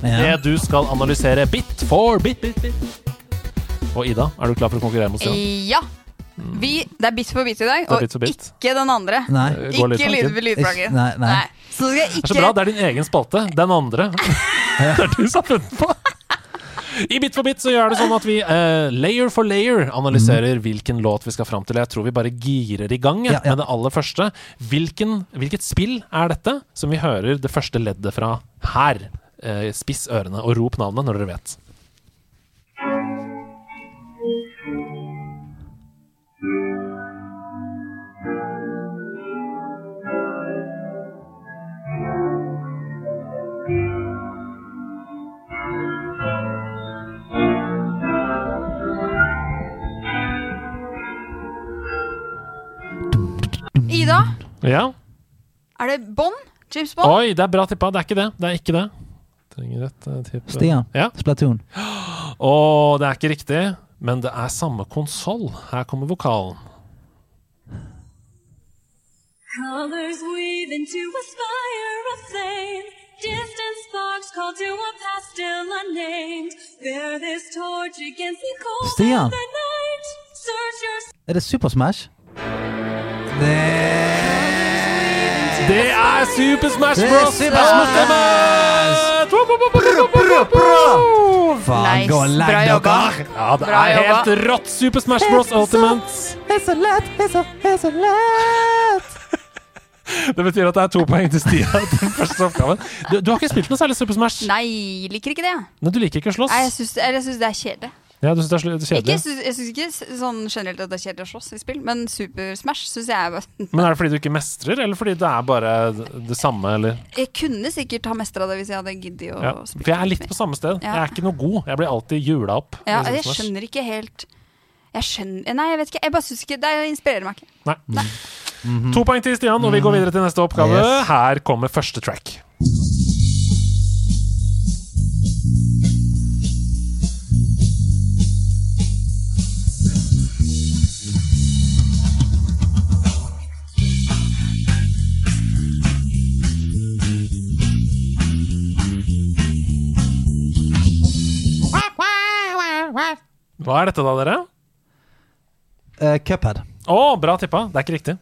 Ja. Det du skal analysere bit for bit. bit, bit. Og Ida, er du klar for å konkurrere mot Stian? Eh, Ja. Vi, det er bit for bit i dag, er og bit for bit. ikke den andre. Nei. Eh, Ikke går litt lyd langt for lydplagen. Nei, nei. Så nå skal jeg Det ikke er så bra. Det er din egen spalte. Den andre. <laughs> det er du som har funnet på. I Bit for bit så gjør det sånn at vi eh, layer for layer analyserer hvilken låt vi skal fram til. Jeg tror vi bare girer i gang jeg, Mhm. Ja, ja. med det aller første. Hvilken, hvilket spill er dette som vi hører det første leddet fra her? Eh, spiss ørene og rop navnet når dere vet. Ida, Ja. er det Bond? James Bond? Oi, det er bra tippa. Det er ikke det. Det er ikke det. Trenger et eh, tipp. Stian. Ja. Splatoon. Og det er ikke riktig, men det er samme konsoll. Her kommer vokalen. Colors weave into a spire of flame. Distant sparks call to a past still unnamed. Bear this torch against the cold Stian. of the night. Search your Er det Super Smash? Det er Super Smash Det er Bros! Super Smash Bros! Faen, gå og legg Bra jobba. dere! Ja, det Bra er jobba. helt rått Super Smash Bros Ultimate. It's a lot, it's a, it's a lot. <laughs> Det betyr at det er to poeng til Stia <laughs> til den første oppgaven. Du, du har ikke spilt noe særlig Super Smash? Nei, liker ikke det. Men du liker ikke å slåss? Nei, jeg syns, eller jeg syns det er kjedelig. Ja, du syns det er sl- Ikke, kjedelig? jeg syns- jeg syns ikke s- sånn generelt at det er kjedelig å slåss i spill, men Super Smash syns jeg er <laughs> bare Men er det fordi du ikke mestrer, eller fordi det er bare det samme, eller? Jeg kunne sikkert ha mestra det hvis jeg hadde giddet å Ja. spille. For jeg er litt litt på samme sted. Ja. Jeg er ikke noe god. Jeg blir alltid jula opp. i Ja, Super jeg Smash. skjønner ikke helt Jeg skjønner Nei, jeg vet ikke. Jeg bare syns ikke Det inspirerer meg ikke. Nei. Mm. Mm-hmm. To poeng til Stian, og vi går videre til neste oppgave. Mm-hmm. Yes. Her kommer første track. Hva er dette da, dere? Eh, Cuphead. Å, bra tippa. Det er ikke riktig.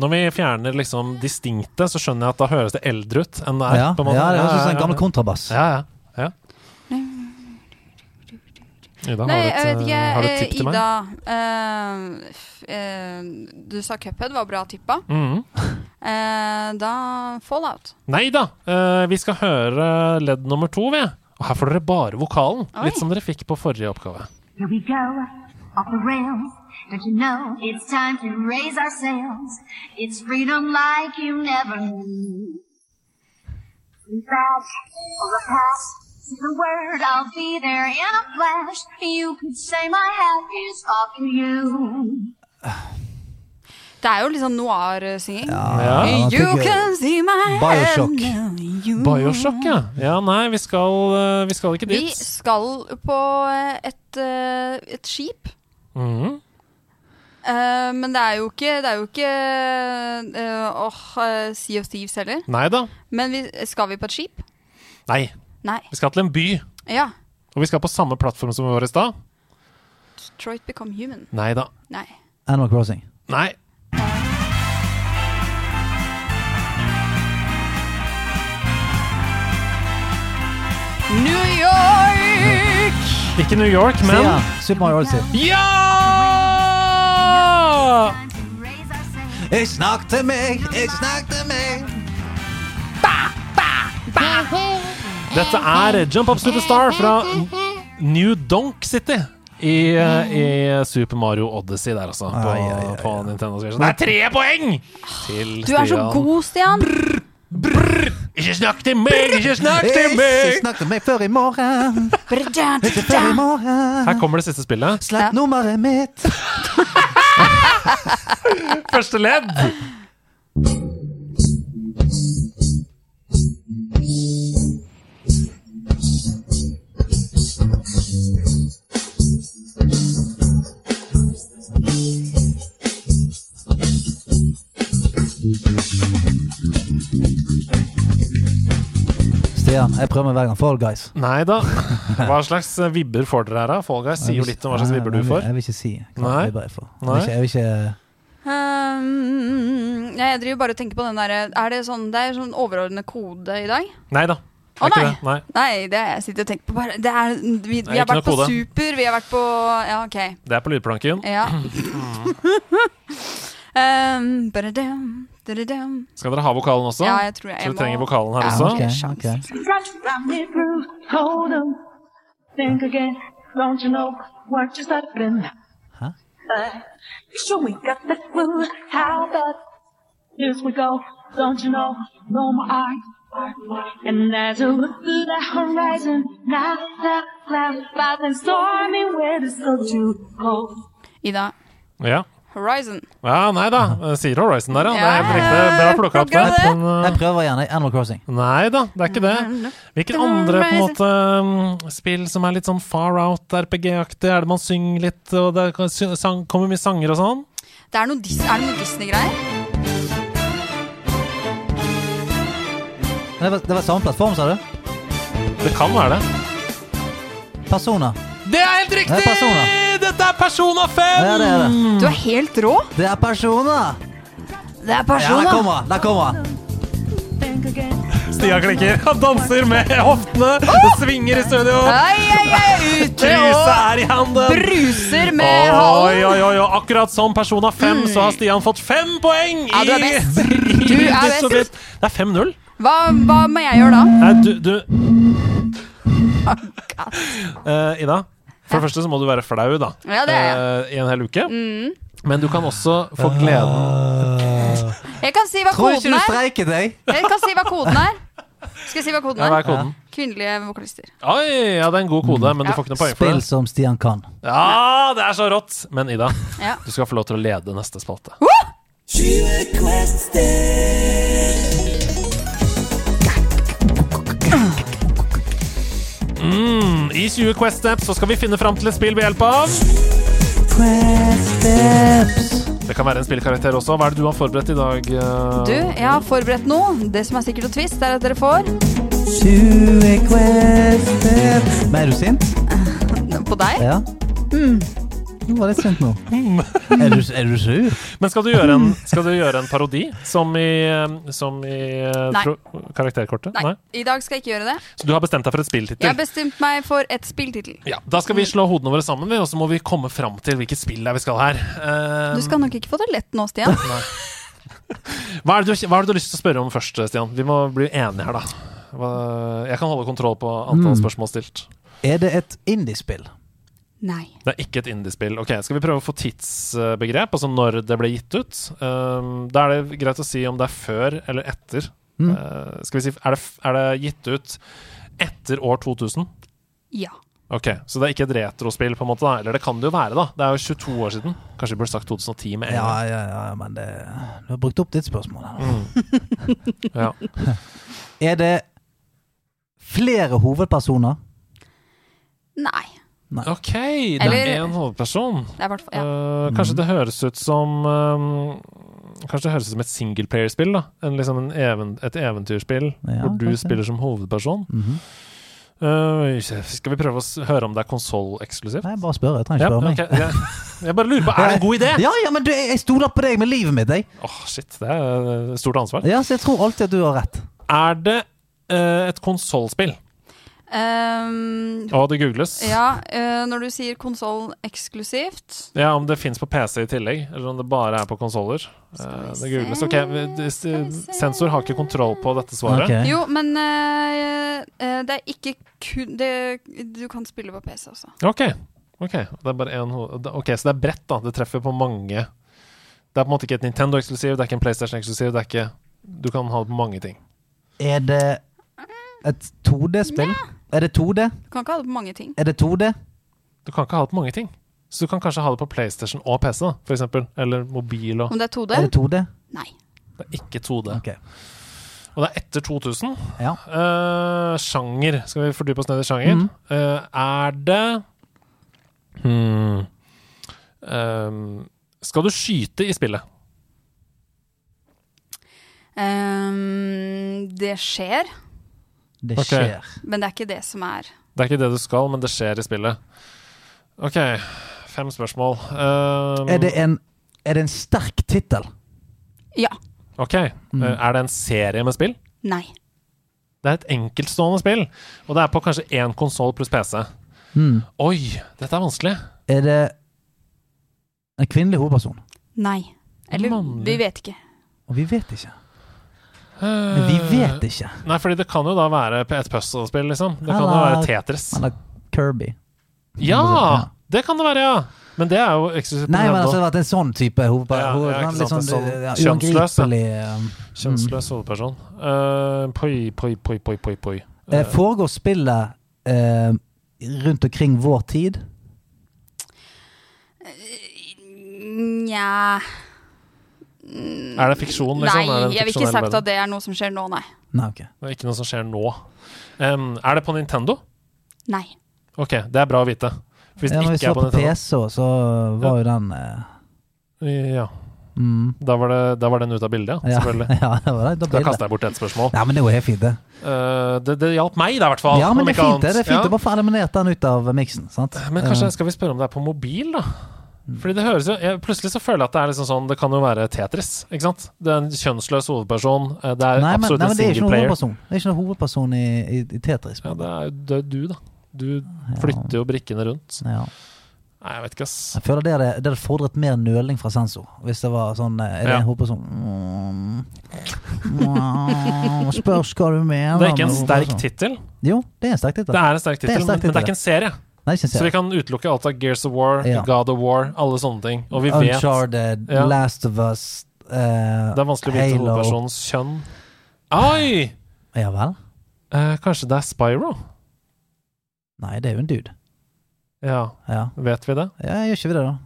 Når vi fjerner liksom distinkte, så skjønner jeg at da høres det eldre ut enn det er. Ja, på en måte. ja, det høres ut som en gammel ja, kontrabass. ja, ja, ja. Ida, Nei, jeg har, du et, vet ikke. eh, har du et eh, tipp til meg? Ida, eh, f- eh, du sa Cuphead var bra tippa. Mhm. Eh, da Fallout. Nei da! Eh, vi skal høre ledd nummer to, vi. Og her får dere bare vokalen. Oi. Litt som dere fikk på forrige oppgave. Here we go, off the rails. Don't you know it's time to raise our sails? It's freedom like you never knew. Be back or the past. Say the word, I'll be there in a flash. You could say my hat is off to you. Det er jo litt sånn noir-synging. Ah. Ja. Ja, jeg You tenker- can see my Bioshock. hand now, you- Bioshock, ja. ja. Nei, vi skal, eh, vi skal ikke Vi dit. skal på eh, et, eh, et skip. Mhm. Eh, men det er jo ikke Det er jo ikke eh, Åh, eh, Sea of Thieves heller. Nei da. Men vi, skal vi på et skip? Nei. Nei. Vi skal til en by. Ja. Og vi skal på samme plattform som vi var i stad. Detroit Become Human. Nei da. Nei. Animal Crossing. Nei. New York! Ikke New York, men Stian, Super Mario Odyssey. Ja! Time to raise our sails. Ikke snakk til meg, ikke snakk til meg. Dette er Jump Up Superstar fra New Donk City. I, eh, I Super Mario Odyssey der, altså. På, Ai, ai, ai, på Nintendo Switch. Det er tre poeng til Du er så Stian. god, Stian. Ikke snakk til meg, ikke snakk til Ikke meg! snakk til meg før i morgen. Ikke før i morgen. Her kommer det siste spillet. Slett nummeret mitt. Første ledd. Stian. Jeg prøver meg hver gang. Fall Guys. Nei da. Hva slags eh, vibber får dere her, da? Fall Guys sier jo litt om hva slags Nei, vibber du nei, får. Jeg vil ikke si hva Nei. vibber jeg får. Jeg Nei. vil ikke, jeg vil ikke Um, jeg driver bare og tenker på den derre Er det sånn Det er sånn overordnet kode i dag? Nei da. ikke Å, nei. det. Nei. Nei, det er jeg sitter og tenker på bare det er, vi, vi Nei, har ikke vært på noe kode. Super, vi har vært på Ja, OK. Det er på lydplanken. <laughs> Ja. um, ba-da-dam, da-da-dam. Skal dere ha vokalen også? Ja, jeg tror Sånn. jeg, jeg Så vi må- trenger vokalen her Ja, også. ok. Ok, sjans. ok. Touch round the groove, hold on. Think again, don't you know what just happened? Huh? Uh, sure we got the clue, how about this we go, don't you know, no more art. And as I look to the horizon, now the clouds about and stormy weather's so too cold. Ida. Ja. Horizon. ja, nei da. Eh, Sier Horizon der, ja. Det Ja, er helt riktig. Bra plukka opp der. plukker det. Men, Jeg prøver igjen. jeg. Animal Crossing. eh, nei da, det er ikke det. Hvilke andre på en måte mm, spill som er litt sånn far out RPG-aktig? Er det man synger litt, og det er- sy- sang- kommer mye sanger og sånn? Det er, noe Dis er det noe Disney-greier? Men Det var, det var samme plattform, sa du? Det kan være det. Persona. Det er helt riktig! Det er Persona. Dette er Persona 5! Ja, det er det. Du er helt rå! Det er Persona! Det er Ja, der kommer han. Der kommer han. Stian klikker. Han danser med hoftene. Det svinger i studio. Ai, <laughs> ai, ai, ute Huset og er i handen. bruser med Oi, halen! oi, oi, oi. Akkurat som Persona 5, så har Stian fått fem poeng! Mm. Ja, du er <laughs> i- best. i Du er ditt og best. ditt. Det er 5-0. Hva, hva må jeg gjøre da? Nei, du, du. Eh, Ida, for det første så må du være flau, da. Ja, det er Mm. Eh, I en hel uke. Men du kan også få gleden Jeg kan si hva Tror ikke koden du er. streiket deg. Jeg kan si hva koden er. Skal jeg si hva koden Ja, Hva er er? koden? Kvinnelige vokalister. Oi, ja, det er en god kode, men du Ja. får ikke noe poeng for Spill det. som Stian kan. Ja, det er så rått! Men Ida, Ja. du skal få lov til å lede neste spalte. Mm, I 20 Quest Steps så skal vi finne fram til et spill ved hjelp av Det kan være en spillkarakter også. Hva er det du har forberedt i dag? eh? Du, jeg har forberedt noe. Det som er sikkert og twist, er at dere får Men er du sint? på deg. Ja. Mm. Du var litt sint <laughs> nå. <laughs> Er du, er du sur? Men skal du gjøre en, skal du gjøre en parodi, som i, eh, som i eh, Nei. tro, karakterkortet? Nei, i dag skal jeg ikke gjøre det. Så du har bestemt deg for et Jeg har spilltittel? bestemt meg for et spilltittel. Ja, da skal vi slå hodene våre sammen, vi, og så må vi komme fram til hvilket spill det er vi skal her. Eh, Du skal nok ikke få det lett nå, Stian. hva, er det du, hva er det du har lyst til å spørre om først, Stian? Vi må bli enige her, da. Hva, jeg kan holde kontroll på antall spørsmål stilt. Er det et indiespill? Nei. Det er ikke et indiespill. Ok, Skal vi prøve å få tidsbegrep, altså når det ble gitt ut? Um, da er det greit å si om det er før eller etter. Uh, skal vi si, er det, f- er det gitt ut etter år 2000? Ja. Ok, Så det er ikke et retrospill, på en måte da? eller det kan det jo være? da Det er jo 22 år siden. Kanskje vi burde sagt 2010 med en Ja, gang. ja, ja, men det Du har brukt opp ditt spørsmål. her. Mm. Ja. Er det flere hovedpersoner? Nei. Ok, det Eller- er én hovedperson. Det er i hvert fall ja. Uh, Mm. kanskje det høres ut som um, Kanskje det høres ut som et singleplayerspill? da. En, liksom en even, et eventyrspill Ja, hvor du kanskje. spiller som hovedperson. Mhm. Uh, skal vi prøve å s høre om det er konsolleksklusivt? Nei, bare spør. Jeg trenger Ja, ikke spørre ok, meg. jeg, jeg bare lurer på, er det en god idé? Ja, ja, men du, jeg jeg stoler på deg med livet mitt, jeg. Åh, shit, det er eh, et stort ansvar. Ja, så jeg tror alltid at du har rett. Er det eh, et konsollspill? Um, Og det googles. ja, eh, når du sier konsoll eksklusivt Ja, om det fins på PC i tillegg, eller om det bare er på konsoller. Eh, det googles. Ok, vi- det- sensor har ikke kontroll på dette svaret. Ok. Jo, men eh, eh, det er ikke kun det, Du kan spille på PC også. Ok, ok. Det er bare en hoved... Ok, så det er bredt da. Det treffer på mange. Det er på en måte ikke et Nintendo-eksklusiv, det er ikke en PlayStation-eksklusiv, det er ikke... Du kan ha det på mange ting. Er det et 2D-spill? Er det 2D? Du kan ikke ha det på mange ting. Er det 2D? Du kan ikke ha det på mange ting. Så du kan kanskje ha det på PlayStation og PC, da, for eksempel. Eller mobil og... Om det er 2D? Er det 2D? Nei. Det er ikke 2D. Ok. Og det er etter 2000. Ja. Mhm. Eh, sjanger. Skal vi fordype oss ned i sjanger? Eh, er det... Hmm. Ehm, skal du skyte i spillet? Um, det Ehm, skjer. Det Ok. skjer. Men det er ikke det som er Det er ikke det du skal, men det skjer i spillet. OK, fem spørsmål. Um, Er, det en, er det en sterk tittel? Ja. OK. Mm. Uh, Er det en serie med spill? Nei. Det er et enkeltstående spill, og det er på kanskje én konsoll pluss PC. Oi, dette er vanskelig. Hmm. Er det en kvinnelig hovedperson? Nei. Eller Mannlig. vi vet ikke. Og vi vet ikke. Eh. Men vi vet ikke. Nei, fordi det kan jo da være et puzzlespill, liksom. Det kan jo Eller- være Tetris. Eller Kirby. Ja! Det kan det være, ja! Men det er jo eksklusivt. på Nei, men Nintendo. altså det har vært en sånn type hovedperson. Ja, ja, Hoved, ikke sant, litt sånn, en sånn ja, kjønnsløs, ja. uangripelig, um, Kjønnsløs hovedperson. Eh, poi, poi, poi, poi, poi, poi. eh, Foregår spillet eh, rundt omkring vår tid? Nja Er det fiksjon, liksom? er Nei, det en jeg vil ikke fiksjonell sagt verden? at det er noe som skjer nå, nei. Nei, ok. Det er ikke noe som skjer nå. Em, er det på Nintendo? Nei. Ok, det er bra å vite. For Hvis Ja, det når vi ikke så er på på Nintendo PC, så var jo den eh, Ja, mm, da var, det, da var den ute av bildet, ja. ja. Selvfølgelig. <laughs> ja, det var det. Da Da ble det. kaster jeg bort et spørsmål. Nei, men det er jo helt fint, det. Eh, det det hjalp meg, da, i hvert fall. Ja, om men det er ikke fint, det. det er annet. fint Ja. å bare få eliminert den ut av miksen. sant? Men kanskje Eh, skal vi spørre om det er på mobil, da? Mm. Fordi det høres jo jeg, Plutselig så føler jeg at det er liksom sånn Det kan jo være Tetris, ikke sant? Det er en kjønnsløs hovedperson. eh, Det er Nei, men, absolutt nei, men det er en ikke noen singleplayer. hovedperson. Det er ikke noen hovedperson i, i, i Tetris. Ja, det er, det er du, da. Du flytter jo brikkene rundt. Ja. Nei, jeg vet ikke, ass. Jeg føler det hadde, det hadde fordret mer nøling fra sensor. Hvis det var sånn eh, Er det Ja. en hovedperson mm, mm, Spørs hva du mener. Det er ikke en med sterk hovedperson. tittel. Jo, det er en sterk tittel. Det er en sterk er en tittel, men sterk men det er tittel. ikke en serie. Nei, ikke en Så vi serie. kan utelukke alt av Gears of War, Ja. God of War, alle sånne ting. Og vi vet Uncharted, Ja. Last of Us eh, Det er vanskelig å vite Halo. hovedpersonens kjønn. Oi! Ja vel? Eh, kanskje det er Spyro? Nei, det er jo en dude. Ja, Ja, vet vi det? ja gjør ikke vi det, da?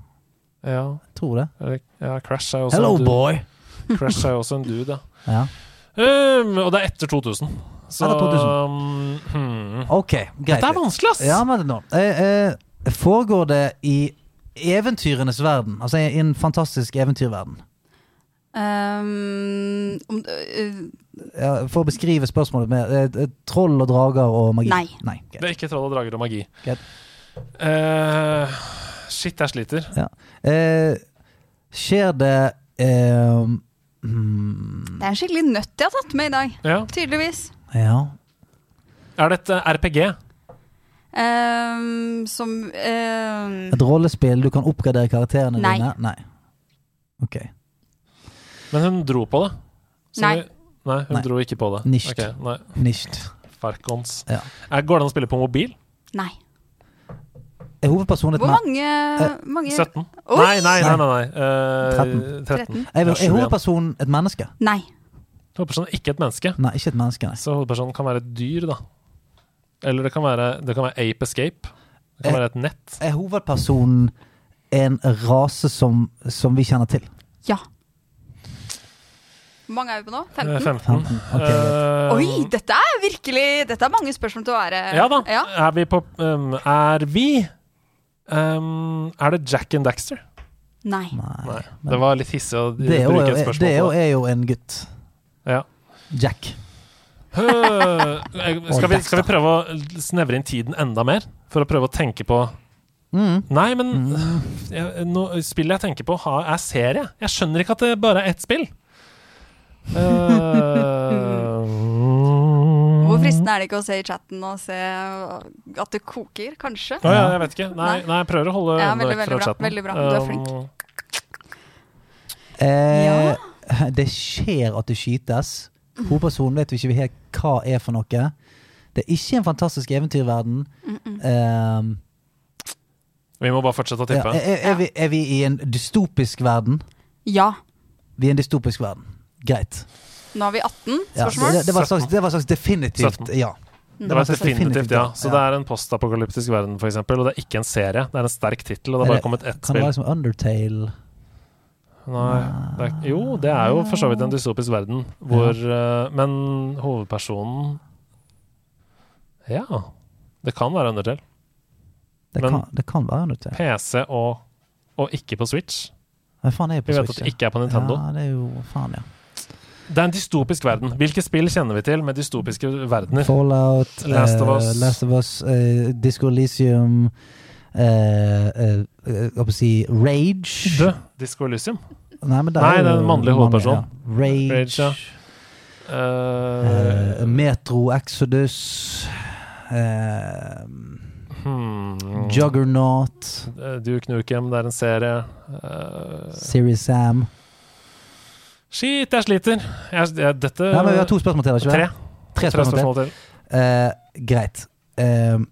Ja. Tror det. Er det- ja Crash er jo også Hello, en dude. boy! Crash er jo også en dude, ja. <laughs> Ja. Um, og det er etter 2000. Så Er det 2000? um, hmm. Ok, greit. Dette er vanskelig, ass! Ja, men nå eh, eh, Foregår det i eventyrenes verden? Altså i en fantastisk eventyrverden? Ehm, om, øh, Ja, for å beskrive spørsmålet med eh, eh, troll og drager og magi. Nei. ok. Det er ikke troll og drager og magi. Greit. Eh, shit, jeg sliter. Eh, skjer det eh, mm, det er en skikkelig nøtt jeg har tatt med i dag. Ja. Tydeligvis. Ja. Er det et eh, RPG? Ehm, som ehm, Et rollespill du kan oppgradere karakterene Nei. dine? Nei. Ok. Men hun dro på det. Så Nei. vi- Nei, hun Nei. dro ikke på det. Nicht. Ok, nei. Nicht. Farkons. Ja. Er, går det an å spille på mobil? Nei. Er hovedpersonen et Hvor mann? mange, Eh, mange 17? Oi! Nei, nei, nei. nei, nei. Eh, 13. 13. Ja, Er, er 21. hovedpersonen et menneske? Nei. Hovedpersonen er ikke et menneske. Nei, ikke et menneske. Nei. Så hovedpersonen kan være et dyr, da. Eller det kan være, det kan være Ape Escape. Det kan Eh. være et nett. Er hovedpersonen en rase som, som vi kjenner til? Ja. Hvor mange er vi på nå? Eh, 15. 15? 15. Ok, greit. Eh, Oi, dette er virkelig Dette er mange spørsmål til å være Ja da. Ja. Er vi på um, Er vi um, Er det Jack and Daxter? Nei. Nei. Nei. Det var litt hissig å Det er jo, bruke et spørsmål det er jo, på det. er jo en gutt. Ja. Jack. Øh, skal, vi, Daxter. skal vi prøve å snevre inn tiden enda mer? For å prøve å tenke på Mm. Nei, men jeg, nå, spillet jeg tenker på, har, er serie. Jeg skjønner ikke at det bare er ett spill. Eh. Øh, <laughs> Hvor fristende er det ikke å se i chatten og se at det koker, kanskje? Å ja, jeg vet ikke. Nei, nei, jeg prøver å holde Ja, øynene veldig, vekk veldig fra bra. chatten. Veldig bra. Du er Um, flink. Eh, Det skjer at det skytes. Hovedpersonen vet vi ikke helt hva er for noe. Det er ikke en fantastisk eventyrverden. Eh, Vi må bare fortsette å ja, eh, tippe. er, er, er, vi, er vi i en dystopisk verden? Ja. Vi er i en dystopisk verden. Greit. Nå har vi 18 Ja, spørsmål. det, det, var et slags, det var et slags definitivt 17. ja. Det var var et definitivt, ja. Så ja. det er en postapokalyptisk verden, for eksempel, og det er ikke en serie. Det er en sterk tittel, og det har Er bare kommet ett Kan det spill. være som Undertale? Nei, det er, jo, det er jo for så Ah. vidt en dystopisk verden, hvor eh, Men hovedpersonen Ja. Det kan være Undertale. Det, Men- kan, det kan være Undertale. PC og, og ikke på Switch. Hva faen er jeg på Vi vet at Switch? det ja? ikke er på Nintendo. Ja, det er jo faen, ja. Det er en dystopisk verden. Hvilke spill kjenner vi til med dystopiske verdener? Fallout, eh, Last of Us. Last of Us eh, Disco Elysium eh, eh, eh, Hva skal jeg si Rage. Død. Disco Elysium. Nei, men det Nei, er det er jo en mannlig hovedperson. ja. Rage. Rage, ja. eh, Eh, Metro Exodus. eh, hmm. Juggernaut. Eh, Duke Nukem, det er en serie. Eh, Series Sam. Shit, jeg sliter. Jeg, jeg, dette Nei, men vi har to spørsmål til. Ikke? Tre. det? Tre Tre spørsmål til. spørsmål til. Eh, greit. Eh,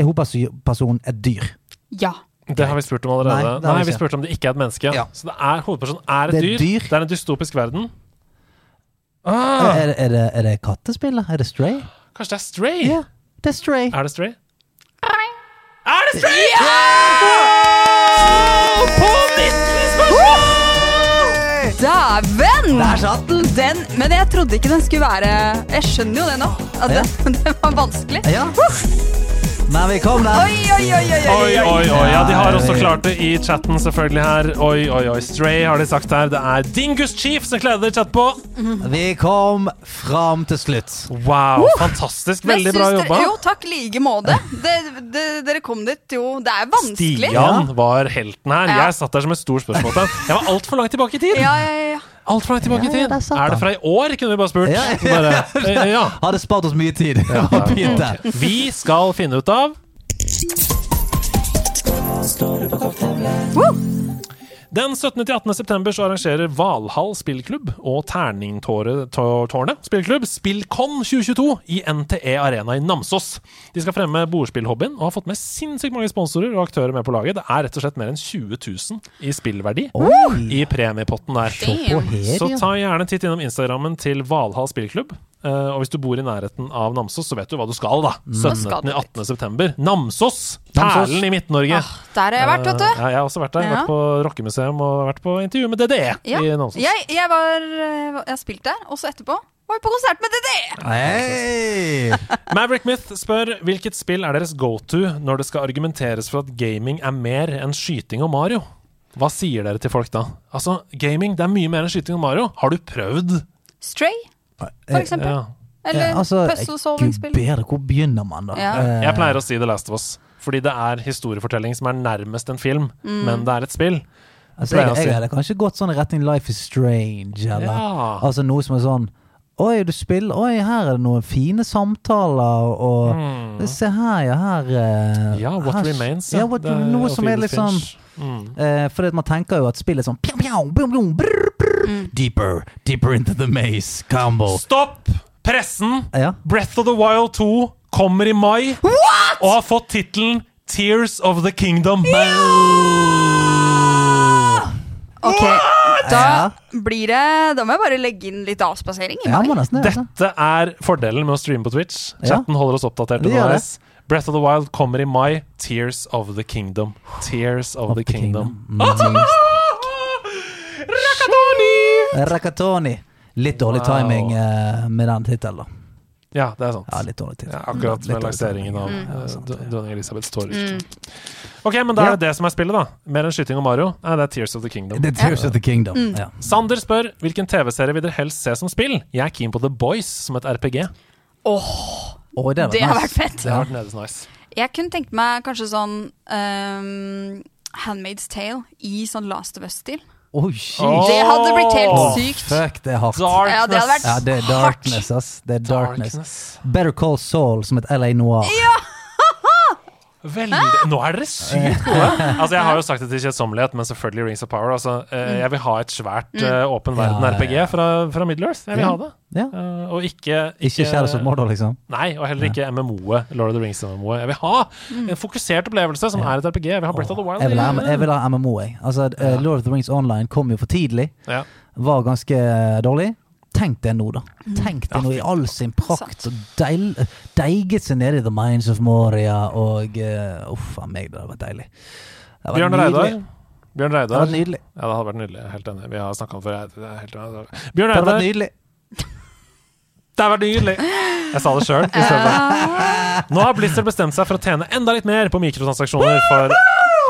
er hovedpersonen et dyr? Ja. Det har vi spurt om allerede. Nei, Nei, det har vi vi ikke. spurte om det ikke er et menneske. Ja. Så det er, hovedpersonen er et Det er dyr. dyr. Det er en dystopisk verden. Er, Ah, er, det- er, det, er det kattespill? da? Er det Stray? kanskje det er Stray? Ja, det er Stray. Er det Stray? Er det Stray? Ja! På 19 spørsmål! Dæven! Der satt den! Den, men jeg trodde ikke den skulle være Jeg skjønner jo det nå, at Ja. den, <laughs> den var vanskelig. Ja. Men vi kom der. Oi, oi, oi, oi, Oi, oi, oi. Ja, de har også klart det i chatten, selvfølgelig her. Oi, oi, oi. Stray har de sagt her. Det er Dingus Chief som kledde dere chatt på. Vi kom fram til slutt. Wow, fantastisk. Men Veldig syns bra dere- jobba. Jo, takk like måte. Det, det, dere kom dit jo Det er vanskelig. Stian var helten her. Ja. Jeg satt der som et stort spørsmålstegn. Jeg var altfor langt tilbake i tid. Ja, ja, ja. Alt for langt tilbake i Ja, ja, tid. der satt Er det han. fra i år, kunne vi bare spurt. Ja, ja. <laughs> Bare, eh, ja. Hadde spart oss mye tid. <laughs> Og begynt der. Vi skal finne ut av Woo! Den 17. til 18. september så arrangerer Valhall spillklubb og Terningtårnet spillklubb Spillkon 2022 i NTE Arena i Namsos. De skal fremme bordspillhobbyen og har fått med sinnssykt mange sponsorer og aktører med på laget. Det er rett og slett mer enn 20 000 i spillverdi i premiepotten der. På her, Så ja. ta gjerne en titt innom Instagrammen til Valhall spillklubb. Eh, og hvis du bor i nærheten av Namsos, så vet du hva du skal, da. 17. skal til du 18. september. Namsos! Namsos. Perlen i Midt-Norge. Ah, der har jeg vært, vet Eh, du. Ja, jeg har også vært der. Jeg har Ja. Vært på rockemuseum og vært på intervju med DDE Ja. i Namsos. Jeg, jeg var eh, Jeg spilte der, og så etterpå var jeg på konsert med DDE! Hei! Maverick Myth spør hvilket spill er deres go to når det skal argumenteres for at gaming er mer enn skyting og Mario? Hva sier dere til folk da? Altså, gaming det er mye mer enn skyting og Mario. Har du prøvd? Stray, for Ja. eksempel. Eller Eh, altså, puzzle Gud solving-spill. bedre, hvor begynner man, da? Ja. Eh, Jeg pleier å si The Last of Us, fordi det er historiefortelling som er nærmest en film, Mm. men det er et spill. altså, pleier å jeg, si- jeg hadde kanskje gått sånn i retning Life is Strange, eller Ja. altså noe som er sånn Oi, du spiller Oi, her er det noen fine samtaler, og Se her, ja. Her eh, Mm. Ja, What her, Remains. Ja, what, Det er noe jo som er Fields litt sånn Finch. mm. Eh, fordi at man tenker jo at spillet er sånn pjau, pjau, blum, blum, brr, brr, Mm. Deeper, deeper into the maze, combo. Stopp pressen! Ja. Breath of the Wild 2 kommer i mai og har fått tittelen Tears of the Kingdom. Ok, Ja. da blir det Da må jeg bare legge inn litt avspasering. i Ja, meg. må nesten det. altså. Dette er fordelen med å streame på Twitch. Ja. Chatten holder oss oppdatert. Det gjør underveis. Breath of the Wild kommer i mai. Tears of the Kingdom. Tears of, the, Kingdom. <laughs> <laughs> Rakadoni! Rakatoni. Litt dårlig Wow. timing eh, med den tittelen, da. Ja, det er sant. Ja, litt dårlig tid. Ja, akkurat Litt med dårlig timing. Mm. lanseringen av Ja, eh, sant, dro- ja. Mm. dronning Elisabeths tårer. Ok, men da er det det som er spillet, da. Mer enn skyting og Mario. Nei, det er Tears of the Kingdom. The Tears of the Kingdom. Mm. Ja. Sander spør hvilken TV-serie vil dere helst se som spill. Jeg er keen på The Boys som et RPG. Å, det, Det har vært fett. Det har vært nedes nice. Jeg kunne tenkt meg kanskje sånn ehm, Handmaid's Tale i sånn Last of Us-stil. Oh, shit. Åh, Det hadde blitt helt Åh, sykt. Fuck, det er hardt. Ja, det hadde vært Ja, det er hardt. darkness, ass. Det er darkness. Darkness. Better Call Saul som et LA Noir. Veldig Nå er dere sykt gode! Altså, jeg har jo sagt det til kjedsommelighet, men selvfølgelig Rings of Power. Altså, Mm. eh, jeg vil ha et svært eh, åpen verden Ja, ja, RPG ja. fra, fra Middle Earth. Jeg vil Ja. ha det. Ja. Eh, og ikke Ikke Shadows of Mordor, liksom. Nei, og heller ikke MMO-et. Lord of the Rings-MMO-et. Jeg vil ha Mm. en fokusert opplevelse som er et RPG. Jeg vil ha Breath of the Wild. Mm. Jeg vil ha, jeg vil ha MMO, jeg. Altså, eh, Lord of the Rings Online kom jo for tidlig. Ja. Var ganske eh, dårlig. Tenk det nå, da. Tenk det nå i all sin prakt. Og deil, deiget seg ned i The Minds of Moria og eh, Uff a meg, det hadde vært deilig. Det hadde vært Bjørn nydelig. Reidar. Bjørn Det hadde Reidar. vært nydelig. Ja, det hadde vært nydelig. Helt enig. Vi har snakka om det før. Jeg- det er helt enig. Bjørn Det hadde vært Reidar. nydelig. Det hadde vært nydelig! Jeg sa det sjøl. Nå har Blizzard bestemt seg for å tjene enda litt mer på mikrotransaksjoner for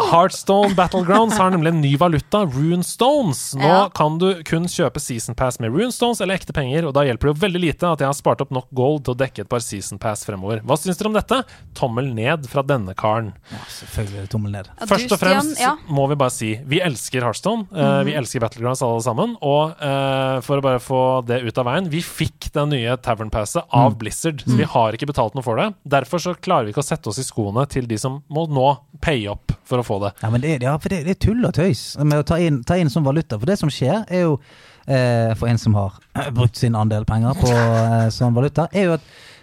Heartstone Battlegrounds har nemlig en ny valuta, Runestones. Nå Ja. kan du kun kjøpe Season Pass med Runestones eller ekte penger, og da hjelper det jo veldig lite at jeg har spart opp nok gold til å dekke et par Season Pass fremover. Hva syns dere om dette? Tommel ned fra denne karen. Ja, selvfølgelig. Tommel ned. Ja, du, Først og fremst Stian, ja. Mhm. må vi bare si vi elsker Hearthstone. eh, Vi elsker Battlegrounds alle sammen. Og eh, for å bare få det ut av veien, vi fikk den nye Tavern Passet Mhm. av Blizzard. Så vi har ikke betalt noe for det. Derfor så klarer vi ikke å sette oss i skoene til de som må nå paye opp for å få det. Ja, men det, ja, for det, det er tull og tøys med å ta inn, ta inn som valuta. For det som skjer, er jo eh, For en som har <clears throat> eh, brukt sin andel penger på eh, sånn valuta, er jo at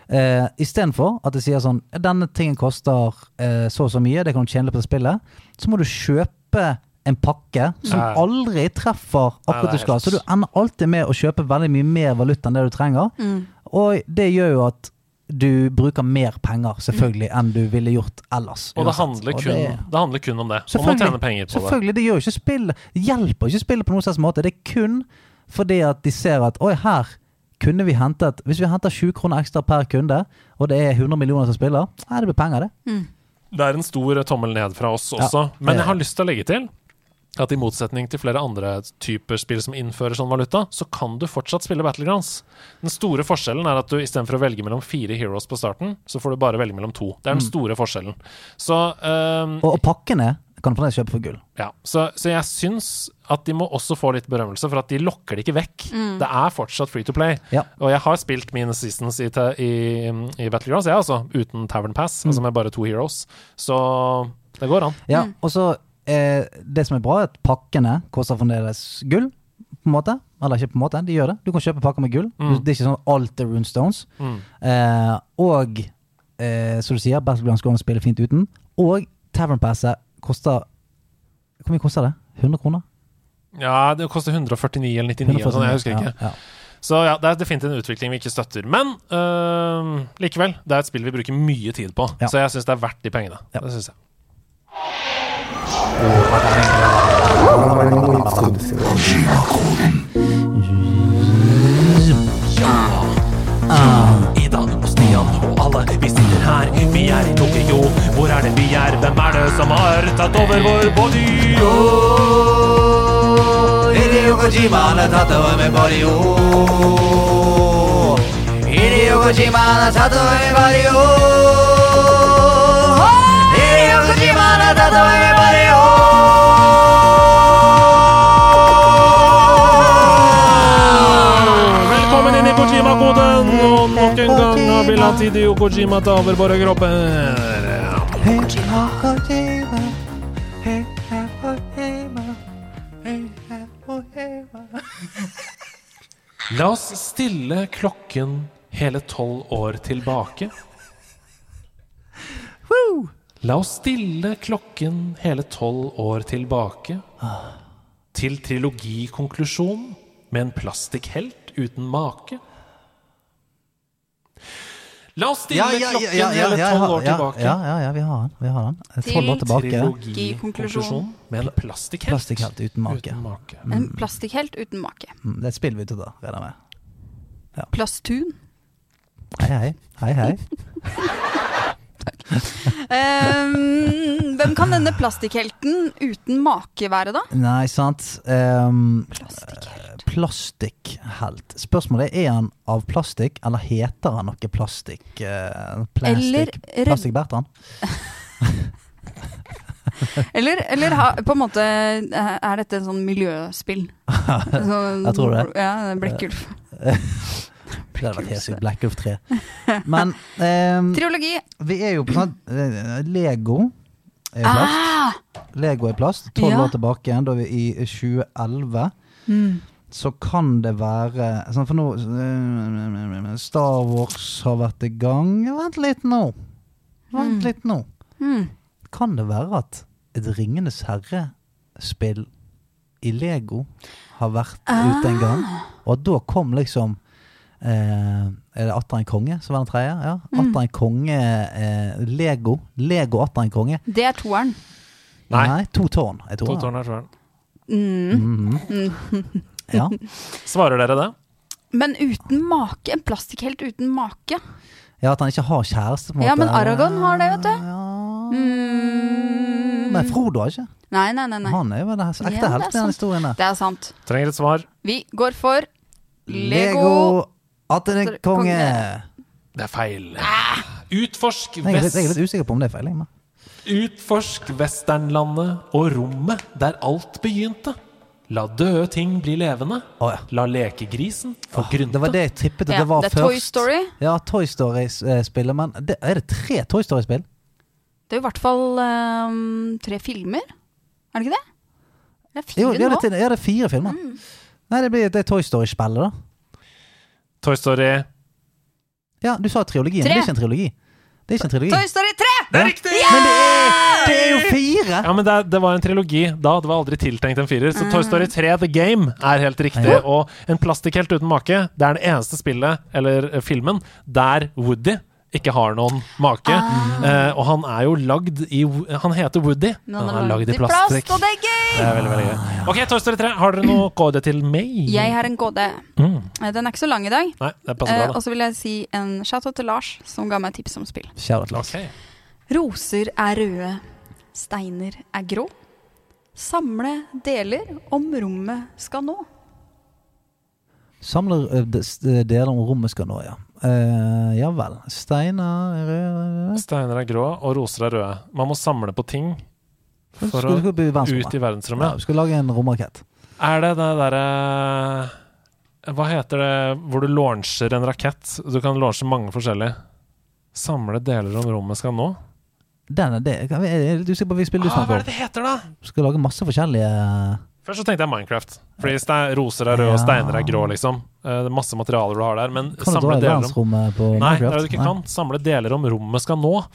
eh, istedenfor at det sier sånn "Ja, Denne tingen koster eh, så og så mye, det kan du tjene på spillet, så må du kjøpe en pakke som Ja. aldri treffer akkurat Nei, du det er skal. helt- Så du ender alltid med å kjøpe veldig mye mer valuta enn det du trenger. Og det gjør jo at du bruker mer penger, selvfølgelig, enn du ville gjort ellers. Og det uansett. handler Og kun, det... handler kun om det. Om å Selvfølgelig. tjene penger på det. Selvfølgelig, det gjør jo ikke spill Det hjelper ikke spillet på noen slags måte. Det er kun fordi at de ser at oi, her kunne vi hentet Hvis vi henter 20 kroner ekstra per kunde, og det er 100 millioner som spiller, nei, det blir penger, det. Det er en stor tommel ned fra oss også. det er Men jeg har det. lyst til å legge til at i motsetning til flere andre typer spill som innfører sånn valuta, så kan du fortsatt spille Battlegrounds. Den store forskjellen er at du istedenfor å velge mellom fire heroes på starten, så får du bare velge mellom to. Det er den store forskjellen. Så øhm, Mm. Og, og pakkene kan du fremdeles kjøpe for gull. ja, så, så jeg syns at de må også få litt berømmelse, for at de lokker det ikke vekk. Det er fortsatt free to play. Ja. Og jeg har spilt mine seasons i, ta- i, i Battlegrounds, jeg altså, uten Tavern Pass, Mm. altså med bare to heroes. Så det går an. Ja, og så eh, Det som er bra, er at pakkene koster fremdeles gull, på en måte. Eller ikke på en måte, de gjør det. Du kan kjøpe pakker med gull. Mm. Det er ikke sånn alt er runestones. Eh, og eh, som du sier, Battlegrounds går an å spille fint uten. Og Tavern Passet koster Hvor mye koster det? 100 kroner? Ja, det koster 149 eller 99, eller sånn, jeg husker ikke. Ja, ja. Så ja, det er definitivt en utvikling vi ikke støtter. Men øh, likevel, det er et spill vi bruker mye tid på, Ja. så jeg syns det er verdt de pengene. Ja. Det synes jeg. Ida og Stian og alle, vi sitter her, vi er i Tokyo. Hvor er det vi er? Hvem er det som har tatt over vår body? Hideo Kojima han har tatt over med body oh. Hideo Kojima han har tatt over med body oh. Hideo Kojima han har tatt over med body oh. Velkommen inn i Kojima-koden! Og nok en gang har vi latt Hideo Kojima ta over våre kropper. La oss stille klokken hele tolv år tilbake. La oss stille klokken hele tolv år tilbake. Til trilogikonklusjon med en plastikkhelt uten make. La oss stille klokken hele tolv år ja, tilbake. ja, ja, ja, vi har den. Vi har den. Tolv år Til tilbake. Trilogikonklusjon med en plastikkhelt. Plastikkhelt uten make. Uten make. En plastikkhelt uten make. Mm, Det er et spill vi er ute da, regner jeg med. <laughs> Plastun. Hei, hei. Hei, hei. Ehm, hvem kan denne plastikkhelten uten make være, da? Nei, sant. Um, Plastikkhelt. Plastikkhelt. Spørsmålet er er han av plastikk, eller heter han noe plastikk? Uh, Eller plastikk rev- Plastikk-Bertrand? Eller, eller ha, på en måte eh, er dette en sånn miljøspill? Sånn- <laughs> Jeg tror det. Eh, Ja, Blekkulf. Det hadde vært helt sykt. Black Wolf 3. Men <laughs> ehm, Triologi. vi er jo på sånn eh, Lego er jo plast. Ah! Lego er plast. Tolv Ja. år tilbake igjen, da vi i 2011. Så kan det være sånn For nå eh, Star Wars har vært i gang. Vent litt nå. Hmm. Vent litt nå. Mm. Kan det være at et Ringenes herre-spill i Lego har vært ute en gang? Ah. Og at da kom liksom eh, Er det Atter en konge som var den tredje? Ja. Mm. Atter en konge eh, Lego. Lego Atter en konge. Det er toeren. Nei. To tårn. Jeg To tror det. tårn her, tror jeg. Mm. Ja. Svarer dere det? Men uten make. En plastikkhelt uten make. ja, at han ikke har kjæreste, på en måte. Ja, men Aragorn har det, vet du. Ja. Mm. Men med Frodo, har ikke? Nei, nei, nei. nei. Han er jo den ekte Ja, det er helten i den sant. historien der. Det er sant. Trenger et svar. Vi går for Lego. Atten er konge. Det er feil. Ah! Utforsk Jeg er, litt, vest... jeg er litt usikker på om det er feil. jeg, men- Utforsk westernlandet og rommet der alt begynte. La døde ting bli levende. Å, ja. La lekegrisen få Det var grynte. det jeg tippet at Ja, det var det først. er Toy Story. Ja, Toy Story-spillet. Men det, er det tre Toy Story-spill? Det er i hvert fall ehm, tre filmer. Er det ikke det? Det er Jo, fire ja, nå. Mm. det, er- ja, det er fire filmer. Nei, det blir det er Toy Story-spillet, da. Toy Story. Ja, du sa trilogien, men Tre. det er ikke en trilogi. Det er ikke en trilogi. Toy Story 3! Det er riktig! Men det er, det er jo fire! Ja, men det, det var en trilogi da. Det var aldri tiltenkt en firer. Så Toy Story 3 The Game er helt riktig. Ja. Og En plastikkhelt uten make, det er den eneste spillet, eller eh, filmen, der Woody ikke har noen make. Ah. Eh, og han er jo lagd i wo- Han heter Woody, men han er lagd i plastikk. og det er Det gøy! er veldig, veldig gøy. Ok, Toy Story 3, har dere noe kode til meg? Jeg har en gåte. Mm. Eh, Den er ikke så lang i dag. Nei, det passer Eh, bra, og så vil jeg si en shout-out til Lars, som ga meg tips om spill. Shoutout, da. Lars. Ok. Roser er røde, steiner er grå. Samle deler om rommet skal nå. Samler ø, de- s- eh, deler om rommet skal nå, ja. Uh, ja vel. Steiner røde Steiner er grå, og roser er røde. Man må samle på ting for å Skal du gå ut i i verdensrommet? Ja, verdensrommet. vi skal lage en romrakett. Er det det derre eh, Hva heter det hvor du launcher en rakett? Du kan launche mange forskjellige. Samle deler om rommet skal nå. Den er det. Kan vi- Jeg er litt usikker på hvilket spill du Ah, hva snakker er om. det det heter, da? Skal lage masse forskjellige eh, Først så tenkte jeg Minecraft. Fordi ste- roser er røde, og Ja. steiner er grå, liksom. Eh, Det er masse materialer du har der, men Kan du dra samle i deler om verdensrommet på Nei, det er det Minecraft? du ikke kan. Samle deler om rommet skal nå.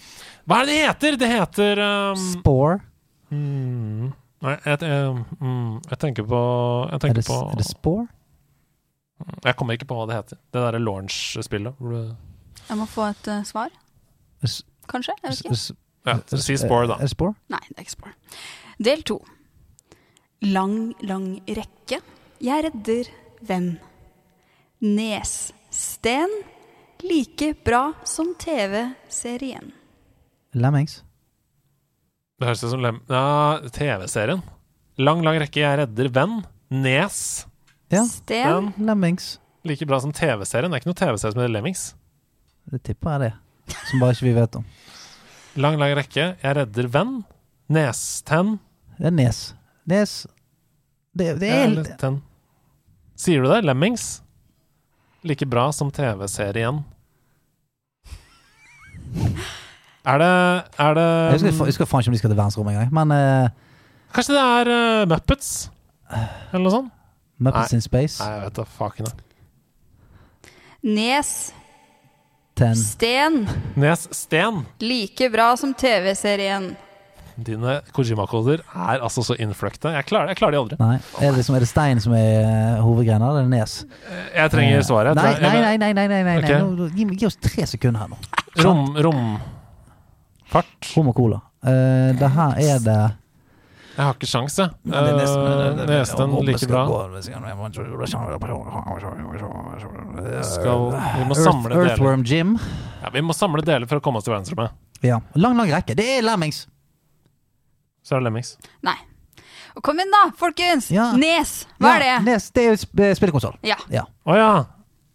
Hva er det det heter? Det heter um, Spore? Mm. Nei, jeg, te- eh, mm, jeg tenker på Jeg Er tenker det, på er det Spore? Jeg kommer ikke på hva det heter. Det derre launch-spillet. hvor du- Jeg må få et eh, svar. S- Kanskje? Jeg vet ikke. S- Ja, s- si Spore, da. Er det Spore? Nei, det er ikke spor. Del to. Lang, lang rekke. Jeg redder hvem? Nessten. Like bra som TV-serien. Lemmings? Det høres ut som lem... Ja, TV-serien. Lang, lang rekke. Jeg redder venn. Nes. Ja. Den. Sten. Lemmings. Like bra som TV-serien. Det er ikke noe TV-serie som heter Lemmings. Det tipper jeg det. Som bare ikke vi vet om. Lang, lang rekke. Jeg redder venn. Nesten. Det er Nes. Nes Det, det er Jeg redder den. Sier du det? Lemmings? Like bra som TV-serien. Er det, er Jeg det husker, fa- jeg husker faen ikke om de skal til verdensrommet engang. Men eh, Kanskje det er eh, Muppets? Eller noe sånt? Muppets Nei. in Space, Nei, jeg vet da faken. jeg. Nessten. Ten Nes Sten. Like bra som TV-serien. Dine Kojima-koder er altså så innfløkte. Jeg klarer, jeg klarer de aldri. Nei. Er det, liksom, er det stein som er uh, hovedgrena, eller er det Nes? Jeg trenger svaret. Eh, Nei, Jeg nei, trenger- nei. nei, nei, nei, nei. Ok. Nå- nå- Gi, meg- gi oss tre sekunder her nå. Rom, rom Fart. Rom og cola. Uh, det her er det Jeg har ikke sjans, jeg. Ja, det er nesten- det- Eh, det- det- Nesten om det like skal bra. gå, det skal- Skal, vi må Earth- samle deler. Earthworm Jim. Ja, vi må samle deler for å komme oss til verdensrommet. Ja. Lang, lang rekke. Det er Lemmings! Så er det Lemmings. Nei. Og kom igjen, da, folkens! Ja. Nes! Hva Ja, er det? Nes, det er jo sp- spillkonsoll. Ja. Ja. Å ja. ja.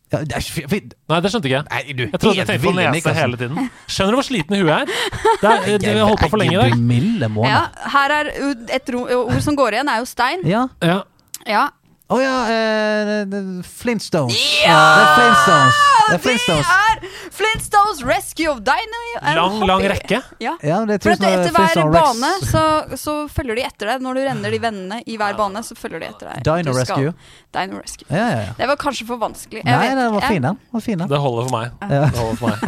det er ikke fint. Nei, det skjønte ikke jeg. Nei, du Jeg trodde jeg tenkte på nese hele tiden. Skjønner du hvor sliten i <laughs> huet er? Det er det- vi har holdt på for lenge i dag. Milde Ja, måned. her er jo et ro ord som går igjen, er jo stein. Ja. Ja. Ja. Å ja, eh, det- det- Flintstones. Det er Flintstones. Det er Flintstones. Det er Flintstones Rescue of Dino and Lang, Hoppy. lang rekke. Ja. Ja, sånn, det er For at tusen av etter hver Flintstone eh, Rex. bane så, så følger de etter deg. Når du renner de vennene i hver bane, så følger de etter deg. Dino Du skal- Rescue. Dino Rescue. Ja, ja, ja. Det var kanskje for vanskelig. Jeg Nei, vet den var ikke. fin, den. Var fin, den. Det holder for meg. Ja. Det holder for meg.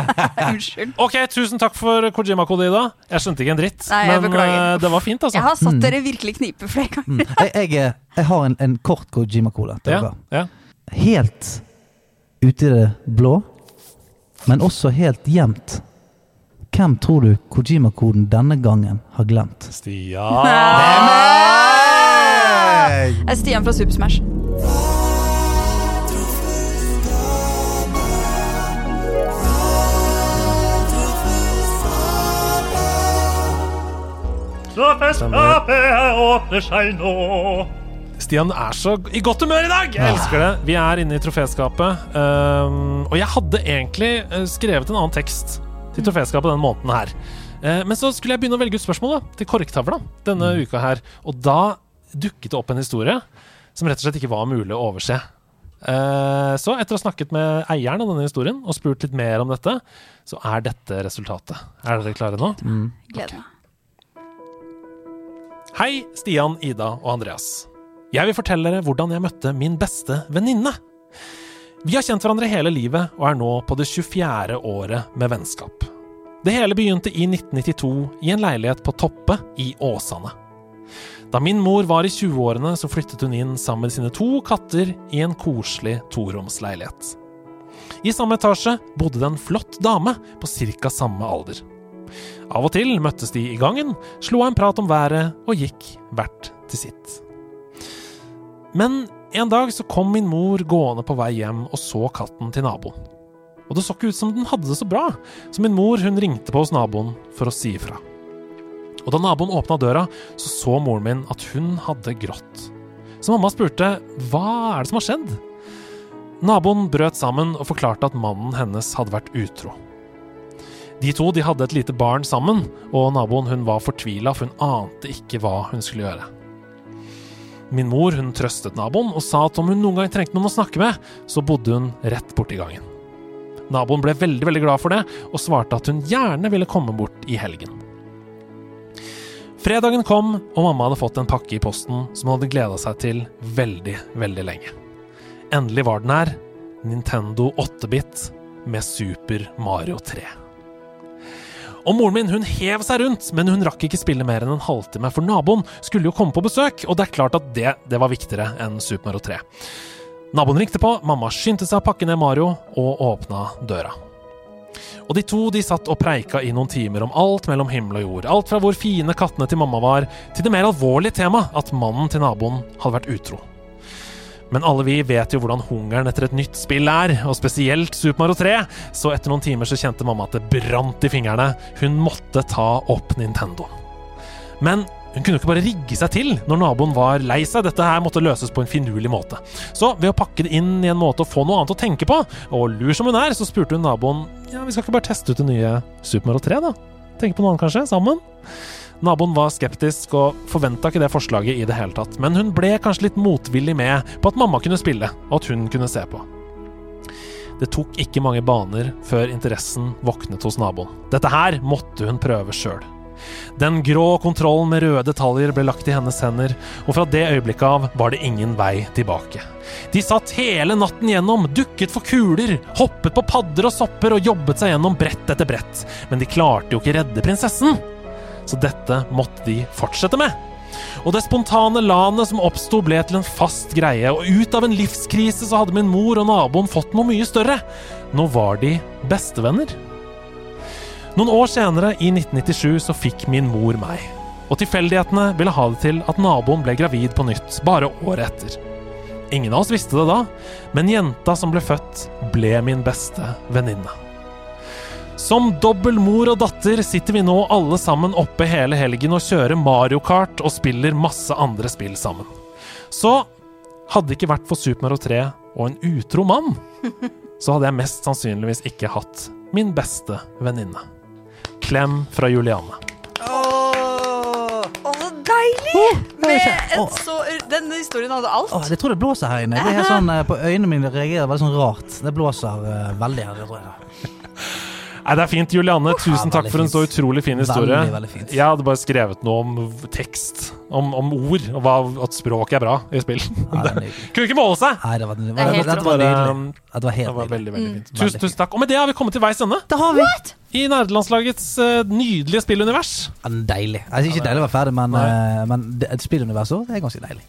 Unnskyld. Ok, tusen takk for Kojima-kode, Ida. Jeg skjønte ikke en dritt. Nei, jeg men beklager. eh, det var fint, altså. Jeg har mm. satt dere virkelig i knipe flere ganger. Jeg, jeg, eh, jeg har en, en kort Kojima-cola til ja, dere. ja. helt ute i det blå, men også helt gjemt. Hvem tror du Kojima-koden denne gangen har glemt? Stian. Eh, Det er Stian fra Super Smash. Så festskapet her åpner seg nå. Stian er så i godt humør i dag! Jeg elsker det. Vi er inne i troféskapet. ehm, og jeg hadde egentlig eh, skrevet en annen tekst til troféskapet denne måneden her. Eh, men så skulle jeg begynne å velge ut spørsmål da, til korktavla denne uka her. Og da dukket det opp en historie som rett og slett ikke var mulig å overse. Eh, så etter å ha snakket med eieren av denne historien og spurt litt mer om dette, så er dette resultatet. Er dere klare nå? Gleder meg. Hei, Stian, Ida og Andreas. Jeg vil fortelle dere hvordan jeg møtte min beste venninne. Vi har kjent hverandre hele livet og er nå på det 24. året med vennskap. Det hele begynte i 1992 i en leilighet på Toppe i Åsane. Da min mor var i 20-årene, så flyttet hun inn sammen med sine to katter i en koselig toromsleilighet. I samme etasje bodde det en flott dame på ca. samme alder. Av og til møttes de i gangen, slo av en prat om været og gikk hvert til sitt. Men en dag så kom min mor gående på vei hjem og så katten til naboen. Og det så ikke ut som den hadde det så bra, så min mor hun ringte på hos naboen for å si ifra. Og da naboen åpna døra, så så moren min at hun hadde grått. Så mamma spurte hva er det som har skjedd? Naboen brøt sammen og forklarte at mannen hennes hadde vært utro. De to de hadde et lite barn sammen, og naboen hun var fortvila, for hun ante ikke hva hun skulle gjøre. Min mor hun trøstet naboen og sa at om hun noen gang trengte noen å snakke med, så bodde hun rett borti gangen. Naboen ble veldig veldig glad for det, og svarte at hun gjerne ville komme bort i helgen. Fredagen kom, og mamma hadde fått en pakke i posten som hun hadde gleda seg til veldig, veldig lenge. Endelig var den her. Nintendo 8-bit med Super Mario 3. Og moren min hun hev seg rundt, men hun rakk ikke spille mer enn en halvtime, for naboen skulle jo komme på besøk, og det er klart at det, det var viktigere enn Super Mario 3. Naboen ringte på, mamma skyndte seg å pakke ned Mario og åpna døra. Og de to de satt og preika i noen timer om alt mellom himmel og jord. Alt fra hvor fine kattene til mamma var, til det mer alvorlige temaet at mannen til naboen hadde vært utro. Men alle vi vet jo hvordan hungeren etter et nytt spill er, og spesielt Super Mario 3, så etter noen timer så kjente mamma at det brant i fingrene. Hun måtte ta opp Nintendo. Men hun kunne jo ikke bare rigge seg til når naboen var lei seg. Dette her måtte løses på en finurlig måte. Så ved å pakke det inn i en måte å få noe annet å tenke på, og lur som hun er, så spurte hun naboen ja, vi skal ikke bare teste ut det nye Super Mario 3, da? Tenke på noe annet, kanskje? Sammen? Naboen var skeptisk og forventa ikke det forslaget i det hele tatt, men hun ble kanskje litt motvillig med på at mamma kunne spille, og at hun kunne se på. Det tok ikke mange baner før interessen våknet hos naboen. Dette her måtte hun prøve sjøl. Den grå kontrollen med røde detaljer ble lagt i hennes hender, og fra det øyeblikket av var det ingen vei tilbake. De satt hele natten gjennom, dukket for kuler, hoppet på padder og sopper og jobbet seg gjennom brett etter brett, men de klarte jo ikke redde prinsessen. Så dette måtte de fortsette med. Og det spontane lanet som oppsto, ble til en fast greie, og ut av en livskrise så hadde min mor og naboen fått noe mye større. Nå var de bestevenner. Noen år senere, i 1997, så fikk min mor meg. Og tilfeldighetene ville ha det til at naboen ble gravid på nytt, bare året etter. Ingen av oss visste det da, men jenta som ble født, ble min beste venninne. Som dobbel mor og datter sitter vi nå alle sammen oppe hele helgen og kjører Mario Kart og spiller masse andre spill sammen. Så hadde det ikke vært for Super Mario 3 og en utro <laughs> mann, så hadde jeg mest sannsynligvis ikke hatt min beste venninne. Klem fra Juliane. Å, så deilig! det er Med så- Eh, en Åh. så, denne historien hadde alt. Åh, jeg tror det blåser her inne. Det er <laughs> helt sånn, eh, på øynene mine reagerer veldig sånn rart. Det blåser eh, veldig her. tror jeg. Nei, det er fint, Juliane. Tusen takk veldig for en så fint. utrolig fin historie. Veldig, veldig fint. Jeg hadde bare skrevet noe om v- tekst, om, om ord, og hva, at språk er bra i spill. <laughs> Ja, det er Det nydelig. kunne ikke måle seg! um, Nei, det var, det er var, helt dette var rått. nydelig. Dette var Det helt var nydelig. veldig, Mm. veldig fint. Veldig Tusen, tusen takk. Og med det har vi kommet til veis ende Det har vi! i nerdelandslagets eh, nydelige spillunivers. Ja, den er deilig. Jeg synes ikke deilig å være ferdig, men, eh, men det- et spillunivers også, det er ganske deilig.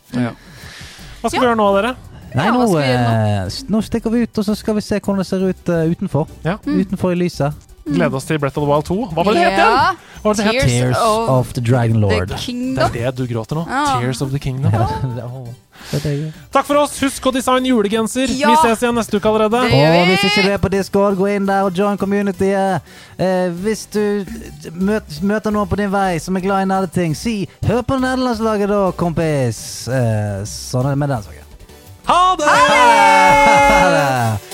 Hva skal vi gjøre nå, dere? Nei, Ja, nå, hva skal vi gjøre eh, s- nå stikker vi ut, og så skal vi se hvordan det ser ut eh, utenfor. Mm. Ja. Utenfor i lyset. Glede oss til Breath of the Wild 2. Hva var det det het igjen? Ja. Hva var det det het? Tears Tears of of the Dragon Lord. The Det er Kingdom. det du gråter nå. Ja. Tears of the Kingdom. <laughs> Det er gøy. Takk for oss. Husk å designe julegenser. Ja. Vi ses igjen neste uke allerede. Det- Og hvis ikke du er på Discord, gå inn der og join communityet. Eh, hvis du møt, møter noen på din vei som er glad i nerdeting, si 'hør på nederlandslaget', da, kompis. Eh, sånn er det med den saken. Ha det! Ha det!